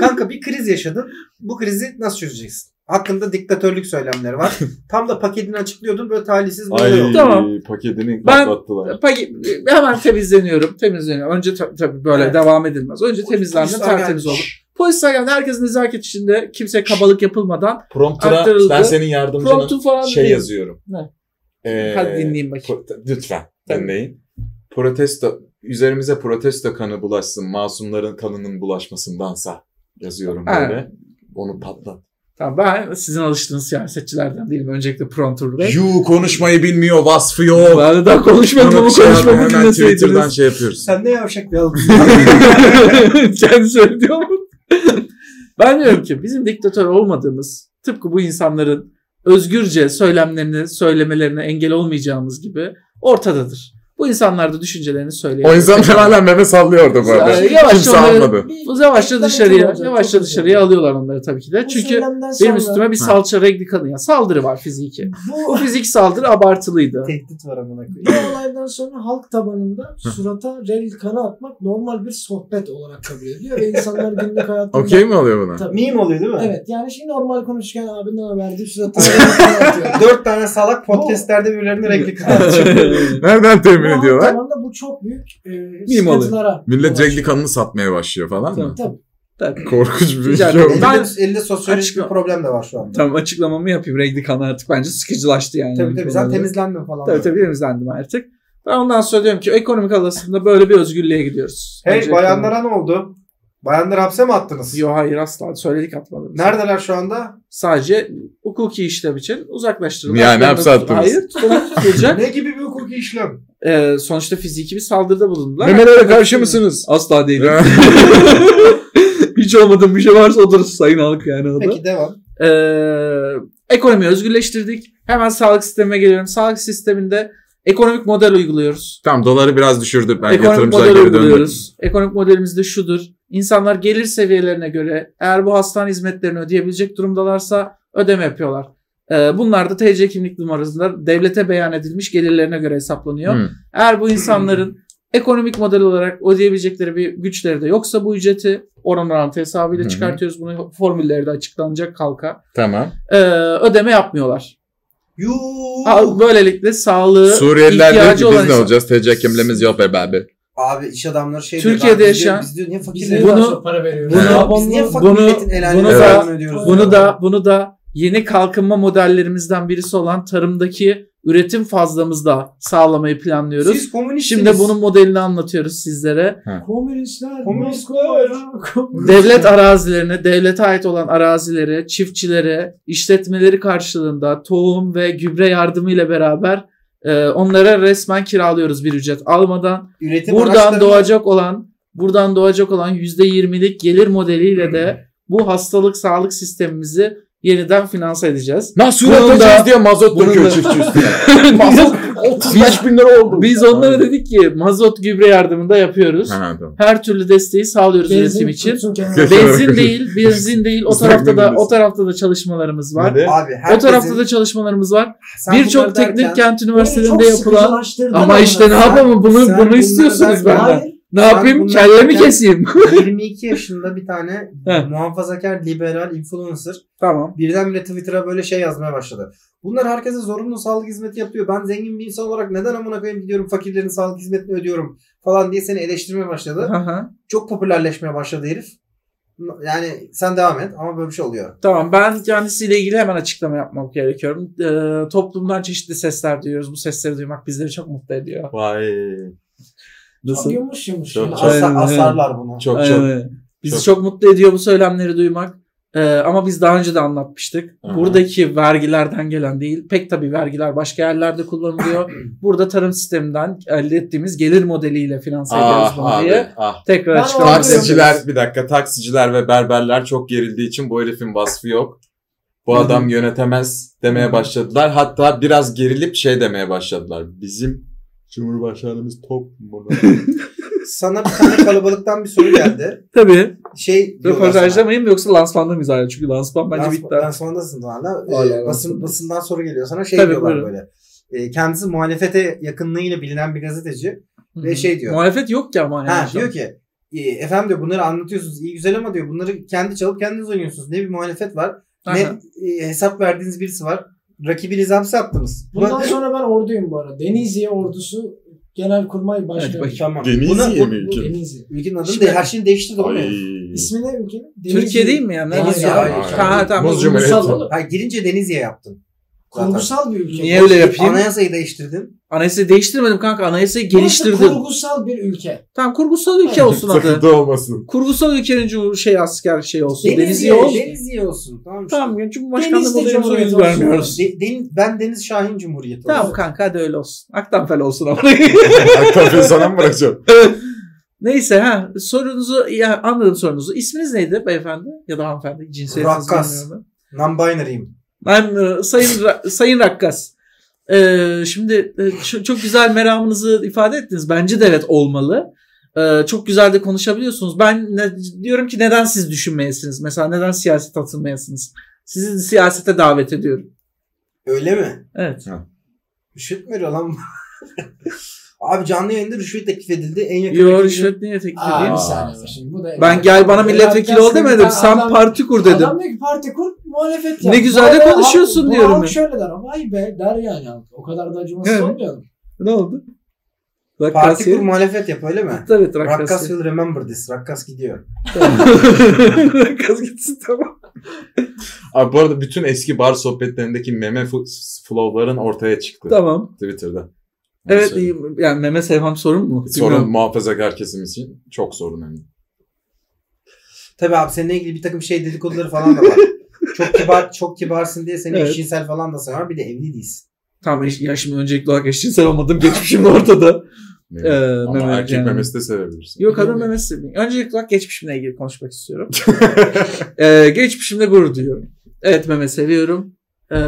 [SPEAKER 2] kanka bir kriz yaşadın. Bu krizi nasıl çözeceksin? Hakkında diktatörlük söylemleri var. Tam da paketini açıklıyordun böyle talihsiz bir olay
[SPEAKER 4] Ay
[SPEAKER 2] oldu.
[SPEAKER 3] Tamam.
[SPEAKER 4] paketini
[SPEAKER 3] Ben-
[SPEAKER 4] patlattılar.
[SPEAKER 3] Peki, hemen temizleniyorum. Temizleniyorum. Önce ta- tabii böyle
[SPEAKER 2] Evet.
[SPEAKER 3] devam edilmez. Önce temizlendim.
[SPEAKER 2] Polisler
[SPEAKER 3] Tertemiz
[SPEAKER 2] geldi.
[SPEAKER 3] oldu. Polisler geldi. Herkes nezaket içinde. Kimseye kabalık yapılmadan.
[SPEAKER 4] Promptura
[SPEAKER 3] Aktarıldı.
[SPEAKER 4] ben senin yardımcına
[SPEAKER 3] Promptu falan
[SPEAKER 4] şey
[SPEAKER 3] değil.
[SPEAKER 4] yazıyorum.
[SPEAKER 3] Ne?
[SPEAKER 4] Ee,
[SPEAKER 3] Hadi dinleyin bakayım.
[SPEAKER 4] pro- lütfen
[SPEAKER 3] Tabii.
[SPEAKER 4] dinleyin. Protesto, üzerimize protesto kanı bulaşsın. Masumların kanının bulaşmasındansa yazıyorum
[SPEAKER 3] Ha.
[SPEAKER 4] böyle. Onu patlat.
[SPEAKER 3] Tamam ben sizin alıştığınız siyasetçilerden değilim. Öncelikle Prontur Bey.
[SPEAKER 4] Yu konuşmayı bilmiyor vasfı
[SPEAKER 3] Bu
[SPEAKER 4] yok.
[SPEAKER 3] arada daha konuşmadım ama
[SPEAKER 4] Bunu şey yapıyor,
[SPEAKER 3] konuşmamı
[SPEAKER 4] hemen Twitter'dan
[SPEAKER 3] dinleseydiniz.
[SPEAKER 4] şey yapıyoruz.
[SPEAKER 8] Sen ne yavşak bir adamsın.
[SPEAKER 3] Kendi söylüyor mu? ben diyorum ki bizim diktatör olmadığımız tıpkı bu insanların özgürce söylemlerini söylemelerine engel olmayacağımız gibi ortadadır. Bu insanlar da düşüncelerini söylüyor.
[SPEAKER 4] O insanlar hala meme sallıyordu bu arada.
[SPEAKER 3] Ee, yavaş
[SPEAKER 4] Kimse
[SPEAKER 3] onları-
[SPEAKER 4] almadı.
[SPEAKER 3] Bu yavaşça
[SPEAKER 5] Diktatör
[SPEAKER 3] dışarıya,
[SPEAKER 5] olacak,
[SPEAKER 3] yavaşça
[SPEAKER 5] çok güzel.
[SPEAKER 3] dışarıya alıyorlar onları tabii ki de.
[SPEAKER 5] Bu
[SPEAKER 3] Çünkü
[SPEAKER 5] söylemden
[SPEAKER 3] benim
[SPEAKER 5] sonra
[SPEAKER 3] üstüme bir
[SPEAKER 4] Ha.
[SPEAKER 3] salça regli kadın ya. Saldırı var fiziki.
[SPEAKER 5] Bu
[SPEAKER 3] Bu fizik saldırı abartılıydı.
[SPEAKER 2] Tehdit var amına koyayım.
[SPEAKER 5] Bu olaydan sonra halk tabanında surata rel kanı atmak normal bir sohbet olarak kabul ediliyor ve insanlar günlük hayatında...
[SPEAKER 4] Okey mi oluyor buna?
[SPEAKER 5] Tabii.
[SPEAKER 2] Meme oluyor değil mi?
[SPEAKER 5] Evet yani şimdi normal konuşurken abi ne haber deyip surata rel kanı atıyor.
[SPEAKER 2] Dört tane salak podcastlerde birilerine reglika atıyor.
[SPEAKER 4] Nereden
[SPEAKER 5] Bu
[SPEAKER 4] temin
[SPEAKER 5] halk
[SPEAKER 4] ediyorlar?
[SPEAKER 5] tabanında bu çok büyük e,
[SPEAKER 3] Meme oluyor.
[SPEAKER 5] sıkıntılara...
[SPEAKER 4] Millet
[SPEAKER 5] ulaşıyor.
[SPEAKER 4] renkli kanını satmaya başlıyor falan mı?
[SPEAKER 5] Tabii.
[SPEAKER 3] Tabii.
[SPEAKER 4] Korkunç bir
[SPEAKER 3] Rica
[SPEAKER 4] şey
[SPEAKER 3] ederim.
[SPEAKER 4] oldu.
[SPEAKER 2] Elde,
[SPEAKER 3] Ben-
[SPEAKER 2] elde sosyolojik
[SPEAKER 3] Açıkla-
[SPEAKER 2] bir problem de var şu anda.
[SPEAKER 3] Tamam açıklamamı yapayım. Regli kan artık bence sıkıcılaştı yani.
[SPEAKER 2] Tabii tabii sen
[SPEAKER 3] Konuda.
[SPEAKER 2] temizlenme falan.
[SPEAKER 3] Tabii tabii temizlendim artık. Ben ondan sonra diyorum ki ekonomik alasında böyle bir özgürlüğe gidiyoruz.
[SPEAKER 2] Hey
[SPEAKER 3] Önce
[SPEAKER 2] bayanlara ne oldu? Bayanları hapse mi attınız?
[SPEAKER 3] ekonomi- Yo hayır asla söyledik atmadım.
[SPEAKER 2] Neredeler şu anda?
[SPEAKER 3] Sadece hukuki işlem için uzaklaştırılacak.
[SPEAKER 4] Yani hapse attınız.
[SPEAKER 3] Hayır tutanak tutulacak.
[SPEAKER 2] Ne gibi bir hukuki işlem?
[SPEAKER 3] Ee, sonuçta fiziki bir saldırıda bulundular.
[SPEAKER 4] Memelere karşı mısınız?
[SPEAKER 3] Asla değilim. Hiç olmadığım bir şey varsa odur sayın halk yani o da.
[SPEAKER 2] Peki devam.
[SPEAKER 3] Ee, ekonomiyi özgürleştirdik. Hemen sağlık sistemine geliyorum. Sağlık sisteminde ekonomik model uyguluyoruz.
[SPEAKER 4] tamam doları biraz düşürdü. Ben
[SPEAKER 3] ekonomik
[SPEAKER 4] yatırımcılara
[SPEAKER 3] model
[SPEAKER 4] geri döndüm.
[SPEAKER 3] uyguluyoruz. Ekonomik modelimiz de şudur. İnsanlar gelir seviyelerine göre eğer bu hastane hizmetlerini ödeyebilecek durumdalarsa ödeme yapıyorlar. Ee, bunlar da TC kimlik numaraları devlete beyan edilmiş gelirlerine göre hesaplanıyor.
[SPEAKER 4] Hı.
[SPEAKER 3] Eğer bu insanların ekonomik model olarak ödeyebilecekleri bir güçleri de yoksa bu ücreti oran orantı hesabıyla
[SPEAKER 4] Hı hı.
[SPEAKER 3] çıkartıyoruz. Bunu formülleri de açıklanacak halka.
[SPEAKER 4] Tamam.
[SPEAKER 3] Ee, ödeme yapmıyorlar.
[SPEAKER 2] Yuuu.
[SPEAKER 3] Ha, Böylelikle sağlığı
[SPEAKER 4] Suriyeliler diyor
[SPEAKER 3] ihtiyacı
[SPEAKER 4] ki
[SPEAKER 3] olan
[SPEAKER 4] biz ne
[SPEAKER 3] insan-
[SPEAKER 4] olacağız? TC kimliğimiz yok be abi.
[SPEAKER 2] Abi iş adamları şey diyor.
[SPEAKER 3] Türkiye'de
[SPEAKER 2] lan biz diyor-
[SPEAKER 3] yaşayan-
[SPEAKER 2] Biz diyor niye
[SPEAKER 5] Biz niye
[SPEAKER 2] fakirleriz?
[SPEAKER 3] Bunu-
[SPEAKER 5] daha çok para veriyoruz?
[SPEAKER 3] bunu-
[SPEAKER 5] Ya
[SPEAKER 2] biz niye
[SPEAKER 5] bunu-
[SPEAKER 2] fakir
[SPEAKER 3] bunu-
[SPEAKER 2] milletin el
[SPEAKER 3] bunu
[SPEAKER 2] alemine
[SPEAKER 3] da-
[SPEAKER 2] ödüyoruz?
[SPEAKER 3] Bunu da bunu da yeni kalkınma modellerimizden birisi olan tarımdaki üretim fazlamızda sağlamayı planlıyoruz.
[SPEAKER 2] Siz komünistsiniz.
[SPEAKER 3] Şimdi bunun modelini anlatıyoruz sizlere.
[SPEAKER 5] Komünistler.
[SPEAKER 2] Komünistler.
[SPEAKER 3] Devlet arazilerine, devlete ait olan arazilere, çiftçilere, işletmeleri karşılığında tohum ve gübre yardımıyla beraber e, onlara resmen kiralıyoruz bir ücret almadan.
[SPEAKER 2] üretim
[SPEAKER 3] buradan
[SPEAKER 2] araçlarını-
[SPEAKER 3] doğacak olan buradan doğacak olan %20'lik gelir modeliyle
[SPEAKER 2] Hmm.
[SPEAKER 3] de bu hastalık sağlık sistemimizi yeniden finanse edeceğiz.
[SPEAKER 4] Nasıl
[SPEAKER 3] Bunun
[SPEAKER 4] üreteceğiz
[SPEAKER 3] da-
[SPEAKER 4] diye mazot
[SPEAKER 3] bunun da-
[SPEAKER 4] döküyor çiftçi üstüne. mazot 35 bin lira oldu.
[SPEAKER 3] Biz onlara dedik ki mazot gübre yardımında yapıyoruz.
[SPEAKER 4] Ha, tamam.
[SPEAKER 3] Her türlü desteği sağlıyoruz üretim için. Benzin değil, benzin değil. O
[SPEAKER 4] Bizden
[SPEAKER 3] tarafta da
[SPEAKER 4] memnunuz.
[SPEAKER 3] o tarafta da çalışmalarımız var.
[SPEAKER 7] Böyle
[SPEAKER 2] Abi
[SPEAKER 3] O
[SPEAKER 2] herkesin-
[SPEAKER 3] tarafta da çalışmalarımız var.
[SPEAKER 2] Sen bunları
[SPEAKER 3] Birçok
[SPEAKER 2] derken-
[SPEAKER 3] teknik kent üniversitelerinde yapılan ama işte ne yapalım
[SPEAKER 2] sen
[SPEAKER 3] bunu bunu
[SPEAKER 2] bunları
[SPEAKER 3] istiyorsunuz
[SPEAKER 2] derken-
[SPEAKER 3] benden.
[SPEAKER 2] Hayır.
[SPEAKER 3] Ne
[SPEAKER 2] sen
[SPEAKER 3] yapayım?
[SPEAKER 2] bunları
[SPEAKER 3] Kelle mi
[SPEAKER 2] derken-
[SPEAKER 3] keseyim?
[SPEAKER 2] 22 yaşında bir tane
[SPEAKER 3] He.
[SPEAKER 2] muhafazakar liberal influencer
[SPEAKER 3] Tamam.
[SPEAKER 2] birdenbire Twitter'a böyle şey yazmaya başladı. Bunlar herkese zorunlu sağlık hizmeti yapıyor. Ben zengin bir insan olarak neden amına koyayım gidiyorum fakirlerin sağlık hizmetini ödüyorum falan diye seni eleştirmeye başladı.
[SPEAKER 3] Hı hı.
[SPEAKER 2] Çok popülerleşmeye başladı herif. Yani sen devam et ama böyle bir şey oluyor.
[SPEAKER 3] Tamam ben kendisiyle ilgili hemen açıklama yapmam gerekiyorum. Ee, toplumdan çeşitli sesler duyuyoruz. Bu sesleri duymak bizleri çok mutlu ediyor.
[SPEAKER 7] Vay.
[SPEAKER 3] Nasıl?
[SPEAKER 5] Yumuş yumuş.
[SPEAKER 7] Çok-
[SPEAKER 5] ya.
[SPEAKER 7] çok-
[SPEAKER 2] Asla,
[SPEAKER 3] Aynen.
[SPEAKER 2] asarlar bunu.
[SPEAKER 7] Çok çok.
[SPEAKER 3] Evet. Ee, Bizi çok.
[SPEAKER 7] çok.
[SPEAKER 3] mutlu ediyor bu söylemleri duymak. Ee, ama biz daha önce de anlatmıştık.
[SPEAKER 7] Hı hı.
[SPEAKER 3] Buradaki vergilerden gelen değil. Pek tabii vergiler başka yerlerde kullanılıyor. Burada tarım sisteminden elde ettiğimiz gelir modeliyle finanse ediyoruz
[SPEAKER 7] Ah
[SPEAKER 3] bunu
[SPEAKER 7] abi.
[SPEAKER 3] diye.
[SPEAKER 7] Ah.
[SPEAKER 3] Tekrar
[SPEAKER 5] Ben
[SPEAKER 3] açıklama yapıyoruz.
[SPEAKER 7] Taksiciler bir dakika taksiciler ve berberler çok gerildiği için bu herifin vasfı yok. Bu adam yönetemez demeye başladılar. Hatta biraz gerilip şey demeye başladılar. Bizim Cumhurbaşkanımız top mu?
[SPEAKER 2] Sana bir tane kalabalıktan bir soru geldi.
[SPEAKER 3] Tabii.
[SPEAKER 2] Şey diyorlar
[SPEAKER 3] Röportajda
[SPEAKER 2] sana.
[SPEAKER 3] mıyım yoksa lansmanda mıyız hala? Çünkü lansman bence bitti.
[SPEAKER 2] Ben sonundasın hala. Ee,
[SPEAKER 3] Hala
[SPEAKER 2] basın,
[SPEAKER 3] lansmanda.
[SPEAKER 2] basından soru geliyor sana. Şey
[SPEAKER 3] Tabii,
[SPEAKER 2] diyorlar
[SPEAKER 3] buyurun.
[SPEAKER 2] böyle. Ee, kendisi muhalefete yakınlığıyla bilinen bir gazeteci.
[SPEAKER 3] Hı hı.
[SPEAKER 2] ve şey diyor.
[SPEAKER 3] Muhalefet yok ki ama yani.
[SPEAKER 2] Ha,
[SPEAKER 3] şu an.
[SPEAKER 2] diyor ki e, efendim diyor bunları anlatıyorsunuz iyi güzel ama diyor bunları kendi çalıp kendiniz oynuyorsunuz. Ne bir muhalefet var ne
[SPEAKER 3] Aha.
[SPEAKER 2] e, hesap verdiğiniz birisi var. Rakibiniz hapse attınız. Buna-
[SPEAKER 5] Bundan sonra ben orduyum bu arada. Denizli ordusu Genelkurmay
[SPEAKER 3] Hadi
[SPEAKER 5] Başkanı.
[SPEAKER 3] bakayım.
[SPEAKER 2] tamam.
[SPEAKER 7] Denizli'ye
[SPEAKER 2] Buna- bu-
[SPEAKER 7] mi
[SPEAKER 2] bu-
[SPEAKER 7] ülke?
[SPEAKER 5] Denizli.
[SPEAKER 2] Ülkenin adını
[SPEAKER 3] Şimdi-
[SPEAKER 2] de her şeyini değiştirdi oğlum.
[SPEAKER 7] Ay.
[SPEAKER 2] ya.
[SPEAKER 5] İsmi ne ülkenin? Denizli.
[SPEAKER 3] Türkiye değil mi yani?
[SPEAKER 5] Hayır,
[SPEAKER 3] Neresi ya?
[SPEAKER 2] hayır,
[SPEAKER 3] Ha,
[SPEAKER 7] hayır.
[SPEAKER 3] Ha, tamam.
[SPEAKER 7] Bozcu
[SPEAKER 3] Ulusal
[SPEAKER 7] Cumhuriyet.
[SPEAKER 3] olur.
[SPEAKER 2] Hayır girince Denizli'ye yaptın. Zaten.
[SPEAKER 5] Kurgusal bir ülke.
[SPEAKER 3] Niye öyle yapayım?
[SPEAKER 2] Anayasayı değiştirdin.
[SPEAKER 3] Anayasayı değiştirmedim kanka. Anayasayı
[SPEAKER 5] Burası
[SPEAKER 3] geliştirdim.
[SPEAKER 5] Kurgusal bir ülke.
[SPEAKER 3] Tamam kurgusal ülke olsun adı.
[SPEAKER 7] Sıkıntı olmasın.
[SPEAKER 3] Kurgusal ülkenin cumhur şey asker şey olsun.
[SPEAKER 2] Denizli'ye
[SPEAKER 3] Denizli olsun.
[SPEAKER 2] Denizli'ye olsun. Tamam işte.
[SPEAKER 3] Tamam ya Cumhurbaşkanlığı
[SPEAKER 5] Denizli
[SPEAKER 3] modeli
[SPEAKER 5] Cumhuriyeti
[SPEAKER 3] soyuz
[SPEAKER 5] olsun.
[SPEAKER 3] vermiyoruz.
[SPEAKER 2] De- Den- ben Deniz Şahin Cumhuriyeti
[SPEAKER 3] Tamam
[SPEAKER 2] olsun.
[SPEAKER 3] kanka hadi öyle olsun. Aktanfel olsun ama.
[SPEAKER 7] Kafayı sana mı bırakacağım?
[SPEAKER 3] Neyse ha sorunuzu ya anladım sorunuzu. İsminiz neydi beyefendi ya da hanımefendi? Cinsiyetiniz
[SPEAKER 2] Rakkas.
[SPEAKER 3] bilmiyorum ben.
[SPEAKER 2] Non-binary'im.
[SPEAKER 3] Ben e, Sayın Ra- Sayın Rakkas. e, şimdi e, şu- çok güzel meramınızı ifade ettiniz. Bence de evet olmalı. E, çok güzel de konuşabiliyorsunuz. Ben ne- diyorum ki neden siz düşünmeyesiniz? Mesela neden siyasete atılmayasınız? Sizi siyasete davet ediyorum.
[SPEAKER 2] Öyle mi?
[SPEAKER 3] Evet.
[SPEAKER 2] Rüşvet mi veriyor lan? Abi canlı yayında rüşvet teklif edildi. En yakın
[SPEAKER 3] Yo
[SPEAKER 2] rakibinin-
[SPEAKER 3] rüşvet niye teklif
[SPEAKER 5] Aa, bir
[SPEAKER 3] edeyim?
[SPEAKER 5] saniye. Şimdi bu da
[SPEAKER 3] Ben gel bana milletvekili ol demedim. Sen
[SPEAKER 5] Adam-
[SPEAKER 3] parti kur dedim.
[SPEAKER 5] Adam diyor ki parti kur muhalefet
[SPEAKER 3] Ne güzel de
[SPEAKER 5] Vay be,
[SPEAKER 3] konuşuyorsun
[SPEAKER 5] halk- bu
[SPEAKER 3] diyorum
[SPEAKER 5] halk
[SPEAKER 3] ya.
[SPEAKER 5] şöyle der. Vay be der yani. halk. O kadar da acımasız
[SPEAKER 3] Evet.
[SPEAKER 5] olmuyor mu?
[SPEAKER 3] Ne oldu?
[SPEAKER 2] Parti kur
[SPEAKER 3] Rakkasiye.
[SPEAKER 2] muhalefet yap öyle mi?
[SPEAKER 3] Tabii
[SPEAKER 2] Rakkas
[SPEAKER 3] Rakkasiye.
[SPEAKER 2] will remember this. Rakkas gidiyor.
[SPEAKER 3] Rakkas gitsin tamam.
[SPEAKER 7] Abi bu arada bütün eski bar sohbetlerindeki meme fu- flowların ortaya çıktı
[SPEAKER 3] Tamam.
[SPEAKER 7] Twitter'da. Onu
[SPEAKER 3] Evet
[SPEAKER 7] söyleyeyim.
[SPEAKER 3] iyi. yani meme sevmem sorun mu?
[SPEAKER 7] Sorun
[SPEAKER 3] Bilmiyorum.
[SPEAKER 7] muhafazakar kesim için çok sorun hem de.
[SPEAKER 2] Tabii abi seninle ilgili bir takım şey dedikoduları falan da var. çok kibar, çok kibarsın diye seni
[SPEAKER 3] Evet.
[SPEAKER 2] eşcinsel falan da sayar. Bir de evli değilsin.
[SPEAKER 3] Tamam eş- ya şimdi öncelikli olarak eşcinsel olmadım. Geçmişim de ortada.
[SPEAKER 7] Meme.
[SPEAKER 3] Ee,
[SPEAKER 7] Ama
[SPEAKER 3] meme-
[SPEAKER 7] erkek
[SPEAKER 3] yani.
[SPEAKER 7] memesi de sevebilirsin.
[SPEAKER 3] Yok kadın memesi. sevmiyorum. Öncelikli olarak geçmişimle ilgili konuşmak istiyorum. ee, geçmişimle gurur duyuyorum. Evet meme seviyorum. Ee,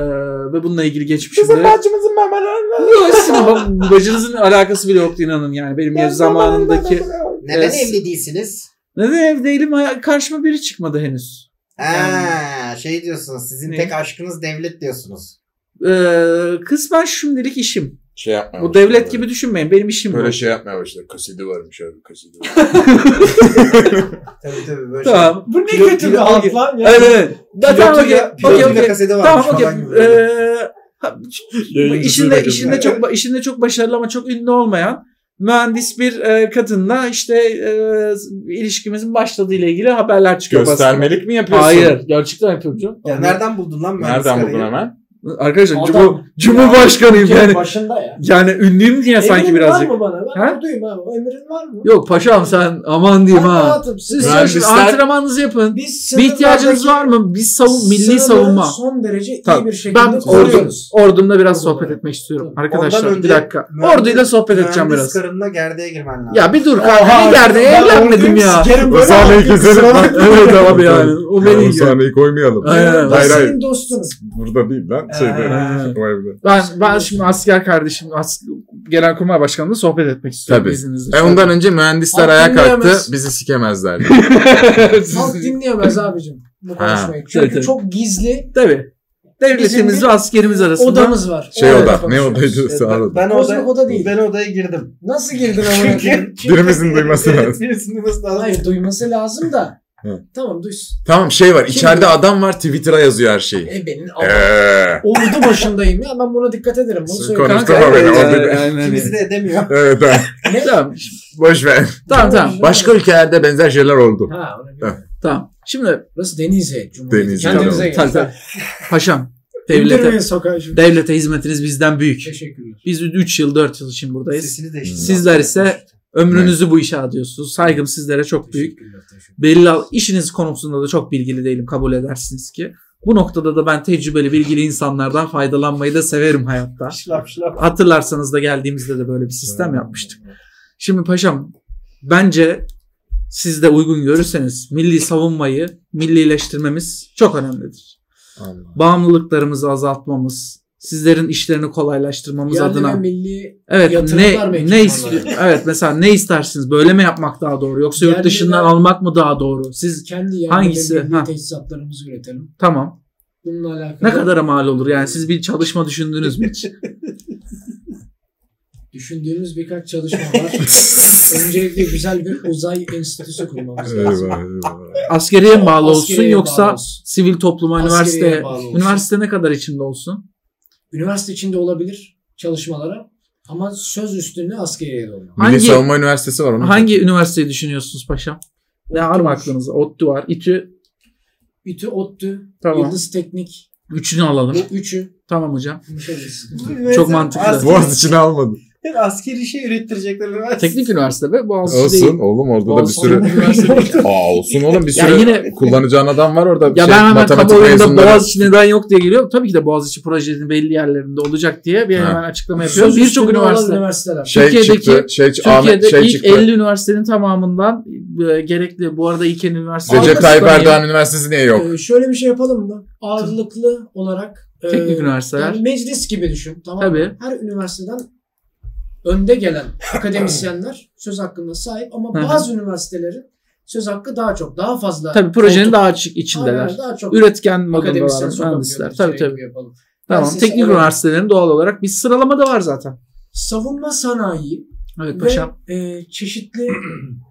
[SPEAKER 3] ve bununla ilgili geçmişimde...
[SPEAKER 4] bacımızın memeleri.
[SPEAKER 3] Yok, sizin bab- bacınızın alakası bile yoktu inanın yani. Benim ya zamanımdaki...
[SPEAKER 2] Neden
[SPEAKER 3] Evet.
[SPEAKER 2] evli değilsiniz?
[SPEAKER 3] Neden ev değilim? Ha- Karşıma biri çıkmadı henüz.
[SPEAKER 2] Ha, şey diyorsunuz. Sizin
[SPEAKER 3] Ne?
[SPEAKER 2] tek aşkınız devlet diyorsunuz.
[SPEAKER 3] Ee, kısmen şimdilik işim.
[SPEAKER 7] Şey yapmaya
[SPEAKER 3] Bu
[SPEAKER 7] başladı
[SPEAKER 3] devlet
[SPEAKER 7] böyle.
[SPEAKER 3] gibi düşünmeyin. Benim işim bu.
[SPEAKER 7] Böyle şey yapmaya başladı. Kasidi varmış abi kasidi varmış.
[SPEAKER 2] Tabii tabii böyle şey.
[SPEAKER 3] Tamam.
[SPEAKER 5] Bu ne
[SPEAKER 2] Pilot-
[SPEAKER 5] kötü bir
[SPEAKER 2] pilot-
[SPEAKER 5] halk lan ya.
[SPEAKER 3] Evet evet. Da- Tamam okey.
[SPEAKER 2] Pilotuyla,
[SPEAKER 3] Okey
[SPEAKER 2] pilotuyla
[SPEAKER 3] okey.
[SPEAKER 2] kaseti varmış
[SPEAKER 3] Tamam
[SPEAKER 2] falan
[SPEAKER 3] okey.
[SPEAKER 2] gibi böyle.
[SPEAKER 3] Ee, ha, bu
[SPEAKER 7] Yayıncısı
[SPEAKER 3] işinde
[SPEAKER 7] da
[SPEAKER 3] işinde
[SPEAKER 7] gözüküyor.
[SPEAKER 3] çok işinde çok başarılı ama çok ünlü olmayan mühendis bir e, kadınla işte e, ilişkimizin başladığı ile ilgili haberler çıkıyor. basına.
[SPEAKER 4] Göstermelik mi yapıyorsun?
[SPEAKER 3] Hayır. Gerçekten yapıyorum canım.
[SPEAKER 2] Ya nereden buldun lan mühendis
[SPEAKER 4] Nereden buldun
[SPEAKER 2] karıyı?
[SPEAKER 4] hemen?
[SPEAKER 3] Arkadaşlar
[SPEAKER 5] Adam-
[SPEAKER 3] Cumhur, Cumhurbaşkanıyım yani.
[SPEAKER 5] Başında ya.
[SPEAKER 3] Yani ünlüyüm diye sanki
[SPEAKER 5] Emrin
[SPEAKER 3] birazcık.
[SPEAKER 5] var mı bana? Ben
[SPEAKER 3] Ha?
[SPEAKER 5] buradayım abi. Emrin var mı?
[SPEAKER 3] Yok paşam sen aman diyeyim
[SPEAKER 5] Ben
[SPEAKER 3] ha.
[SPEAKER 5] rahatım.
[SPEAKER 3] Siz
[SPEAKER 5] Siz
[SPEAKER 3] çalışın
[SPEAKER 4] Mühendisler-
[SPEAKER 3] antrenmanınızı yapın.
[SPEAKER 5] biz
[SPEAKER 3] Bir ihtiyacınız var
[SPEAKER 5] sınırlardaki
[SPEAKER 3] mı? Biz savun, milli
[SPEAKER 5] sınırları
[SPEAKER 3] savunma.
[SPEAKER 5] son derece
[SPEAKER 3] Tamam.
[SPEAKER 5] iyi bir şekilde
[SPEAKER 3] Ben ordu,
[SPEAKER 5] koruyoruz.
[SPEAKER 3] ordumla biraz sohbet etmek istiyorum.
[SPEAKER 5] Ondan
[SPEAKER 3] Arkadaşlar bir
[SPEAKER 2] önce
[SPEAKER 3] dakika.
[SPEAKER 2] mühendis-
[SPEAKER 3] Orduyla sohbet edeceğim
[SPEAKER 2] Mühendis
[SPEAKER 3] biraz.
[SPEAKER 2] karınla gerdeğe girmen lazım.
[SPEAKER 3] Ya bir dur kanka ne derdi
[SPEAKER 5] Ben
[SPEAKER 3] evlenmedim
[SPEAKER 5] orduyum,
[SPEAKER 3] ya.
[SPEAKER 5] sikerim böyle.
[SPEAKER 4] sahneyi keselim.
[SPEAKER 3] Ben- evet abi yani. O beni
[SPEAKER 4] o
[SPEAKER 3] ilgilendiriyor.
[SPEAKER 4] sahneyi koymayalım.
[SPEAKER 3] Aynen.
[SPEAKER 5] Ben
[SPEAKER 4] Hayır, hayır.
[SPEAKER 5] Senin dostunuz.
[SPEAKER 4] Burada değil lan.
[SPEAKER 3] Ee.
[SPEAKER 4] Şeyde. o evde.
[SPEAKER 3] Ben, ben şimdi asker kardeşim as, Genelkurmay Başkanımla sohbet etmek istiyorum.
[SPEAKER 7] Tabii.
[SPEAKER 3] izninizle.
[SPEAKER 7] E ondan önce mühendisler
[SPEAKER 5] Halk
[SPEAKER 7] ayağa
[SPEAKER 5] dinleyemez.
[SPEAKER 7] kalktı. Bizi sikemezler.
[SPEAKER 5] Ee, Halk dinleyemez abicim bu
[SPEAKER 7] Ha.
[SPEAKER 5] konuşmayı.
[SPEAKER 3] Tabii,
[SPEAKER 5] Çünkü
[SPEAKER 3] tabii.
[SPEAKER 5] çok gizli
[SPEAKER 3] Tabii. Devletimiz
[SPEAKER 5] Bizim
[SPEAKER 3] ve askerimiz arasında.
[SPEAKER 5] odamız var.
[SPEAKER 7] şey
[SPEAKER 5] Orada
[SPEAKER 7] oda. Ne
[SPEAKER 5] konuşuyoruz.
[SPEAKER 7] odaydı?
[SPEAKER 2] Evet,
[SPEAKER 7] Sağ
[SPEAKER 2] ben-
[SPEAKER 7] olun.
[SPEAKER 2] Ben
[SPEAKER 5] Kozmik
[SPEAKER 2] odaya,
[SPEAKER 5] oda değil.
[SPEAKER 2] ben odaya girdim.
[SPEAKER 5] Nasıl girdin ama?
[SPEAKER 2] Çünkü, çünkü
[SPEAKER 4] Birimizin duyması lazım.
[SPEAKER 2] Birimizin duyması lazım.
[SPEAKER 5] Hayır duyması lazım da.
[SPEAKER 4] Hı.
[SPEAKER 5] tamam duysun.
[SPEAKER 7] Tamam şey var.
[SPEAKER 5] Kim
[SPEAKER 7] içeride
[SPEAKER 5] bu?
[SPEAKER 7] adam var. Twitter'a yazıyor her şeyi. Ee,
[SPEAKER 5] E benim
[SPEAKER 7] Eee.
[SPEAKER 5] ordu başındayım ya ben buna dikkat ederim. Bunu
[SPEAKER 7] Siz
[SPEAKER 5] söyleyeyim.
[SPEAKER 7] konuş-
[SPEAKER 3] Kanka,
[SPEAKER 7] Konuşturma beni,
[SPEAKER 3] evet,
[SPEAKER 7] o
[SPEAKER 3] yani-
[SPEAKER 7] bir-
[SPEAKER 3] yani-
[SPEAKER 2] Kimisi de edemiyor.
[SPEAKER 7] Evet tamam.
[SPEAKER 5] Ne?
[SPEAKER 3] Tamam.
[SPEAKER 7] Boş ver.
[SPEAKER 3] Tamam tamam.
[SPEAKER 7] Başka ülkelerde benzer şeyler oldu.
[SPEAKER 5] Ha, ona göre.
[SPEAKER 3] Tamam. Şimdi
[SPEAKER 5] Burası Denizli Cumhuriyeti.
[SPEAKER 7] Denizli,
[SPEAKER 5] Kendimize
[SPEAKER 3] tabii,
[SPEAKER 5] gelin.
[SPEAKER 3] tabii. paşam devlete
[SPEAKER 5] Devlete. sokağı şimdi.
[SPEAKER 3] devlete hizmetiniz bizden büyük.
[SPEAKER 5] Teşekkürler.
[SPEAKER 3] Biz 3 yıl 4 yıl için buradayız.
[SPEAKER 2] Sesini değiştirdim.
[SPEAKER 3] Sizler ise ömrünüzü bu işe adıyorsunuz. Saygım sizlere çok büyük.
[SPEAKER 5] Teşekkürler, teşekkürler.
[SPEAKER 3] belli al- işiniz konusunda da çok bilgili değilim kabul edersiniz ki. Bu noktada da ben tecrübeli bilgili insanlardan faydalanmayı da severim hayatta.
[SPEAKER 2] Şılap şılap.
[SPEAKER 3] Hatırlarsanız da geldiğimizde de böyle bir sistem yapmıştık. Şimdi paşam bence siz de uygun görürseniz milli savunmayı millileştirmemiz çok önemlidir. Bağımlılıklarımızı azaltmamız, sizlerin işlerini kolaylaştırmamız
[SPEAKER 5] Yerli
[SPEAKER 3] adına.
[SPEAKER 5] ve milli
[SPEAKER 3] Evet
[SPEAKER 5] Yatırımlar
[SPEAKER 3] ne
[SPEAKER 5] mı
[SPEAKER 3] ne
[SPEAKER 5] ekipmanlara?
[SPEAKER 3] istiyor? Evet mesela ne istersiniz? Böyle mi yapmak daha doğru yoksa
[SPEAKER 5] Yerli
[SPEAKER 3] yurt
[SPEAKER 5] ve-
[SPEAKER 3] dışından almak mı daha doğru? Siz
[SPEAKER 5] kendi yerli
[SPEAKER 3] Hangisi?
[SPEAKER 5] ve milli
[SPEAKER 3] Ha.
[SPEAKER 5] teçhizatlarımızı üretelim.
[SPEAKER 3] tamam
[SPEAKER 5] Bununla alakalı
[SPEAKER 3] Ne kadara mal olur yani siz bir çalışma düşündünüz mü hiç?
[SPEAKER 5] düşündüğümüz birkaç çalışma var. Öncelikle güzel bir uzay enstitüsü kurmamız lazım.
[SPEAKER 4] Eyvah eyvah.
[SPEAKER 3] Askeriye mi bağlı olsun
[SPEAKER 5] Askeriye
[SPEAKER 3] yoksa
[SPEAKER 5] bağlı olsun.
[SPEAKER 3] sivil topluma,
[SPEAKER 5] Askeriye
[SPEAKER 3] üniversite,
[SPEAKER 5] bağlı olsun.
[SPEAKER 3] üniversite ne kadar içinde olsun?
[SPEAKER 5] Üniversite içinde olabilir çalışmalara ama söz üstünde askeriyeye de olmalı.
[SPEAKER 3] Hangi-
[SPEAKER 7] Milli Savunma Üniversitesi var. onun.
[SPEAKER 3] Hangi üniversiteyi düşünüyorsunuz paşam? Ne var mı aklınızda? ODTÜ var, İTÜ.
[SPEAKER 5] İTÜ, ODTÜ,
[SPEAKER 3] Tamam.
[SPEAKER 5] Yıldız Teknik
[SPEAKER 3] Üçünü
[SPEAKER 5] bu
[SPEAKER 3] alalım.
[SPEAKER 5] üçü şey
[SPEAKER 3] Tamam hocam.
[SPEAKER 5] müşerriz.
[SPEAKER 3] Çok mantıklı.
[SPEAKER 7] Boğaz için almadım.
[SPEAKER 2] Asker, askeri şey ürettirecekler. üniversite.
[SPEAKER 3] Teknik üniversite ve Boğaziçi
[SPEAKER 7] Olsun
[SPEAKER 3] değil.
[SPEAKER 7] oğlum orada da bir
[SPEAKER 3] Boğaziçi
[SPEAKER 7] sürü.
[SPEAKER 3] Üniversite değil.
[SPEAKER 7] Aa olsun oğlum bir
[SPEAKER 3] Ya
[SPEAKER 7] sürü
[SPEAKER 3] yine-
[SPEAKER 7] kullanacağın adam var orada.
[SPEAKER 3] Ya
[SPEAKER 7] şey,
[SPEAKER 3] ben hemen
[SPEAKER 7] matematik
[SPEAKER 3] kamuoyunda
[SPEAKER 7] mezunları.
[SPEAKER 3] Boğaziçi neden yok diye geliyor. Tabii ki de Boğaziçi projenin belli yerlerinde olacak diye bir
[SPEAKER 7] Ha.
[SPEAKER 3] hemen açıklama yapıyorum.
[SPEAKER 5] Söz
[SPEAKER 3] Birçok
[SPEAKER 5] üstünde olan
[SPEAKER 3] üniversite.
[SPEAKER 5] üniversiteler.
[SPEAKER 7] Şey
[SPEAKER 3] Türkiye'deki-
[SPEAKER 7] çıktı. Şey, Ahmet,
[SPEAKER 3] Türkiye'de
[SPEAKER 7] şey
[SPEAKER 3] ilk
[SPEAKER 7] çıktı.
[SPEAKER 3] 50 üniversitenin tamamından e, gerekli. Bu arada ilk 50 üniversite.
[SPEAKER 7] Recep Tayyip
[SPEAKER 3] Alkışlanıyor.
[SPEAKER 7] Erdoğan Üniversitesi niye yok?
[SPEAKER 5] Ee, şöyle bir şey yapalım mı? Ağırlıklı olarak e,
[SPEAKER 3] Teknik üniversiteler.
[SPEAKER 5] yani meclis gibi düşün. Tamam mı?
[SPEAKER 3] Tabii.
[SPEAKER 5] Her üniversiteden önde gelen akademisyenler söz hakkında sahip ama
[SPEAKER 3] Hı hı.
[SPEAKER 5] bazı üniversitelerin söz hakkı daha çok, daha fazla.
[SPEAKER 3] Tabii projenin
[SPEAKER 5] koltuk-
[SPEAKER 3] daha açık içindeler.
[SPEAKER 5] Aynen, daha çok
[SPEAKER 3] Üretken modundalar
[SPEAKER 5] akademisyen
[SPEAKER 3] mühendisler.
[SPEAKER 5] sokaklar.
[SPEAKER 3] Tabii tabii.
[SPEAKER 5] Yapalım.
[SPEAKER 3] Tamam.
[SPEAKER 5] Mühendislik
[SPEAKER 3] Teknik
[SPEAKER 5] olarak
[SPEAKER 3] üniversitelerin doğal olarak bir sıralama da var zaten.
[SPEAKER 5] Savunma sanayi
[SPEAKER 3] Evet paşam.
[SPEAKER 5] ve e, çeşitli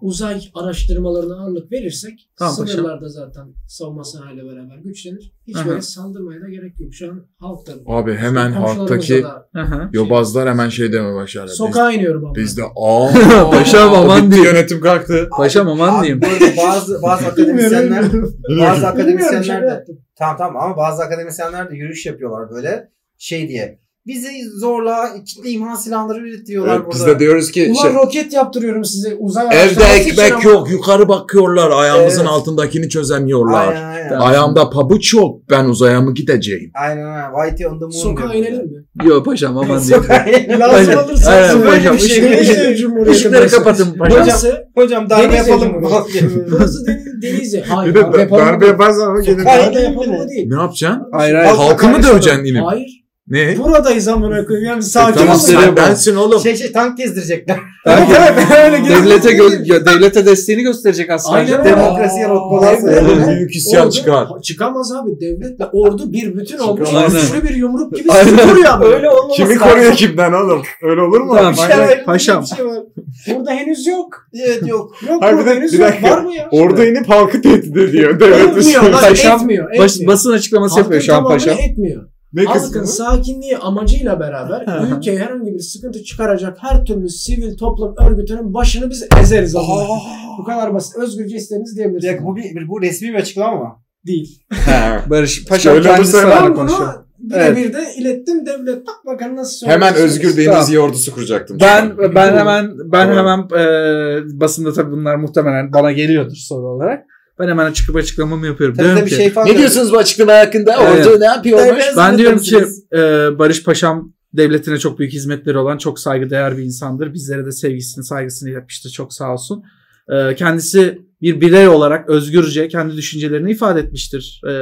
[SPEAKER 5] uzay araştırmalarına ağırlık verirsek
[SPEAKER 3] Tamam paşam.
[SPEAKER 5] sınırlarda zaten savunma sanayiyle beraber güçlenir. Hiç
[SPEAKER 3] Aha.
[SPEAKER 5] böyle saldırmaya da gerek yok. Şu an halk da
[SPEAKER 7] Abi hemen
[SPEAKER 5] Komşularımıza
[SPEAKER 7] halktaki
[SPEAKER 5] da
[SPEAKER 3] Hı hı.
[SPEAKER 7] yobazlar hemen şey demeye başladı.
[SPEAKER 5] Sokağa iniyorum ama.
[SPEAKER 7] Biz, biz de aa.
[SPEAKER 3] Paşam aman
[SPEAKER 7] bitti,
[SPEAKER 3] diyeyim.
[SPEAKER 7] Yönetim kalktı.
[SPEAKER 3] Paşam aman
[SPEAKER 2] Abi,
[SPEAKER 3] diyeyim.
[SPEAKER 2] bu arada bazı bazı akademisyenler bazı
[SPEAKER 5] Bilmiyorum şaka
[SPEAKER 2] akademisyenler de
[SPEAKER 5] yaptım.
[SPEAKER 2] tamam tamam ama bazı akademisyenler de yürüyüş yapıyorlar böyle şey diye. Bizi zorla kitle imha silahları üretiyorlar
[SPEAKER 7] Evet, biz
[SPEAKER 2] burada.
[SPEAKER 7] de diyoruz ki
[SPEAKER 5] Ulan
[SPEAKER 7] şey,
[SPEAKER 5] roket yaptırıyorum size uzay
[SPEAKER 7] evde
[SPEAKER 5] araştırması için
[SPEAKER 7] ekmek
[SPEAKER 5] ama-
[SPEAKER 7] yok. Yukarı bakıyorlar. Ayağımızın
[SPEAKER 2] Evet.
[SPEAKER 7] altındakini çözemiyorlar.
[SPEAKER 2] Aynen aynen.
[SPEAKER 3] Tamam.
[SPEAKER 7] Ayağımda pabuç yok. Ben uzaya mı gideceğim?
[SPEAKER 2] Aynen aynen. Whitey on the moon.
[SPEAKER 5] Sokağa
[SPEAKER 2] diyor.
[SPEAKER 5] inelim mi?
[SPEAKER 3] Yok paşam aman diyeyim.
[SPEAKER 2] Sokağa inelim.
[SPEAKER 3] Aynen.
[SPEAKER 5] Lazım olursa
[SPEAKER 3] Aynen,
[SPEAKER 5] böyle
[SPEAKER 3] paşam.
[SPEAKER 5] bir şey.
[SPEAKER 3] Işıkları-
[SPEAKER 5] Neyse, Cumhuriyet'in
[SPEAKER 3] Işıkları
[SPEAKER 5] başında.
[SPEAKER 3] kapatın paşam.
[SPEAKER 5] Burası
[SPEAKER 2] Hocam darbe
[SPEAKER 5] Denizli
[SPEAKER 2] yapalım.
[SPEAKER 5] Cumhuriyeti. Burası Deniz- Denizli. Hayır.
[SPEAKER 7] yaparsan o
[SPEAKER 5] Sokağa
[SPEAKER 2] Hayır,
[SPEAKER 5] darbe yapalım
[SPEAKER 2] bile.
[SPEAKER 5] o değil.
[SPEAKER 7] Ne yapacaksın?
[SPEAKER 3] Hayır hayır.
[SPEAKER 2] Halk-
[SPEAKER 7] Halkı mı döveceksin yine?
[SPEAKER 5] Hayır. E,
[SPEAKER 7] Ne? E,
[SPEAKER 5] Buradayız amına koyayım. Yani sakin
[SPEAKER 7] Tamam
[SPEAKER 5] olun.
[SPEAKER 7] sen bensin oğlum.
[SPEAKER 2] Şey şey tank gezdirecekler.
[SPEAKER 3] devlete gö- gö- devlete desteğini gösterecek
[SPEAKER 5] Aynen
[SPEAKER 3] asker.
[SPEAKER 5] öyle.
[SPEAKER 2] Demokrasiye rotbalar
[SPEAKER 5] Aynen öyle.
[SPEAKER 2] koyalım.
[SPEAKER 7] Oğlum büyük isyan
[SPEAKER 5] Oğlum,
[SPEAKER 7] çıkar.
[SPEAKER 5] Çıkamaz abi. Devletle ordu bir bütün olmuş.
[SPEAKER 3] Aynen.
[SPEAKER 5] Güçlü bir yumruk gibi
[SPEAKER 3] Aynen.
[SPEAKER 5] sizi koruyor. Öyle olmaz.
[SPEAKER 7] Kimi koruyor kimden oğlum? Öyle olur mu?
[SPEAKER 3] Tamam,
[SPEAKER 2] Bir şey var,
[SPEAKER 3] paşam.
[SPEAKER 2] bir şey var.
[SPEAKER 5] Burada henüz yok.
[SPEAKER 2] Evet yok.
[SPEAKER 5] Yok
[SPEAKER 7] Abi bir
[SPEAKER 5] burada
[SPEAKER 7] de-
[SPEAKER 5] henüz
[SPEAKER 7] bir
[SPEAKER 5] yok.
[SPEAKER 7] dakika.
[SPEAKER 5] Var mı ya?
[SPEAKER 7] Orada inip halkı tehdit ediyor.
[SPEAKER 5] Etmiyor lan,
[SPEAKER 3] Paşam,
[SPEAKER 5] etmiyor.
[SPEAKER 3] Baş-
[SPEAKER 5] etmiyor.
[SPEAKER 3] basın açıklaması
[SPEAKER 5] Halkın
[SPEAKER 3] yapıyor şu an
[SPEAKER 5] tamamını
[SPEAKER 3] paşam.
[SPEAKER 5] etmiyor.
[SPEAKER 4] Ne
[SPEAKER 5] halkın
[SPEAKER 4] kısmı?
[SPEAKER 5] sakinliği amacıyla beraber ülkeye herhangi bir sıkıntı çıkaracak her türlü sivil toplum örgütünün başını biz ezeriz. Allah'ım. Bu kadar basit. Özgürce isteriniz
[SPEAKER 2] Bir dakika,
[SPEAKER 5] diyebilirsiniz.
[SPEAKER 2] bu, bir, bu resmi bir açıklama mı?
[SPEAKER 5] Değil.
[SPEAKER 4] Ha.
[SPEAKER 3] Barış Paşa
[SPEAKER 9] Öyle
[SPEAKER 3] kendisi
[SPEAKER 9] olursa
[SPEAKER 3] aralarında
[SPEAKER 5] Ben
[SPEAKER 3] konuşuyor.
[SPEAKER 5] bunu birebir de ilettim devlet bak bakalım nasıl söylüyor.
[SPEAKER 4] Hemen Özgür Deniz
[SPEAKER 3] Tamam.
[SPEAKER 4] Yordusu kuracaktım.
[SPEAKER 3] Ben
[SPEAKER 4] şu an.
[SPEAKER 3] ben hemen ben
[SPEAKER 4] Doğru.
[SPEAKER 3] hemen e, basında tabii bunlar muhtemelen bana geliyordur soru olarak. Ben hemen çıkıp açıklamamı yapıyorum.
[SPEAKER 2] Tabii
[SPEAKER 3] Diyorum
[SPEAKER 2] tabii
[SPEAKER 3] ki,
[SPEAKER 2] şey falan.
[SPEAKER 9] Ne diyorsunuz bu açıklama hakkında?
[SPEAKER 3] Evet.
[SPEAKER 9] Orada ne yapıyormuş?
[SPEAKER 3] ben diyorum ki e, Barış Paşam devletine çok büyük hizmetleri olan çok saygıdeğer bir insandır. Bizlere de sevgisini saygısını yapmıştı çok sağ olsun. E, kendisi bir birey olarak özgürce kendi düşüncelerini ifade etmiştir. E,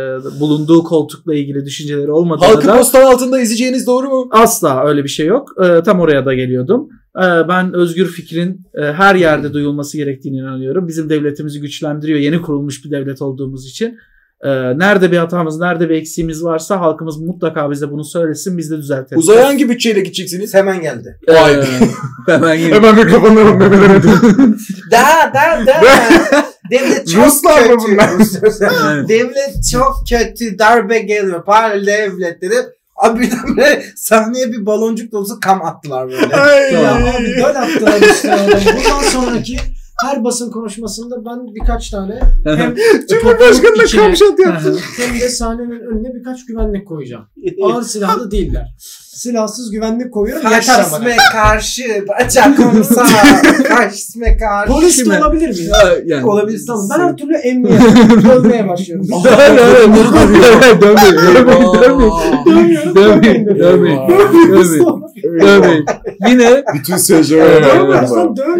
[SPEAKER 3] bulunduğu koltukla ilgili düşünceleri olmadığını
[SPEAKER 9] Halkı
[SPEAKER 3] da
[SPEAKER 9] postal altında izleyeceğiniz doğru mu?
[SPEAKER 3] asla öyle bir şey yok. E, tam oraya da geliyordum. E, ben özgür fikrin e, her yerde duyulması gerektiğini inanıyorum. Bizim devletimizi güçlendiriyor yeni kurulmuş bir devlet olduğumuz için. E, nerede bir hatamız, nerede bir eksiğimiz varsa halkımız mutlaka bize bunu söylesin, biz de düzeltelim.
[SPEAKER 9] Uzaya hangi bütçeyle gideceksiniz?
[SPEAKER 2] Hemen geldi.
[SPEAKER 3] E,
[SPEAKER 4] Vay.
[SPEAKER 3] hemen yine-
[SPEAKER 9] Hemen mikrofonlarım
[SPEAKER 2] Da da da. Devlet çok
[SPEAKER 9] Ruslar mı
[SPEAKER 2] kötü.
[SPEAKER 3] Evet.
[SPEAKER 2] Devlet çok kötü. Darbe geliyor. Paralel devlet dedi. Abi birdenbire sahneye bir baloncuk dolusu kam attılar böyle.
[SPEAKER 5] Ya abi dön attılar üstüne adamı. Bundan sonraki her basın konuşmasında ben birkaç tane hem Cumhurbaşkanı'na kamşat Hem de sahnenin önüne birkaç güvenlik koyacağım. Ağır silahlı değiller. şey Silahsız güvenlik koyuyorum yeter ama.
[SPEAKER 2] Faşizme karşı bacak omsa. Faşizme karşı.
[SPEAKER 5] Polis de
[SPEAKER 3] Kime?
[SPEAKER 5] olabilir miyim?
[SPEAKER 3] Ya, yani.
[SPEAKER 2] Olabilir.
[SPEAKER 5] Tamam ben her türlü emniyete dövmeye başlıyorum.
[SPEAKER 3] Evet, evet, dövmeyin, dövmeyin, dövmeyin, dövmeyin, dövmeyin, dövmeyin, dövmeyin, dövmeyin. Yine
[SPEAKER 4] Bütün seyirciler.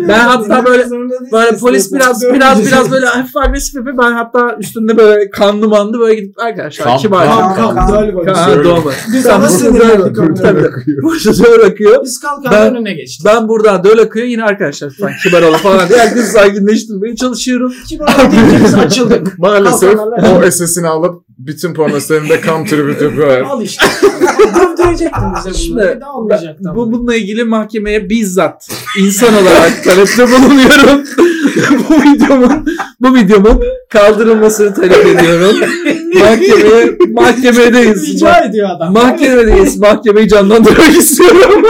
[SPEAKER 3] Ben hatta böyle- Böyle polis biraz biraz biraz böyle hafif agresif yapıyor. Ben hatta üstünde böyle kanlı manlı böyle gidip arkadaşlar
[SPEAKER 4] Kam-
[SPEAKER 3] kibar.
[SPEAKER 4] kam-
[SPEAKER 5] Kam kam döl
[SPEAKER 3] Ka-
[SPEAKER 5] bak.
[SPEAKER 3] ha, doğru.
[SPEAKER 5] Biz ama sinirlendik.
[SPEAKER 3] Tabii,
[SPEAKER 5] onlara.
[SPEAKER 3] tabii. Burası böyle akıyor.
[SPEAKER 5] Biz kalkan
[SPEAKER 3] Ben-
[SPEAKER 5] önüne geçtik.
[SPEAKER 3] Ben burada döl akıyor yine arkadaşlar falan kibar olun falan diye herkesi sakinleştirmeye çalışıyorum.
[SPEAKER 5] Kim olarak deyince biz açıldık.
[SPEAKER 4] Maalesef o esesini alıp bütün pornoslarında kam tribü yapıyorlar.
[SPEAKER 5] Al işte. Dövdürecektin bize
[SPEAKER 3] Şimdi
[SPEAKER 5] bunları. Bir daha olmayacaktı.
[SPEAKER 3] Bu bununla ilgili mahkemeye bizzat insan olarak talepte bulunuyorum. bu videomun bu videomun kaldırılmasını talep ediyorum. mahkemeye mahkemedeyiz.
[SPEAKER 5] Rica ediyor adam.
[SPEAKER 3] Mahkemedeyiz. Mahkemeyi canlandırmak istiyorum.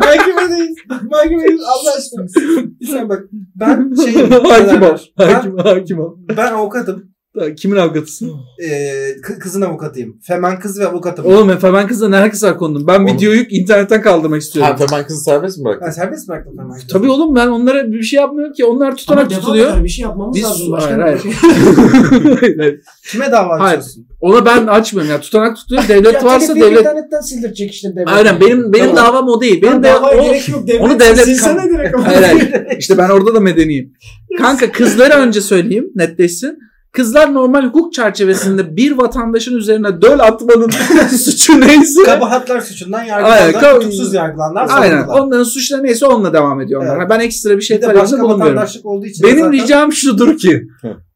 [SPEAKER 2] Mahkemedeyiz. Mahkemedeyiz. Allah aşkına. Sen bak ben
[SPEAKER 5] Şey,
[SPEAKER 2] şeyim.
[SPEAKER 3] hakim ol.
[SPEAKER 2] Ben,
[SPEAKER 3] Hakim, hakim ol.
[SPEAKER 2] ben avukatım.
[SPEAKER 3] Lan Kimin avukatısın?
[SPEAKER 2] Ee, kı- kızın avukatıyım. Femen kız ve avukatım.
[SPEAKER 3] Oğlum Efe ben kızla ne alakası var konunun? Ben
[SPEAKER 4] Oğlum.
[SPEAKER 3] videoyu internetten kaldırmak istiyorum.
[SPEAKER 4] Ha tamam kızı serbest mi bıraktın?
[SPEAKER 2] Ha, serbest mi bıraktın Femen kızı?
[SPEAKER 3] Tabii oğlum ben onlara bir şey yapmıyorum ki. Onlar
[SPEAKER 5] Ama
[SPEAKER 3] tutanak
[SPEAKER 5] devam
[SPEAKER 3] tutuluyor.
[SPEAKER 5] eder, Bir şey yapmamız
[SPEAKER 3] Biz-
[SPEAKER 5] lazım.
[SPEAKER 3] Hayır,
[SPEAKER 5] Başka
[SPEAKER 3] hayır.
[SPEAKER 5] bir şey.
[SPEAKER 3] Hayır.
[SPEAKER 2] Kime dava
[SPEAKER 3] Hayır.
[SPEAKER 2] açıyorsun?
[SPEAKER 3] Ona ben açmıyorum ya. Tutanak tutuyor. Devlet
[SPEAKER 5] Ya
[SPEAKER 3] varsa
[SPEAKER 5] telifi
[SPEAKER 3] devlet
[SPEAKER 5] internetten sildirecek işte devlet.
[SPEAKER 3] Aynen benim benim
[SPEAKER 5] Tamam.
[SPEAKER 3] davam o değil. Benim
[SPEAKER 5] Benim
[SPEAKER 3] de
[SPEAKER 5] davaya
[SPEAKER 3] o
[SPEAKER 5] gerek yok. Devlet
[SPEAKER 3] onu devlet-
[SPEAKER 5] silsene direkt. ama.
[SPEAKER 3] Hayır, hayır. İşte ben orada da medeniyim. Kanka kızları önce söyleyeyim netleşsin. Kızlar normal hukuk çerçevesinde bir vatandaşın üzerine döl atmanın suçu neyse.
[SPEAKER 2] Kabahatler suçundan
[SPEAKER 3] Aynen,
[SPEAKER 2] yargılanlar,
[SPEAKER 3] kab-
[SPEAKER 2] tutuksuz yargılanlar.
[SPEAKER 3] Aynen.
[SPEAKER 2] sanıklar.
[SPEAKER 3] Onların suçları neyse onunla devam ediyor onlar.
[SPEAKER 2] Evet.
[SPEAKER 3] Ben ekstra bir şey
[SPEAKER 2] Bir de başka
[SPEAKER 3] talebinde bulunmuyorum.
[SPEAKER 2] vatandaşlık olduğu için
[SPEAKER 3] Benim
[SPEAKER 2] zaten-
[SPEAKER 3] ricam şudur ki.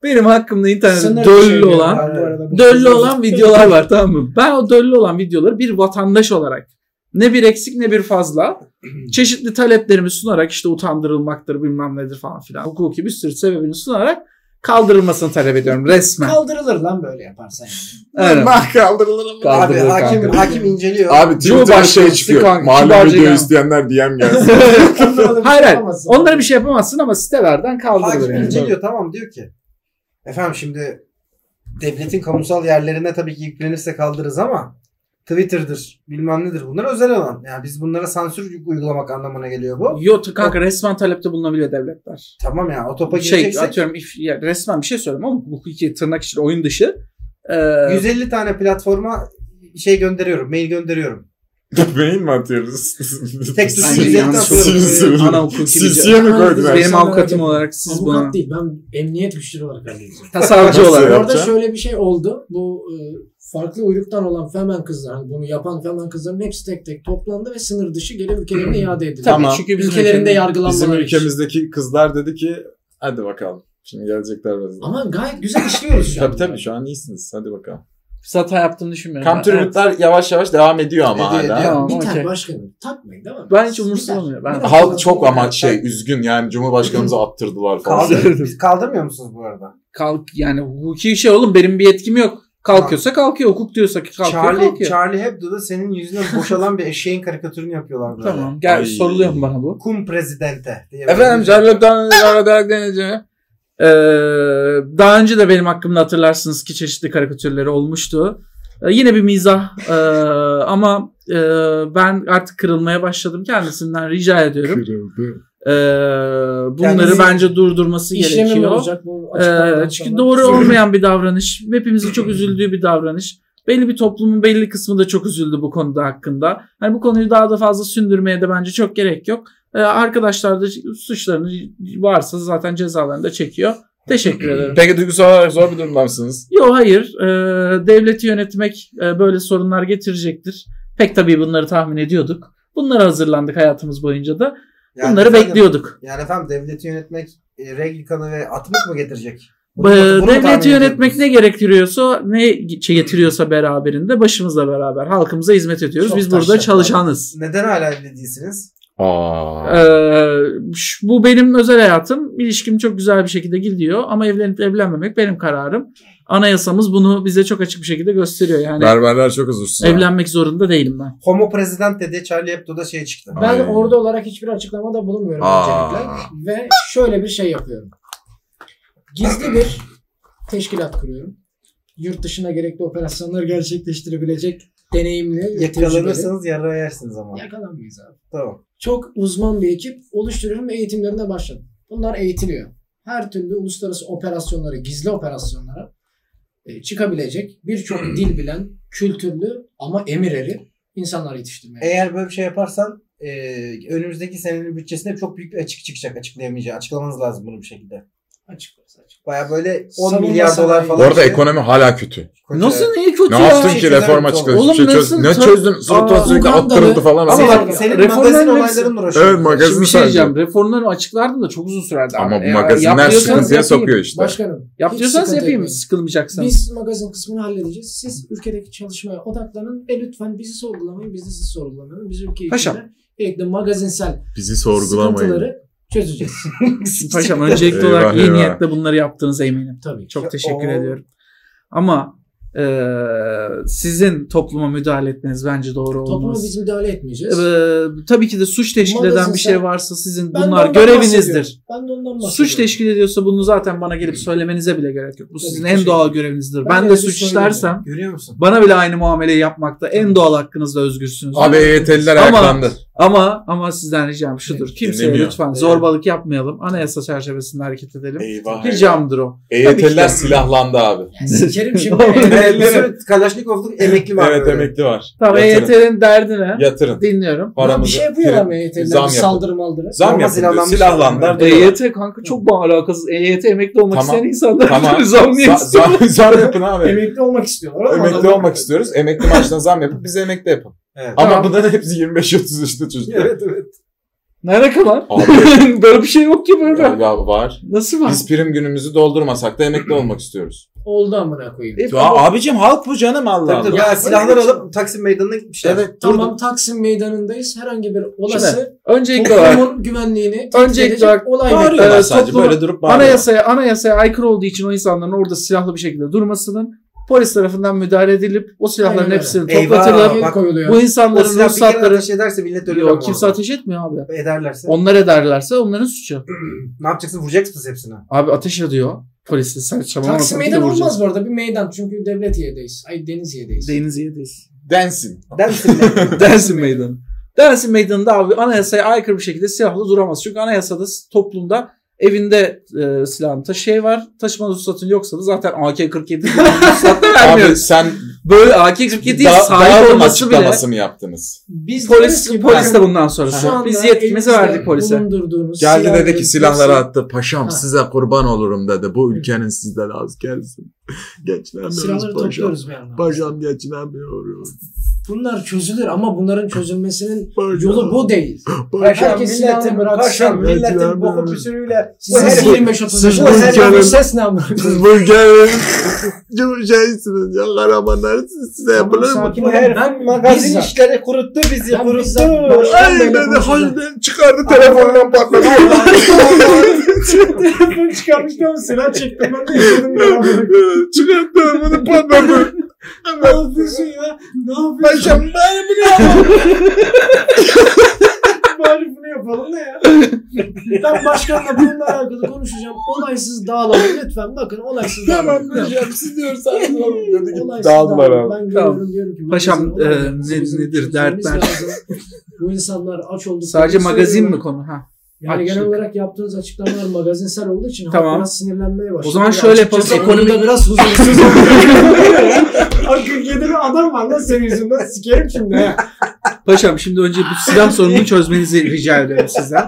[SPEAKER 3] benim hakkımda internette
[SPEAKER 5] Sınır
[SPEAKER 2] şey
[SPEAKER 3] döllü
[SPEAKER 5] dışı
[SPEAKER 3] olan
[SPEAKER 5] yani bu arada bu.
[SPEAKER 3] döllü olan videolar var tamam mı? Ben o döllü olan videoları bir vatandaş olarak ne bir eksik ne bir fazla çeşitli taleplerimi sunarak işte utandırılmaktır bilmem nedir falan filan hukuki bir sürü sebebini sunarak kaldırılmasını talep ediyorum resmen.
[SPEAKER 5] Kaldırılır lan böyle yaparsan. yani.
[SPEAKER 3] Evet.
[SPEAKER 4] Nah kaldırılır ama.
[SPEAKER 2] Abi
[SPEAKER 3] Kaldırılır
[SPEAKER 2] hakim,
[SPEAKER 3] kanka.
[SPEAKER 2] hakim inceliyor.
[SPEAKER 4] Abi Twitter'a şey
[SPEAKER 3] Cumhurbaşkanı,
[SPEAKER 4] çıkıyor.
[SPEAKER 3] kanka,
[SPEAKER 4] Malum
[SPEAKER 3] kibarca
[SPEAKER 4] video
[SPEAKER 3] gel.
[SPEAKER 4] isteyenler DM gelsin.
[SPEAKER 5] Onlara da bir şey
[SPEAKER 3] Hayır hayır.
[SPEAKER 5] yapamazsın.
[SPEAKER 3] Onlara bir şey yapamazsın ama sitelerden kaldırılır
[SPEAKER 2] Hakim
[SPEAKER 3] yani.
[SPEAKER 2] inceliyor tamam diyor ki. Efendim şimdi devletin kamusal yerlerine tabii ki yüklenirse kaldırırız ama Twitter'dır bilmem nedir bunlar özel alan. Yani biz bunlara sansür uygulamak anlamına geliyor bu.
[SPEAKER 3] Yok kanka resmen talepte bulunabiliyor devletler.
[SPEAKER 2] Tamam ya o topa
[SPEAKER 3] Şey
[SPEAKER 2] gireceksek
[SPEAKER 3] atıyorum if- ya resmen bir şey söylüyorum ama hukuki tırnak için oyun dışı. Ee,
[SPEAKER 2] 150 tane platforma şey gönderiyorum, mail gönderiyorum.
[SPEAKER 4] Beyin mi atıyoruz?
[SPEAKER 2] Tek
[SPEAKER 4] Hani
[SPEAKER 2] tuşu
[SPEAKER 3] Ay,
[SPEAKER 2] yüzde
[SPEAKER 3] yanlış
[SPEAKER 2] atıyorum.
[SPEAKER 4] oldu.
[SPEAKER 2] Ee,
[SPEAKER 3] ana hukuki
[SPEAKER 4] Sinsiye mi koydular?
[SPEAKER 3] Benim avukatım olarak siz
[SPEAKER 5] Avukat
[SPEAKER 3] buna
[SPEAKER 5] değil ben emniyet güçleri olarak hallediyorum.
[SPEAKER 3] tasavvucu
[SPEAKER 4] Nasıl
[SPEAKER 3] olarak.
[SPEAKER 4] ya?
[SPEAKER 5] Orada
[SPEAKER 4] yapacağım?
[SPEAKER 5] şöyle bir şey oldu. Bu e, farklı uyruktan olan Femen kızlar, hani bunu yapan Femen kızların hepsi tek tek toplandı ve sınır dışı geri ülkelerine iade edildi.
[SPEAKER 4] Tamam.
[SPEAKER 3] Çünkü bizim
[SPEAKER 5] Ülkelerinde
[SPEAKER 3] ülkemiz-
[SPEAKER 4] Bizim
[SPEAKER 5] yargılanmaları için.
[SPEAKER 4] ülkemizdeki kızlar dedi ki hadi bakalım. Şimdi gelecekler birazdan.
[SPEAKER 5] Ama gayet güzel işliyoruz şu an.
[SPEAKER 4] Tabii tabii şu an iyisiniz. Hadi bakalım.
[SPEAKER 3] Sata yaptığını düşünmüyorum.
[SPEAKER 4] Kamp tribütler yavaş yavaş devam ediyor ama
[SPEAKER 2] Ediyor,
[SPEAKER 4] hala.
[SPEAKER 3] ediyor. Tamam,
[SPEAKER 5] Biter
[SPEAKER 3] okey.
[SPEAKER 5] başkanım. Takmayın değil mi?
[SPEAKER 3] Ben hiç umursamıyorum. Ben-
[SPEAKER 4] Halk çok ama şey üzgün yani Cumhurbaşkanımıza attırdılar falan.
[SPEAKER 2] Kaldır, biz kaldırmıyor musunuz bu arada?
[SPEAKER 3] Kalk yani hukuki şey oğlum benim bir yetkim yok. Kalkıyorsa kalkıyor. Hukuk diyorsa ki kalkıyor
[SPEAKER 1] Charlie,
[SPEAKER 3] kalkıyor.
[SPEAKER 1] Charlie Hebdo'da senin yüzüne boşalan bir eşeğin karikatürünü yapıyorlar böyle.
[SPEAKER 3] Tamam. Gel
[SPEAKER 7] Ay.
[SPEAKER 3] soruluyor mu bana bu?
[SPEAKER 1] Kum prezidente diye.
[SPEAKER 3] Efendim
[SPEAKER 1] böyle bir-
[SPEAKER 3] Jarlab'dan deneyeceğim. Ee, daha önce de benim hakkımda hatırlarsınız ki çeşitli karikatürleri olmuştu. Ee, yine bir mizah ee, ama ee, ben artık kırılmaya başladım kendisinden rica ediyorum. Ee, bunları
[SPEAKER 1] Kendisi-
[SPEAKER 3] bence durdurması
[SPEAKER 5] İşlemi mi
[SPEAKER 3] gerekiyor.
[SPEAKER 5] olacak bu açıklamadan
[SPEAKER 3] Ee, çünkü
[SPEAKER 5] sonra?
[SPEAKER 3] doğru olmayan bir davranış. Hepimizin çok üzüldüğü bir davranış. Belli bir toplumun belli kısmı da çok üzüldü bu konuda hakkında. Hani bu konuyu daha da fazla sündürmeye de bence çok gerek yok. Ee, arkadaşlar da suçlarını varsa zaten cezalarını da çekiyor. Teşekkür ederim.
[SPEAKER 4] Peki duygusal olarak zor bir durumda mısınız?
[SPEAKER 3] Yo hayır. Ee, devleti yönetmek e, böyle sorunlar getirecektir. Pek tabii bunları tahmin ediyorduk. Bunlara hazırlandık hayatımız boyunca da.
[SPEAKER 1] Yani
[SPEAKER 3] Bunları
[SPEAKER 1] efendim-
[SPEAKER 3] bekliyorduk.
[SPEAKER 1] Yani efendim devleti yönetmek e, Regikan'ı ve atmak mı getirecek?
[SPEAKER 3] Ee,
[SPEAKER 1] Bunu- bunu tahmin
[SPEAKER 3] devleti
[SPEAKER 1] ediyordunuz.
[SPEAKER 3] yönetmek ne gerektiriyorsa ne şey getiriyorsa beraberinde başımızla beraber halkımıza hizmet ediyoruz.
[SPEAKER 1] Çok
[SPEAKER 3] Biz burada
[SPEAKER 1] taşlar.
[SPEAKER 3] çalışanız.
[SPEAKER 1] Neden hala evli değilsiniz?
[SPEAKER 4] Aa.
[SPEAKER 3] Ee, ş- bu benim özel hayatım. İlişkim çok güzel bir şekilde gidiyor ama evlenip evlenmemek benim kararım. Anayasamız bunu bize çok açık bir şekilde gösteriyor. Yani
[SPEAKER 4] Berberler çok huzursuz. ha.
[SPEAKER 3] evlenmek zorunda değilim ben.
[SPEAKER 1] Homo prezident dedi Charlie Hebdo'da şey çıktı.
[SPEAKER 5] Ben
[SPEAKER 4] Ay.
[SPEAKER 5] orada olarak hiçbir açıklamada bulunmuyorum
[SPEAKER 4] Aa.
[SPEAKER 5] öncelikle. Ve şöyle bir şey yapıyorum. Gizli bir teşkilat kuruyorum. Yurt dışına gerekli operasyonları gerçekleştirebilecek deneyimli tecrübeli-
[SPEAKER 1] Yakalanırsanız yara yersiniz ama.
[SPEAKER 5] Yakalanmayız abi.
[SPEAKER 1] Tamam.
[SPEAKER 5] Çok uzman bir ekip oluşturuyorum ve eğitimlerine başladım. Bunlar eğitiliyor. Her türlü uluslararası operasyonlara, gizli operasyonlara e, çıkabilecek birçok dil bilen, kültürlü ama emir eri insanlar yetiştirmeye
[SPEAKER 1] Eğer böyle bir şey yaparsan e, önümüzdeki senenin bütçesinde çok büyük bir açık çıkacak açıklayamayacağı. Açıklamanız lazım bunu bir şekilde.
[SPEAKER 5] açıklarız. açık.
[SPEAKER 1] Baya böyle 10
[SPEAKER 5] Savunma
[SPEAKER 1] milyar
[SPEAKER 5] sanayi.
[SPEAKER 1] dolar falan.
[SPEAKER 4] Bu arada
[SPEAKER 1] işte-
[SPEAKER 4] ekonomi hala kötü.
[SPEAKER 1] Koca-
[SPEAKER 3] Nasıl iyi kötü
[SPEAKER 4] Ne
[SPEAKER 3] ya?
[SPEAKER 4] yaptın ki
[SPEAKER 1] Çekilen
[SPEAKER 4] reform
[SPEAKER 1] bir
[SPEAKER 4] açıklasın?
[SPEAKER 3] oğlum
[SPEAKER 4] Oğlum, şey çöz,
[SPEAKER 3] nasıl-
[SPEAKER 4] ne çözdün?
[SPEAKER 3] Aa,
[SPEAKER 4] Sırtlan sürekli
[SPEAKER 5] Ugandalı-
[SPEAKER 4] attırıldı falan.
[SPEAKER 1] Ama
[SPEAKER 4] Ama,
[SPEAKER 1] bak senin
[SPEAKER 3] Reformlar
[SPEAKER 1] magazin
[SPEAKER 3] hepsi-
[SPEAKER 1] olayların mı
[SPEAKER 4] evet
[SPEAKER 1] uğraşıyorsun?
[SPEAKER 3] Şimdi
[SPEAKER 4] magazin
[SPEAKER 3] bir şey diyeceğim.
[SPEAKER 4] sadece.
[SPEAKER 3] Reformları açıklardım da çok uzun sürerdi.
[SPEAKER 4] Ama
[SPEAKER 3] abi.
[SPEAKER 4] bu
[SPEAKER 3] Ya,
[SPEAKER 4] magazinler
[SPEAKER 3] yapıyorsanız
[SPEAKER 4] sıkıntıya
[SPEAKER 3] yapayım.
[SPEAKER 4] sokuyor işte.
[SPEAKER 5] Başkanım.
[SPEAKER 3] Yap
[SPEAKER 5] hiç
[SPEAKER 3] diyorsanız
[SPEAKER 5] sıkıntı
[SPEAKER 3] yapayım
[SPEAKER 5] etmeyin.
[SPEAKER 3] sıkılmayacaksanız.
[SPEAKER 5] Biz magazin kısmını halledeceğiz. Siz ülkedeki çalışmaya odaklanın ve lütfen bizi sorgulamayın. Biz de sizi sorgulamayın. Biz ülke
[SPEAKER 3] Paşam.
[SPEAKER 5] içinde gerekli magazinsel
[SPEAKER 4] Bizi
[SPEAKER 5] sıkıntıları çözeceğiz.
[SPEAKER 3] Paşam öncelikli
[SPEAKER 4] Eyvah,
[SPEAKER 3] olarak iyi
[SPEAKER 4] eyvah.
[SPEAKER 3] niyetle bunları yaptığınıza eminim.
[SPEAKER 5] Tabii.
[SPEAKER 3] Çok teşekkür
[SPEAKER 1] Oo.
[SPEAKER 3] ediyorum. Ama e, sizin topluma müdahale etmeniz bence doğru
[SPEAKER 5] Topluma
[SPEAKER 3] olmaz.
[SPEAKER 5] biz müdahale etmeyeceğiz.
[SPEAKER 3] E, tabii ki de suç teşkil eden bir
[SPEAKER 5] Magazinsel-
[SPEAKER 3] şey varsa sizin
[SPEAKER 5] Ben de
[SPEAKER 3] bunlar
[SPEAKER 5] ondan
[SPEAKER 3] görevinizdir.
[SPEAKER 5] bahsediyorum. Ben de ondan bahsediyorum.
[SPEAKER 3] Suç teşkil ediyorsa bunu zaten bana gelip söylemenize bile gerek yok. Bu sizin
[SPEAKER 5] ki
[SPEAKER 3] en
[SPEAKER 5] şey-
[SPEAKER 3] doğal görevinizdir.
[SPEAKER 5] Ben
[SPEAKER 3] Ben
[SPEAKER 5] de
[SPEAKER 3] de
[SPEAKER 5] öyle
[SPEAKER 3] suç
[SPEAKER 5] söylemiyorum.
[SPEAKER 3] işlersem
[SPEAKER 1] Görüyor musun?
[SPEAKER 3] bana bile aynı muameleyi yapmakta en doğal hakkınızda özgürsünüz.
[SPEAKER 4] Abi EYT'liler
[SPEAKER 3] Ama-
[SPEAKER 4] ayaklandı.
[SPEAKER 3] Ama ama sizden ricam şudur. Kimseye
[SPEAKER 7] Dinlemiyor.
[SPEAKER 3] lütfen zorbalık yapmayalım. Anayasa çerçevesinde hareket edelim.
[SPEAKER 7] Eyvah.
[SPEAKER 3] Ricamdır o.
[SPEAKER 4] E
[SPEAKER 7] EYT'liler silahlandı abi.
[SPEAKER 5] Yani sikerim şimdi.
[SPEAKER 1] Evet, bir sürü Kalaşnikov'luk emekli var.
[SPEAKER 7] Evet
[SPEAKER 1] böyle.
[SPEAKER 7] emekli var.
[SPEAKER 3] Tamam
[SPEAKER 7] Yatırın.
[SPEAKER 3] EYT'nin derdine
[SPEAKER 7] Yatırın.
[SPEAKER 3] dinliyorum.
[SPEAKER 5] Lan bir
[SPEAKER 7] Paramızı.
[SPEAKER 5] şey yapıyorlar
[SPEAKER 7] prim-
[SPEAKER 5] ama
[SPEAKER 7] Zam
[SPEAKER 5] EYT'ler.
[SPEAKER 7] yapın.
[SPEAKER 5] Saldırı maldırı.
[SPEAKER 7] Zam
[SPEAKER 1] Normal
[SPEAKER 7] yapın diyor.
[SPEAKER 1] silahlanmış
[SPEAKER 7] Silahlandılar. diyorlar.
[SPEAKER 3] EYT E kanka çok E bana alakasız. EYT emekli olmak
[SPEAKER 7] Tamam.
[SPEAKER 3] isteyen insanlar
[SPEAKER 7] Tamam.
[SPEAKER 3] zam niye
[SPEAKER 7] Za-
[SPEAKER 3] istiyor?
[SPEAKER 7] Zam, zam yapın abi.
[SPEAKER 5] Emekli olmak istiyorlar ama
[SPEAKER 7] Emekli
[SPEAKER 5] adamlar-
[SPEAKER 7] olmak istiyoruz. Emekli maaşına zam yapın. Biz emekli yapın.
[SPEAKER 1] Evet.
[SPEAKER 7] Ama
[SPEAKER 3] Tamam.
[SPEAKER 7] bunların hepsi 25-30 işte çocuklar.
[SPEAKER 1] Evet evet.
[SPEAKER 3] Nerede kadar?
[SPEAKER 7] Abi
[SPEAKER 3] böyle bir şey yok ki böyle.
[SPEAKER 7] ya, ya var.
[SPEAKER 3] Nasıl var?
[SPEAKER 7] Biz prim günümüzü doldurmasak da emekli olmak istiyoruz.
[SPEAKER 5] Oldu amına koyayım.
[SPEAKER 3] E,
[SPEAKER 7] Ya abicim halk bu canım Allah
[SPEAKER 1] Tabii, tabii.
[SPEAKER 5] Ya,
[SPEAKER 1] Ya, silahlar
[SPEAKER 5] öyle
[SPEAKER 1] alıp Taksim Meydanı'na gitmişler.
[SPEAKER 7] Evet.
[SPEAKER 5] Tamam Taksim Meydanı'ndayız. Herhangi bir olası
[SPEAKER 3] Öncelikli olarak
[SPEAKER 5] toplumun güvenliğini tehdit
[SPEAKER 3] Öncelikle
[SPEAKER 5] edecek
[SPEAKER 3] olarak-
[SPEAKER 5] olay
[SPEAKER 3] Bağırıyor.
[SPEAKER 5] ne?
[SPEAKER 7] Bağırıyorlar
[SPEAKER 3] Ee,
[SPEAKER 7] sadece
[SPEAKER 3] topluma-
[SPEAKER 7] böyle durup bağırıyorlar.
[SPEAKER 3] anayasaya anayasaya aykırı olduğu için o insanların orada silahlı bir şekilde durmasının polis tarafından müdahale edilip o silahların
[SPEAKER 5] Aynen öyle.
[SPEAKER 3] hepsini
[SPEAKER 1] Eyvah,
[SPEAKER 3] toplatılıp
[SPEAKER 5] El
[SPEAKER 1] bak,
[SPEAKER 5] koyuluyor.
[SPEAKER 3] bu
[SPEAKER 1] O
[SPEAKER 3] insanların
[SPEAKER 1] silah bir kere
[SPEAKER 3] ruhsatları
[SPEAKER 1] ateş ederse millet ölür ama.
[SPEAKER 3] Yok kimse ateş etmiyor abi.
[SPEAKER 1] Ederlerse.
[SPEAKER 3] Onlar ederlerse onların suçu.
[SPEAKER 1] Ne yapacaksın? Vuracaksınız hepsini.
[SPEAKER 3] Abi ateş ediyor. Polisle saçmalama.
[SPEAKER 5] Taksim meydan olmaz bu arada. Bir meydan. Çünkü devlet yedeyiz. Ay deniz yedeyiz.
[SPEAKER 3] Deniz yedeyiz.
[SPEAKER 7] Densin.
[SPEAKER 1] Dersin de.
[SPEAKER 3] Dersin meydanı. Dersin meydanında abi anayasaya aykırı bir şekilde silahlı duramaz. Çünkü anayasada s- toplumda evinde e, silahın ta şey var. Taşıma ruhsatın yoksa da zaten AK-47 ruhsat da
[SPEAKER 7] Abi
[SPEAKER 3] vermiyor.
[SPEAKER 7] sen
[SPEAKER 3] Böyle AK-47 'yi
[SPEAKER 7] da,
[SPEAKER 3] sahip
[SPEAKER 7] dağılım
[SPEAKER 3] olması bile
[SPEAKER 7] açıklaması mı yaptınız?
[SPEAKER 5] Biz deriz
[SPEAKER 3] polis,
[SPEAKER 5] ki
[SPEAKER 3] polis
[SPEAKER 5] bakın,
[SPEAKER 3] de bundan
[SPEAKER 5] şu
[SPEAKER 3] sonrası.
[SPEAKER 5] anda
[SPEAKER 3] Biz yetkimizi
[SPEAKER 5] elinizde
[SPEAKER 3] verdik polise.
[SPEAKER 5] bulundurduğunuz
[SPEAKER 4] Geldi
[SPEAKER 5] silahı-
[SPEAKER 4] dedi ki silahları attı. Paşam
[SPEAKER 5] Ha.
[SPEAKER 4] size kurban olurum dedi. Bu ülkenin sizden az gelsin. Geçinemiyoruz
[SPEAKER 5] Silahları
[SPEAKER 4] paşam.
[SPEAKER 5] topluyoruz bir yandan.
[SPEAKER 4] Paşam geçinemiyoruz.
[SPEAKER 5] Bunlar çözülür ama bunların çözülmesinin yolu bu değil.
[SPEAKER 2] Paşam
[SPEAKER 5] Herkes
[SPEAKER 2] milletin,
[SPEAKER 5] silahını bıraksın.
[SPEAKER 2] paşam
[SPEAKER 5] Evet,
[SPEAKER 2] milletin
[SPEAKER 4] yani
[SPEAKER 2] boku
[SPEAKER 4] böyle.
[SPEAKER 2] püsürüyle. Bu
[SPEAKER 5] Sizin
[SPEAKER 2] herif,
[SPEAKER 5] 25-30
[SPEAKER 2] bu herif
[SPEAKER 5] yaşında.
[SPEAKER 2] bir
[SPEAKER 4] ülkenin-
[SPEAKER 2] ses ne amına koyayım?
[SPEAKER 4] bu ülkenin şeysiniz ya kahramanlar size
[SPEAKER 5] Tamam, sakin
[SPEAKER 2] Bu
[SPEAKER 5] olun.
[SPEAKER 2] herif
[SPEAKER 5] Ben
[SPEAKER 2] magazin
[SPEAKER 5] bizzat-
[SPEAKER 2] işleri kuruttu bizi,
[SPEAKER 5] Ben
[SPEAKER 2] kuruttu.
[SPEAKER 5] bizzat baştan
[SPEAKER 2] Ay,
[SPEAKER 5] beri
[SPEAKER 2] ben-
[SPEAKER 5] konuşacağım.
[SPEAKER 4] çıkardı telefondan patladı.
[SPEAKER 5] Telefonu çıkarmıştı ama silah çektim ben de izledim ya.
[SPEAKER 4] çıkardı telefonu patladı.
[SPEAKER 5] Ne yapıyorsun ya? Ne yapıyorsun?
[SPEAKER 4] Paşam ben bunu
[SPEAKER 5] Bari bunu yapalım da ya. Ben başkanla bununla alakalı konuşacağım. Olaysız dağılalım lütfen. Bakın olaysız dağılalım.
[SPEAKER 4] yapacağım siz diyorsanız oğlum dedi git
[SPEAKER 5] Olaysız
[SPEAKER 4] dağıldılar
[SPEAKER 5] dağılalım.
[SPEAKER 4] abi.
[SPEAKER 5] Ben
[SPEAKER 3] Tamam.
[SPEAKER 5] görüyorum diyorum ki.
[SPEAKER 3] Paşam,
[SPEAKER 5] magazin
[SPEAKER 3] e,
[SPEAKER 5] olaylarımızı
[SPEAKER 3] ne-
[SPEAKER 5] bizim
[SPEAKER 3] nedir,
[SPEAKER 5] çözmemiz
[SPEAKER 3] dertler?
[SPEAKER 5] lazım. Bu insanlar aç şey oldu.
[SPEAKER 3] Sadece magazin mi konu? Ha.
[SPEAKER 5] Yani genel
[SPEAKER 3] Açlık.
[SPEAKER 5] olarak yaptığınız açıklamalar magazinsel olduğu için halk
[SPEAKER 3] Tamam.
[SPEAKER 5] biraz sinirlenmeye başladı.
[SPEAKER 3] O zaman
[SPEAKER 5] Ve
[SPEAKER 3] şöyle
[SPEAKER 5] açıkçası
[SPEAKER 3] yapalım, ekonomik-
[SPEAKER 5] konuda biraz huzursuz oldum. Ay 47 bir adam var lan senin yüzünden sikerim şimdi. ha.
[SPEAKER 3] Paşam şimdi önce bu silah sorununu çözmenizi rica ediyorum sizden.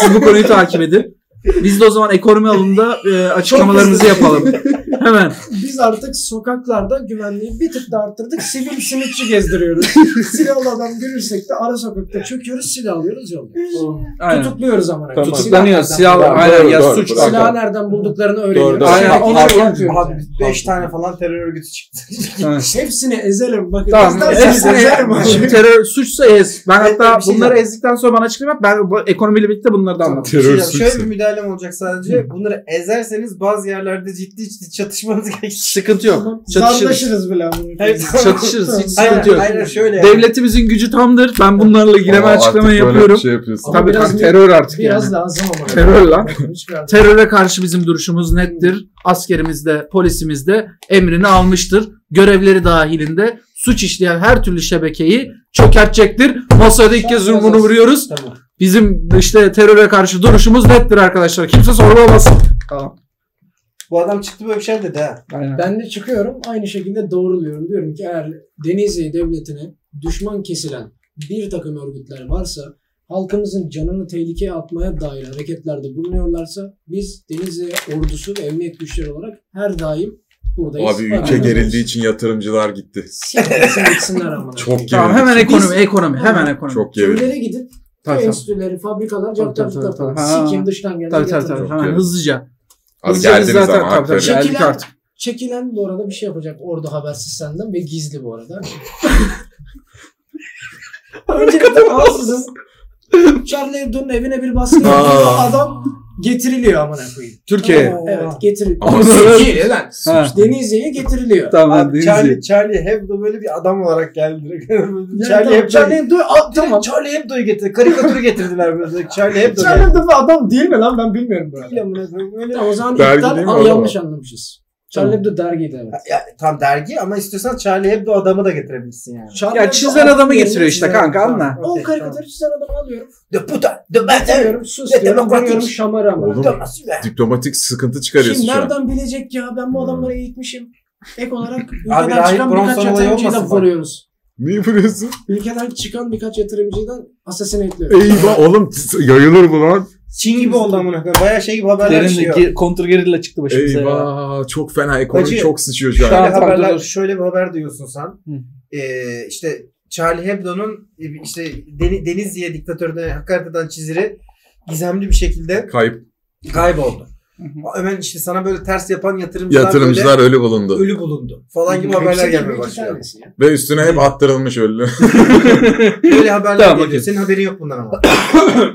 [SPEAKER 3] Siz bu konuyu takip edin. Biz de o zaman ekonomi alanında e, açıklamalarımızı
[SPEAKER 5] Çok hızlı.
[SPEAKER 3] yapalım. Hemen.
[SPEAKER 5] Biz artık sokaklarda güvenliği bir tık da arttırdık. Sivil simitçi gezdiriyoruz. Silahlı adam görürsek de ara sokakta çöküyoruz silah alıyoruz yolluyoruz.
[SPEAKER 3] Aynen.
[SPEAKER 5] Tutukluyoruz amına.
[SPEAKER 10] Tamam.
[SPEAKER 3] Tutuklanıyor. Silah,
[SPEAKER 10] Tamam,
[SPEAKER 3] aynen
[SPEAKER 10] doğru,
[SPEAKER 3] ya
[SPEAKER 10] doğru,
[SPEAKER 3] suç.
[SPEAKER 10] bravo.
[SPEAKER 5] Silah nereden bulduklarını öğreniyoruz.
[SPEAKER 4] Doğru, doğru.
[SPEAKER 3] Aynen,
[SPEAKER 5] Sürekli
[SPEAKER 3] onu-
[SPEAKER 5] yapıyoruz yani.
[SPEAKER 2] Abi 5 tane falan terör örgütü çıktı.
[SPEAKER 3] Aynen.
[SPEAKER 5] Hepsini ezelim. Bakın
[SPEAKER 3] Tamam.
[SPEAKER 5] bizden
[SPEAKER 3] Hepsini
[SPEAKER 5] sonra ezelim abi.
[SPEAKER 3] Şimdi terör suçsa ez. Ben
[SPEAKER 2] Evet,
[SPEAKER 3] hatta
[SPEAKER 2] bir şey
[SPEAKER 3] bunları
[SPEAKER 2] yap.
[SPEAKER 3] ezdikten sonra bana açıklama yap. Ben bu ekonomiyle birlikte bunları da anlatayım.
[SPEAKER 2] Bir şey
[SPEAKER 4] Terör
[SPEAKER 2] yap- Şöyle bir
[SPEAKER 4] suçsun.
[SPEAKER 2] müdahalem olacak sadece. Bunları ezerseniz bazı yerlerde ciddi ciddi çatışmanız gerekir.
[SPEAKER 3] Sıkıntı yok. Çatışırız.
[SPEAKER 5] Zardaşırız bile. amına koyayım.
[SPEAKER 3] Çatışırız. Hiç
[SPEAKER 2] Hayır,
[SPEAKER 3] sıkıntı yok.
[SPEAKER 2] hayır şöyle. yani.
[SPEAKER 3] Devletimizin gücü tamdır. Ben bunlarla ilgili hemen açıklama yapıyorum.
[SPEAKER 4] Şey yapıyorsun.
[SPEAKER 5] Ama
[SPEAKER 3] Tabii
[SPEAKER 5] biraz
[SPEAKER 3] tam
[SPEAKER 5] bir-
[SPEAKER 3] terör artık
[SPEAKER 5] Biraz
[SPEAKER 3] yani.
[SPEAKER 5] lazım ama.
[SPEAKER 3] Terör lan.
[SPEAKER 5] Hiç biraz-
[SPEAKER 3] Teröre karşı bizim duruşumuz nettir. Askerimiz de polisimiz de emrini almıştır. Görevleri dahilinde suç işleyen her türlü şebekeyi çökertecektir. Masada ilk kez bunu vuruyoruz.
[SPEAKER 2] Tamam.
[SPEAKER 3] Bizim işte teröre karşı duruşumuz nettir arkadaşlar. Kimse sorgulamasın. Tamam.
[SPEAKER 2] Bu adam çıktı böyle bir şey dedi ha.
[SPEAKER 3] Aynen.
[SPEAKER 5] Ben de çıkıyorum aynı şekilde doğruluyorum. Diyorum ki eğer Denizli Devleti'ne düşman kesilen bir takım örgütler varsa halkımızın canını tehlikeye atmaya dair hareketlerde bulunuyorlarsa biz Denizli ordusu ve emniyet güçleri olarak her daim buradayız.
[SPEAKER 4] Abi ülke
[SPEAKER 5] Aynen.
[SPEAKER 4] gerildiği için yatırımcılar gitti.
[SPEAKER 5] Siktirsin gitsinler amına.
[SPEAKER 4] Çok gerildi.
[SPEAKER 3] Tamam hemen ekonomi,
[SPEAKER 5] Biz-
[SPEAKER 3] ekonomi, hemen ekonomi.
[SPEAKER 4] Çok gerildi.
[SPEAKER 5] Köylere gidip
[SPEAKER 3] Tabii tabii.
[SPEAKER 5] enstitüleri, fabrikalar,
[SPEAKER 3] Tabii, tabii,
[SPEAKER 5] caktörlükler
[SPEAKER 3] tabii,
[SPEAKER 5] falan.
[SPEAKER 3] tabii.
[SPEAKER 5] Sikeyim dıştan gelen
[SPEAKER 3] Tabii tabii
[SPEAKER 5] yatırım.
[SPEAKER 3] tabii.
[SPEAKER 4] Çok
[SPEAKER 3] Hemen
[SPEAKER 4] iyi.
[SPEAKER 3] hızlıca.
[SPEAKER 4] Az
[SPEAKER 3] Hızlıca biz
[SPEAKER 4] geldiniz
[SPEAKER 3] zaten-
[SPEAKER 4] ama
[SPEAKER 3] tabii, tabii.
[SPEAKER 4] hakikaten.
[SPEAKER 3] Geldik
[SPEAKER 5] Çekilen-
[SPEAKER 3] artık.
[SPEAKER 5] Çekilen bu arada bir şey yapacak orada habersiz senden ve gizli bu arada. Önce rahatsızız. Charlie Hebdo'nun evine bir baskın yapıyor.
[SPEAKER 4] Aa.
[SPEAKER 5] Adam getiriliyor amına koyayım.
[SPEAKER 3] Türkiye.
[SPEAKER 2] Oo.
[SPEAKER 5] Evet getiriliyor.
[SPEAKER 4] Ama
[SPEAKER 5] Türkiye lan.
[SPEAKER 3] Ha.
[SPEAKER 5] Denizli'ye getiriliyor.
[SPEAKER 3] Tamam.
[SPEAKER 2] Abi
[SPEAKER 3] Denizli.
[SPEAKER 2] Charlie, Charlie Hebdo böyle bir adam olarak geldi. direkt.
[SPEAKER 5] Yani
[SPEAKER 2] Charlie
[SPEAKER 5] tamam,
[SPEAKER 2] Hebdo.
[SPEAKER 5] Charlie
[SPEAKER 2] Charlie,
[SPEAKER 5] Hebdo Aa, tamam.
[SPEAKER 2] Charlie Hebdo'yu getirdi. Karikatürü getirdiler böyle. Charlie Hebdo.
[SPEAKER 5] Charlie
[SPEAKER 2] geldi.
[SPEAKER 5] Hebdo bir adam değil mi lan ben bilmiyorum bu arada.
[SPEAKER 2] Değil amına koyayım, öyle.
[SPEAKER 5] Tamam, o zaman
[SPEAKER 4] Dergi
[SPEAKER 5] iptal
[SPEAKER 4] değil mi
[SPEAKER 5] ama
[SPEAKER 4] o da
[SPEAKER 5] yanlış anlamışız. Charlie Hebdo dergiydi evet.
[SPEAKER 2] Ya, tam dergi ama istiyorsan Charlie Hebdo adamı da getirebilirsin yani.
[SPEAKER 5] Charlie
[SPEAKER 3] Ya
[SPEAKER 5] Hebdo
[SPEAKER 3] çizen
[SPEAKER 5] alt
[SPEAKER 3] adamı
[SPEAKER 5] yerini
[SPEAKER 3] getiriyor işte
[SPEAKER 5] çizen-
[SPEAKER 3] kanka anla.
[SPEAKER 2] Tamam,
[SPEAKER 5] O
[SPEAKER 2] okey,
[SPEAKER 5] karikatürü çizen adamı alıyorum.
[SPEAKER 2] tamam. De puta, de ben
[SPEAKER 5] Diyorum sus
[SPEAKER 2] Ne
[SPEAKER 5] diyorum.
[SPEAKER 2] demokratik?
[SPEAKER 5] Vuruyorum şamara amına.
[SPEAKER 4] Oğlum diplomatik sıkıntı çıkarıyorsun
[SPEAKER 5] Şimdi
[SPEAKER 4] şu an.
[SPEAKER 5] nereden bilecek ya? Ben bu adamları eğitmişim. Ek olarak
[SPEAKER 2] Abi
[SPEAKER 5] ülkeden
[SPEAKER 2] Rahip
[SPEAKER 5] çıkan birkaç
[SPEAKER 2] Bronson olayı
[SPEAKER 5] yatırımcıyı da
[SPEAKER 2] olmasın bak.
[SPEAKER 5] koruyoruz.
[SPEAKER 4] Niye vuruyorsun?
[SPEAKER 5] Ülkeden çıkan birkaç yatırımcıydan asasını ekliyoruz.
[SPEAKER 4] Eyvah oğlum yayılır bu lan.
[SPEAKER 2] Çin gibi oldu amına koyayım. Bayağı şey gibi haberler
[SPEAKER 3] Derin
[SPEAKER 2] çıkıyor.
[SPEAKER 3] ge- kontrgerilla çıktı başımıza. ya.
[SPEAKER 4] Eyvah çok fena ekonomi
[SPEAKER 2] Hacı,
[SPEAKER 4] çok sıçıyor şu
[SPEAKER 2] Şöyle
[SPEAKER 4] an.
[SPEAKER 3] an- Tamam,
[SPEAKER 2] haberler,
[SPEAKER 3] dur, dur.
[SPEAKER 2] şöyle bir haber duyuyorsun sen.
[SPEAKER 3] Hı.
[SPEAKER 2] Ee, işte Charlie Hebdo'nun e, işte Deni- Denizli'ye diktatörüne hakaret eden çiziri gizemli bir şekilde
[SPEAKER 4] Kayıp
[SPEAKER 2] kayboldu.
[SPEAKER 3] Hı hı.
[SPEAKER 2] Hemen işte sana böyle ters yapan yatırımcılar,
[SPEAKER 4] yatırımcılar ölü
[SPEAKER 2] böyle
[SPEAKER 4] bulundu.
[SPEAKER 2] ölü bulundu falan gibi
[SPEAKER 3] Hı hı.
[SPEAKER 2] haberler
[SPEAKER 5] Hepsi değil mi?
[SPEAKER 2] gelmeye
[SPEAKER 5] İki
[SPEAKER 2] başlıyor.
[SPEAKER 5] tanesi ya.
[SPEAKER 4] Ve üstüne hep attırılmış ölü.
[SPEAKER 2] Böyle haberler
[SPEAKER 3] Tamam,
[SPEAKER 2] geliyor.
[SPEAKER 3] okey.
[SPEAKER 2] Senin haberin yok bundan ama.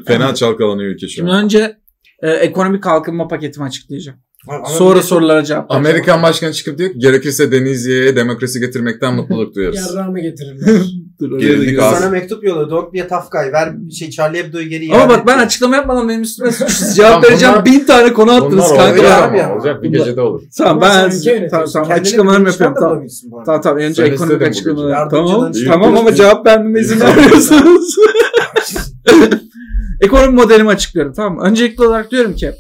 [SPEAKER 4] fena çalkalanıyor ülke şu
[SPEAKER 3] Şimdi
[SPEAKER 4] an.
[SPEAKER 3] önce e, ekonomik kalkınma paketimi açıklayacağım.
[SPEAKER 2] Ama
[SPEAKER 3] Sonra
[SPEAKER 2] bir de-
[SPEAKER 3] sorulara cevap vereceğim.
[SPEAKER 4] Amerikan başkanı çıkıp diyor ki gerekirse Denizli'ye demokrasi getirmekten mutluluk duyarız.
[SPEAKER 5] Yarrağımı getirirler.
[SPEAKER 3] Dur, oraya da
[SPEAKER 4] Gerildik
[SPEAKER 3] gireceğiz.
[SPEAKER 4] abi.
[SPEAKER 2] sana mektup yolluyor. Don't be a tough guy. Ver şey Charlie Hebdo'yu geri
[SPEAKER 3] Ama
[SPEAKER 2] iade
[SPEAKER 3] bak ben
[SPEAKER 2] et.
[SPEAKER 3] açıklama yapmadan benim üstüme suçsuz
[SPEAKER 4] Tamam,
[SPEAKER 3] cevap
[SPEAKER 4] bunlar-
[SPEAKER 3] vereceğim. Bin tane konu attınız
[SPEAKER 4] Onlar
[SPEAKER 3] kanka.
[SPEAKER 2] olabilir
[SPEAKER 4] olacak
[SPEAKER 3] Ya.
[SPEAKER 2] abi
[SPEAKER 4] ama
[SPEAKER 2] ya.
[SPEAKER 4] olacak bir
[SPEAKER 3] Bunlar-
[SPEAKER 4] gecede olur.
[SPEAKER 3] Tamam
[SPEAKER 5] Bunlar sen
[SPEAKER 3] ben
[SPEAKER 5] ülke
[SPEAKER 3] tamam, tamam,
[SPEAKER 5] yönetiyorsun.
[SPEAKER 2] Kendine
[SPEAKER 3] açıklamalarımı
[SPEAKER 2] bir
[SPEAKER 3] yapıyorum
[SPEAKER 2] vicdan da
[SPEAKER 3] tamam.
[SPEAKER 2] bulabilirsin bu arada.
[SPEAKER 3] Tamam tamam önce
[SPEAKER 4] Sen
[SPEAKER 3] ekonomik
[SPEAKER 4] istedin bu gece.
[SPEAKER 3] açıklamaları.
[SPEAKER 2] Yardımcı
[SPEAKER 3] Tamam.
[SPEAKER 2] danışman-
[SPEAKER 3] Tamam ama cevap vermeme izin
[SPEAKER 4] Tamam.
[SPEAKER 3] vermiyorsunuz. ekonomi modelimi açıklıyorum tamam mı? Öncelikli olarak diyorum ki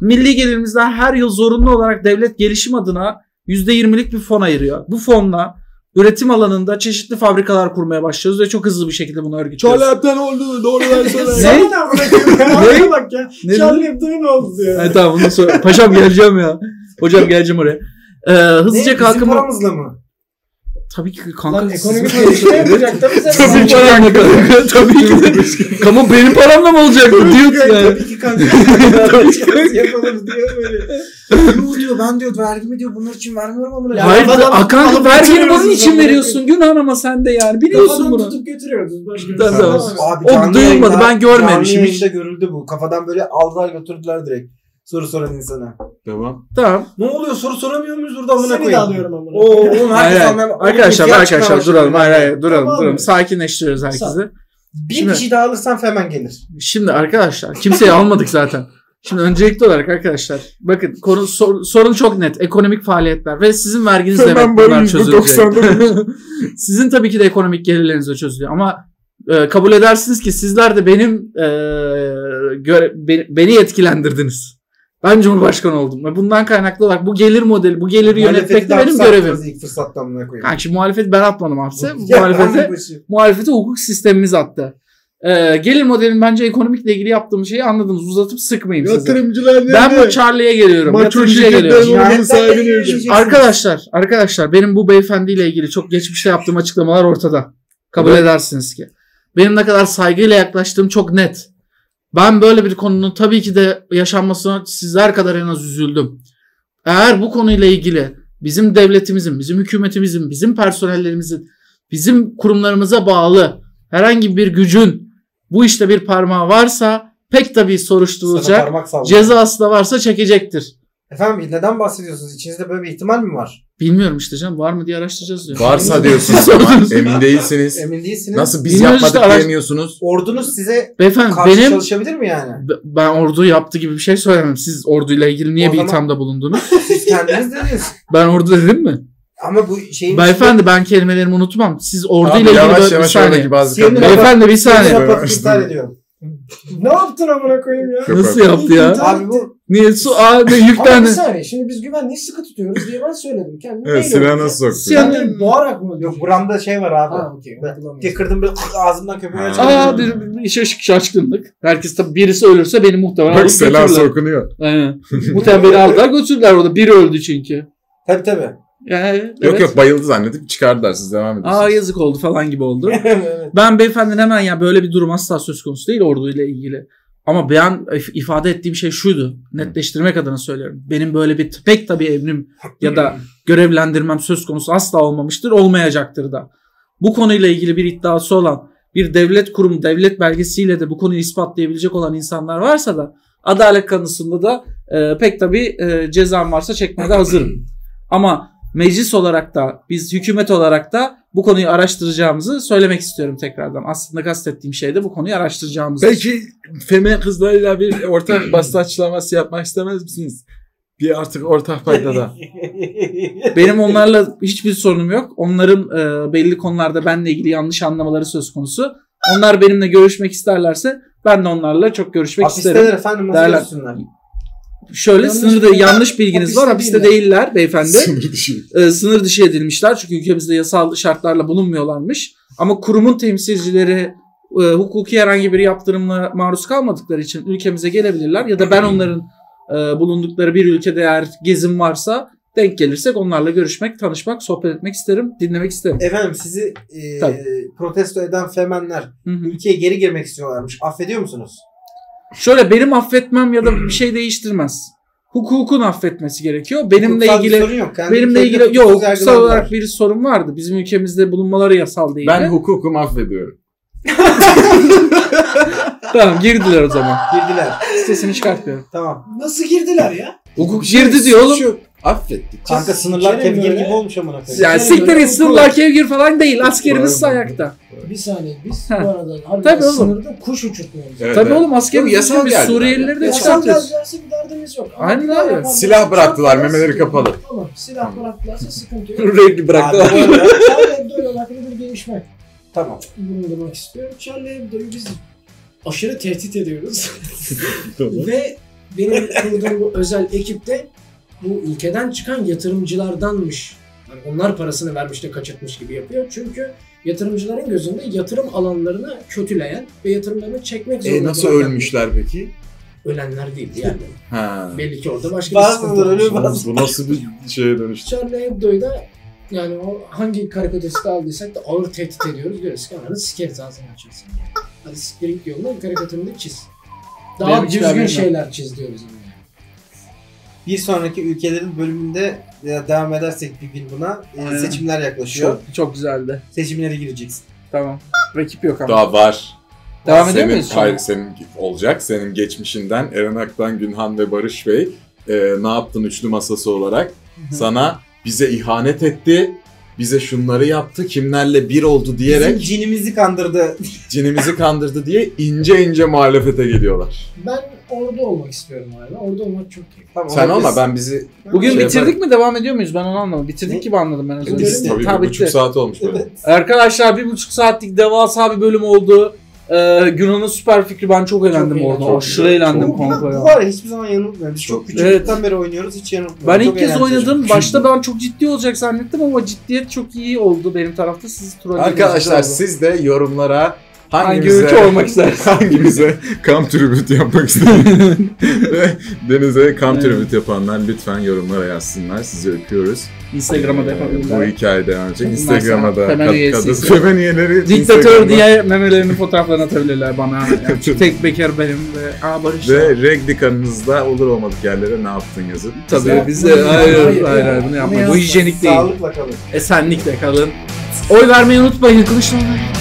[SPEAKER 3] milli gelirimizden her yıl zorunlu olarak devlet gelişim adına %20'lik bir fon ayırıyor. Bu fonla üretim alanında çeşitli fabrikalar kurmaya başlıyoruz ve çok hızlı bir şekilde bunu örgütlüyoruz.
[SPEAKER 4] Çalaptan oldu doğru
[SPEAKER 5] Sana ne
[SPEAKER 3] Ne?
[SPEAKER 5] yapıyorsun? bak ya.
[SPEAKER 3] Ne
[SPEAKER 5] Charlie Hebdo'ya ne oldu ya?
[SPEAKER 3] Ha, tamam bunu sor. Paşam geleceğim ya. Hocam geleceğim oraya. Ee,
[SPEAKER 2] Ne?
[SPEAKER 3] hızlıca
[SPEAKER 2] Bizim
[SPEAKER 3] kalkınma...
[SPEAKER 2] paramızla mı?
[SPEAKER 3] Tabii ki kanka.
[SPEAKER 5] Lan
[SPEAKER 3] siz-
[SPEAKER 5] ekonomik ölçüde yapacak tabii sen.
[SPEAKER 3] Tabii ki paramla kanka. Tabii ki de. Kamu benim paramla mı olacaktı? Diyor yani.
[SPEAKER 1] Tabii ki kanka.
[SPEAKER 3] Tabii ki.
[SPEAKER 1] Yapalım diyor böyle. Yuh diyor ben diyor vergimi diyor bunlar için vermiyorum ama.
[SPEAKER 5] Ya
[SPEAKER 3] Hayır
[SPEAKER 5] kafadan
[SPEAKER 3] Akan
[SPEAKER 5] alıp
[SPEAKER 3] vergini
[SPEAKER 5] götürüyoruz
[SPEAKER 3] bunun için
[SPEAKER 5] zaten.
[SPEAKER 3] veriyorsun. Günah ama sen de yani. Biliyorsun
[SPEAKER 5] Kafadan
[SPEAKER 3] bunu.
[SPEAKER 5] tutup götürüyoruz. Başka bir
[SPEAKER 3] Tabii,
[SPEAKER 5] şey
[SPEAKER 3] tabii.
[SPEAKER 5] yapamıyoruz.
[SPEAKER 1] Abi
[SPEAKER 3] O
[SPEAKER 1] canlı
[SPEAKER 3] duyulmadı,
[SPEAKER 1] yayında-
[SPEAKER 3] ben görmemişim
[SPEAKER 1] canlı yayında
[SPEAKER 3] hiç.
[SPEAKER 1] görüldü bu. Kafadan böyle aldılar götürdüler direkt. Soru soran insana.
[SPEAKER 7] Tamam.
[SPEAKER 3] Tamam.
[SPEAKER 1] Ne oluyor soru soramıyor muyuz burada amına
[SPEAKER 5] Seni de
[SPEAKER 1] koyayım?
[SPEAKER 5] alıyorum amına.
[SPEAKER 1] Oo, oğlum
[SPEAKER 3] Hayır,
[SPEAKER 1] herkes
[SPEAKER 3] hayır.
[SPEAKER 1] anlayamaz. Oğlum, şey
[SPEAKER 3] Arkadaşlar
[SPEAKER 1] ihtiyaç
[SPEAKER 3] arkadaşlar
[SPEAKER 1] çıkarmışlar
[SPEAKER 3] duralım.
[SPEAKER 1] bunlar.
[SPEAKER 3] Hayır hayır duralım
[SPEAKER 5] Tamam.
[SPEAKER 3] duralım. Sakinleştiriyoruz herkesi.
[SPEAKER 1] Bir
[SPEAKER 3] Şimdi-
[SPEAKER 1] kişi daha alırsan hemen gelir.
[SPEAKER 3] Şimdi arkadaşlar kimseyi almadık zaten. Şimdi öncelikli olarak arkadaşlar bakın konu, sor- sorun çok net. Ekonomik faaliyetler ve sizin verginiz
[SPEAKER 4] Hemen
[SPEAKER 3] demek
[SPEAKER 4] böyle
[SPEAKER 3] bunlar çözülecek.
[SPEAKER 4] %99.
[SPEAKER 3] sizin tabii ki de ekonomik gelirleriniz de çözülüyor ama e, kabul edersiniz ki sizler de benim e, göre- be- beni yetkilendirdiniz. Ben Cumhurbaşkanı oldum. ve Bundan kaynaklı olarak bu gelir modeli, bu geliri
[SPEAKER 1] Muhalefeti
[SPEAKER 3] yönetmek de
[SPEAKER 1] de
[SPEAKER 3] benim
[SPEAKER 1] hapse atacağız
[SPEAKER 3] görevim.
[SPEAKER 1] İlk fırsatta amına koyayım.
[SPEAKER 3] Kanki muhalefeti ben atmadım hapse.
[SPEAKER 1] Ya,
[SPEAKER 3] Muhalefete
[SPEAKER 1] anlamışım.
[SPEAKER 3] muhalefete hukuk sistemimiz attı. Ee, gelir modelinin bence ekonomikle ilgili yaptığım şeyi anladınız. Uzatıp sıkmayın sizi.
[SPEAKER 4] Yatırımcılar
[SPEAKER 3] Ben bu Charlie'ye geliyorum. Yatırımcıya geliyorum.
[SPEAKER 1] olmayan
[SPEAKER 4] Bunun
[SPEAKER 1] Cinayetler
[SPEAKER 4] sahibini
[SPEAKER 1] de-
[SPEAKER 4] ödeyecek.
[SPEAKER 3] Arkadaşlar, arkadaşlar benim bu beyefendiyle ilgili çok geçmişte yaptığım açıklamalar ortada. Kabul edersiniz ki. Benim ne kadar saygıyla yaklaştığım çok net. Ben böyle bir konunun tabii ki de yaşanmasına sizler kadar en az üzüldüm. Eğer bu konuyla ilgili bizim devletimizin, bizim hükümetimizin, bizim personellerimizin, bizim kurumlarımıza bağlı herhangi bir gücün bu işte bir parmağı varsa pek tabii
[SPEAKER 1] Sana
[SPEAKER 3] soruşturulacak.
[SPEAKER 1] parmak salladım.
[SPEAKER 3] Cezası da varsa çekecektir.
[SPEAKER 1] Efendim neden bahsediyorsunuz? İçinizde böyle bir ihtimal mi var?
[SPEAKER 3] Bilmiyorum işte canım var mı diye araştıracağız diyor.
[SPEAKER 7] Varsa diyorsunuz ama emin değilsiniz.
[SPEAKER 1] Emin değilsiniz.
[SPEAKER 7] Nasıl biz
[SPEAKER 3] Bilmiyoruz
[SPEAKER 7] yapmadık
[SPEAKER 3] da araç-
[SPEAKER 7] diyemiyorsunuz?
[SPEAKER 1] Ordunuz size
[SPEAKER 3] Beyefendi
[SPEAKER 1] karşı
[SPEAKER 3] benim
[SPEAKER 1] çalışabilir mi yani?
[SPEAKER 3] b- ben ordu yaptı gibi bir şey söylemem. Siz orduyla ilgili niye
[SPEAKER 1] O
[SPEAKER 3] bir
[SPEAKER 1] zaman-
[SPEAKER 3] ithamda bulundunuz?
[SPEAKER 1] Siz kendiniz dediniz.
[SPEAKER 3] Ben ordu dedim mi?
[SPEAKER 1] Ama bu şeyin
[SPEAKER 3] Beyefendi ben kelimelerimi unutmam. Siz orduyla
[SPEAKER 7] Abi
[SPEAKER 3] ilgili
[SPEAKER 7] yavaş
[SPEAKER 3] böyle- bir
[SPEAKER 7] yavaş
[SPEAKER 3] saniye.
[SPEAKER 7] oradaki bazı
[SPEAKER 1] Yemin
[SPEAKER 7] kadınlar.
[SPEAKER 1] ederim.
[SPEAKER 3] Beyefendi bir
[SPEAKER 1] içinde
[SPEAKER 3] saniye.
[SPEAKER 1] raporu iptal ediyor.
[SPEAKER 5] Ne yaptın amına koyayım ya?
[SPEAKER 3] Nasıl yaptı ya?
[SPEAKER 1] Abi bu
[SPEAKER 3] Niye su aa, ne,
[SPEAKER 5] Ama bir
[SPEAKER 3] yüklendi?
[SPEAKER 5] saniye şimdi biz güvenliği sıkı tutuyoruz diye ben söyledim. Kendimi
[SPEAKER 4] Evet silahı nasıl soktu?
[SPEAKER 3] Siyan-
[SPEAKER 5] Boğarak mı?
[SPEAKER 1] yok buramda şey var abi.
[SPEAKER 5] Ha okey.
[SPEAKER 1] Ben-
[SPEAKER 5] uygulamayız.
[SPEAKER 1] Diye kırdım böyle ağzımdan köpüğü
[SPEAKER 7] Ha.
[SPEAKER 1] açtım.
[SPEAKER 3] Aa bir, bir işe şık şaşkınlık. Herkes tabii birisi ölürse beni muhtemelen
[SPEAKER 4] Bak
[SPEAKER 3] alıp
[SPEAKER 4] selam
[SPEAKER 3] götürürler.
[SPEAKER 4] sokunuyor.
[SPEAKER 3] Aynen. muhtemelen beni aldılar götürdüler orada. Biri öldü çünkü.
[SPEAKER 1] Tabii tabii.
[SPEAKER 3] Yani,
[SPEAKER 4] Yok
[SPEAKER 3] evet.
[SPEAKER 4] yok bayıldı zannedip çıkardılar siz devam edin.
[SPEAKER 3] Aa yazık oldu falan gibi oldu.
[SPEAKER 1] Evet.
[SPEAKER 3] Ben beyefendinin hemen ya böyle bir durum asla söz konusu değil orduyla ilgili. Ama ben if- ifade ettiğim şey şuydu. Netleştirmek adına söylüyorum. Benim böyle bir pek tabii emrim ya da görevlendirmem söz konusu asla olmamıştır. Olmayacaktır da. Bu konuyla ilgili bir iddiası olan bir devlet kurumu devlet belgesiyle de bu konuyu ispatlayabilecek olan insanlar varsa da adalet kanısında da e, pek tabii e, cezam varsa çekmeye de hazırım. Ama meclis olarak da biz hükümet olarak da bu konuyu araştıracağımızı söylemek istiyorum tekrardan. Aslında kastettiğim şey de bu konuyu araştıracağımız.
[SPEAKER 4] Peki Feme kızlarıyla bir ortak basın açıklaması yapmak istemez misiniz? Bir artık ortak paydada.
[SPEAKER 5] e,
[SPEAKER 3] Benim onlarla hiçbir sorunum yok. Onların e, belli konularda benle ilgili yanlış anlamaları söz konusu. Onlar benimle görüşmek isterlerse ben de onlarla çok görüşmek isterim.
[SPEAKER 1] Hapisteler efendim nasıl
[SPEAKER 3] Değerler-
[SPEAKER 1] görsünler?
[SPEAKER 3] Şöyle
[SPEAKER 5] Yanlış-
[SPEAKER 3] sınırda yanlış bilginiz
[SPEAKER 5] Hapiste
[SPEAKER 3] var. Hapiste
[SPEAKER 5] değiller.
[SPEAKER 3] değiller beyefendi.
[SPEAKER 4] Sınır dışı.
[SPEAKER 3] e, sınır dışı edilmişler. Çünkü ülkemizde yasal şartlarla bulunmuyorlarmış. Ama kurumun temsilcileri e, hukuki herhangi bir yaptırımla maruz kalmadıkları için ülkemize gelebilirler. Ya da ben onların e, bulundukları bir ülkede eğer gezim varsa denk gelirsek onlarla görüşmek, tanışmak, sohbet etmek isterim, dinlemek isterim.
[SPEAKER 1] Efendim sizi e,
[SPEAKER 3] Tabii.
[SPEAKER 1] protesto eden femenler
[SPEAKER 3] Hı hı.
[SPEAKER 1] ülkeye geri girmek istiyorlarmış. Affediyor musunuz?
[SPEAKER 3] Şöyle benim affetmem ya da bir şey değiştirmez. Hukukun affetmesi gerekiyor. Benimle
[SPEAKER 1] Hukuksal bir
[SPEAKER 3] ilgili
[SPEAKER 1] sorun yok. Kendi
[SPEAKER 3] benimle
[SPEAKER 1] ülkelerinde
[SPEAKER 3] ilgili yok
[SPEAKER 1] hukuksuz
[SPEAKER 3] hukuksal
[SPEAKER 1] yargılandılar.
[SPEAKER 3] olarak bir sorun vardı. Bizim ülkemizde bulunmaları yasal değil.
[SPEAKER 7] Ben hukukum affediyorum.
[SPEAKER 3] Tamam girdiler o zaman.
[SPEAKER 1] girdiler.
[SPEAKER 3] Sesini çıkartmıyorum.
[SPEAKER 1] Tamam.
[SPEAKER 5] Nasıl girdiler ya?
[SPEAKER 7] Hukuk
[SPEAKER 3] Girdi diyor oğlum.
[SPEAKER 7] Affettik.
[SPEAKER 1] Kanka sınırlar
[SPEAKER 5] Sikerim
[SPEAKER 1] kevgir
[SPEAKER 5] böyle.
[SPEAKER 1] gibi olmuş amına koyayım.
[SPEAKER 3] Yani
[SPEAKER 5] Sen
[SPEAKER 3] siktir
[SPEAKER 5] böyle
[SPEAKER 3] et sınırlar
[SPEAKER 5] okul-
[SPEAKER 3] kevgir falan değil. Askerimiz
[SPEAKER 7] Var mı?
[SPEAKER 3] ayakta.
[SPEAKER 5] Bir saniye biz bu
[SPEAKER 3] Ha.
[SPEAKER 5] arada harbiden
[SPEAKER 3] Tabii oğlum.
[SPEAKER 5] sınırda kuş uçurtmuyoruz.
[SPEAKER 7] Evet,
[SPEAKER 3] Tabii
[SPEAKER 7] evet.
[SPEAKER 3] oğlum askerimiz
[SPEAKER 7] Tabii yasal
[SPEAKER 3] için biz
[SPEAKER 7] geldiler
[SPEAKER 3] Suriyelileri de
[SPEAKER 5] Yasal
[SPEAKER 3] çıkartıyoruz.
[SPEAKER 5] geldilerse bir derdimiz yok. Ama
[SPEAKER 3] Aynen
[SPEAKER 5] bir daha
[SPEAKER 3] abi.
[SPEAKER 5] yaparlar.
[SPEAKER 7] Silah bıraktılar,
[SPEAKER 5] Bıraktılar,
[SPEAKER 7] memeleri
[SPEAKER 5] sıkıntı yok.
[SPEAKER 7] kapalı.
[SPEAKER 5] Tamam silah bıraktılarsa sıkıntı yok.
[SPEAKER 4] Renkli
[SPEAKER 1] Abi, bu arada-
[SPEAKER 5] Charlie Hebdo'yla alakalı bir gelişme
[SPEAKER 1] tamam.
[SPEAKER 5] bulundurmak istiyorum. Charlie Hebdo'yu biz aşırı tehdit ediyoruz. Ve benim kurduğum bu özel ekipte bu ülkeden çıkan yatırımcılardanmış. Yani onlar parasını vermiş de kaçırtmış gibi yapıyor. Çünkü yatırımcıların gözünde yatırım alanlarını kötüleyen ve yatırımlarını çekmek zorunda.
[SPEAKER 7] E nasıl
[SPEAKER 5] bırakan-
[SPEAKER 7] ölmüşler peki?
[SPEAKER 5] Ölenler değil yani.
[SPEAKER 7] Ha.
[SPEAKER 5] Belli ki orada başka bir
[SPEAKER 1] Bazıları
[SPEAKER 5] sıkıntı
[SPEAKER 1] öyle
[SPEAKER 5] var.
[SPEAKER 1] bazı.
[SPEAKER 4] Bu nasıl bir şeye dönüştü?
[SPEAKER 5] Charlie Hebdo'yu da Yani o hangi karikatüristi aldıysak da ağır tehdit ediyoruz. Diyoruz ki ananı sikeriz ağzını açarsın. Hadi siktir git yoluna karikatürünü de çiz. Daha
[SPEAKER 3] Benim hiç haberim
[SPEAKER 5] düzgün
[SPEAKER 3] yok.
[SPEAKER 5] şeyler çiz diyoruz. Yani.
[SPEAKER 2] Bir sonraki ülkelerin bölümünde
[SPEAKER 1] e,
[SPEAKER 2] ya devam edersek bir gün buna e,
[SPEAKER 3] Aynen.
[SPEAKER 2] seçimler yaklaşıyor.
[SPEAKER 3] Çok, çok güzeldi.
[SPEAKER 2] Seçimlere gireceksin.
[SPEAKER 3] Tamam. Rakip yok ama.
[SPEAKER 4] Daha var.
[SPEAKER 3] Devam
[SPEAKER 4] senin,
[SPEAKER 3] ediyor muyuz? şu an?
[SPEAKER 4] hayır, senin olacak. Senin geçmişinden Eren Aktan, Günhan ve Barış Bey e, ne yaptın üçlü masası olarak? Sana bize ihanet etti. Bize şunları yaptı. Kimlerle bir oldu
[SPEAKER 2] Bizim
[SPEAKER 4] diyerek
[SPEAKER 2] cinimizi kandırdı.
[SPEAKER 4] cinimizi kandırdı diye ince ince muhalefete geliyorlar.
[SPEAKER 5] Ben orada olmak istiyorum hala. Orada olmak çok keyifli.
[SPEAKER 2] Tamam,
[SPEAKER 4] Sen
[SPEAKER 2] olabilir.
[SPEAKER 4] ama ben bizi...
[SPEAKER 3] Bugün
[SPEAKER 4] Şey
[SPEAKER 3] bitirdik mi devam ediyor muyuz? Ben onu anlamadım. Bitirdik gibi anladım ben az önce.
[SPEAKER 4] Biz, tabii
[SPEAKER 3] Ha,
[SPEAKER 4] bir buçuk
[SPEAKER 3] bitti.
[SPEAKER 4] saat olmuş böyle.
[SPEAKER 3] Arkadaşlar bir buçuk saatlik devasa bir bölüm oldu. Ee, Günhan'ın süper fikri ben çok eğlendim
[SPEAKER 5] eğlenceli.
[SPEAKER 3] orada.
[SPEAKER 5] Çok
[SPEAKER 3] Aşırı
[SPEAKER 4] güzel.
[SPEAKER 3] eğlendim
[SPEAKER 2] Bu, bu,
[SPEAKER 3] kanka ya.
[SPEAKER 2] var ya hiçbir zaman yanılmıyor. Biz çok,
[SPEAKER 4] Çok
[SPEAKER 2] küçüklükten beri oynuyoruz hiç yanılmıyor.
[SPEAKER 3] Ben
[SPEAKER 2] Çok
[SPEAKER 3] ilk kez
[SPEAKER 2] eğlenceli.
[SPEAKER 3] oynadım. Başta ben çok ciddi olacak zannettim ama ciddiyet çok iyi oldu benim tarafta. Sizi trollediniz.
[SPEAKER 4] Arkadaşlar
[SPEAKER 3] Güzel oldu.
[SPEAKER 4] siz de yorumlara
[SPEAKER 3] şey hangi
[SPEAKER 4] hangimize,
[SPEAKER 3] ülke olmak istersiniz?
[SPEAKER 4] hangimize kamp tribüt yapmak istediğiniz ve Deniz'e kamp tribüt yapanlar lütfen yorumlara yazsınlar. Sizi öpüyoruz. Ee,
[SPEAKER 3] Instagram'a da
[SPEAKER 4] Bu
[SPEAKER 3] yapabilirler.
[SPEAKER 4] hikaye devam edecek.
[SPEAKER 3] Bunlar
[SPEAKER 4] Instagram'a da
[SPEAKER 3] sana temel
[SPEAKER 4] kat,
[SPEAKER 3] üyesi.
[SPEAKER 4] katıl. Femen üyeleri
[SPEAKER 3] Diktatör
[SPEAKER 4] Instagram'da.
[SPEAKER 3] diye memelerini fotoğraflarını atabilirler bana. Yani şu tek bekar benim ve aa barış. da-
[SPEAKER 4] Ve regdikanınızda olur olmadık yerlere ne yaptın yazın.
[SPEAKER 3] Tabii
[SPEAKER 5] Ya,
[SPEAKER 3] biz
[SPEAKER 5] bunu
[SPEAKER 3] de
[SPEAKER 5] yapma,
[SPEAKER 3] hayır
[SPEAKER 5] hayır
[SPEAKER 3] hayır,
[SPEAKER 5] ya.
[SPEAKER 3] hayır bunu
[SPEAKER 5] Bunu
[SPEAKER 3] yapmayın. Bu
[SPEAKER 5] yapma.
[SPEAKER 3] hijyenik değil.
[SPEAKER 2] Sağlıkla kalın.
[SPEAKER 3] Esenlikle kalın. Oy vermeyi unutmayın. Kılıçdaroğlu.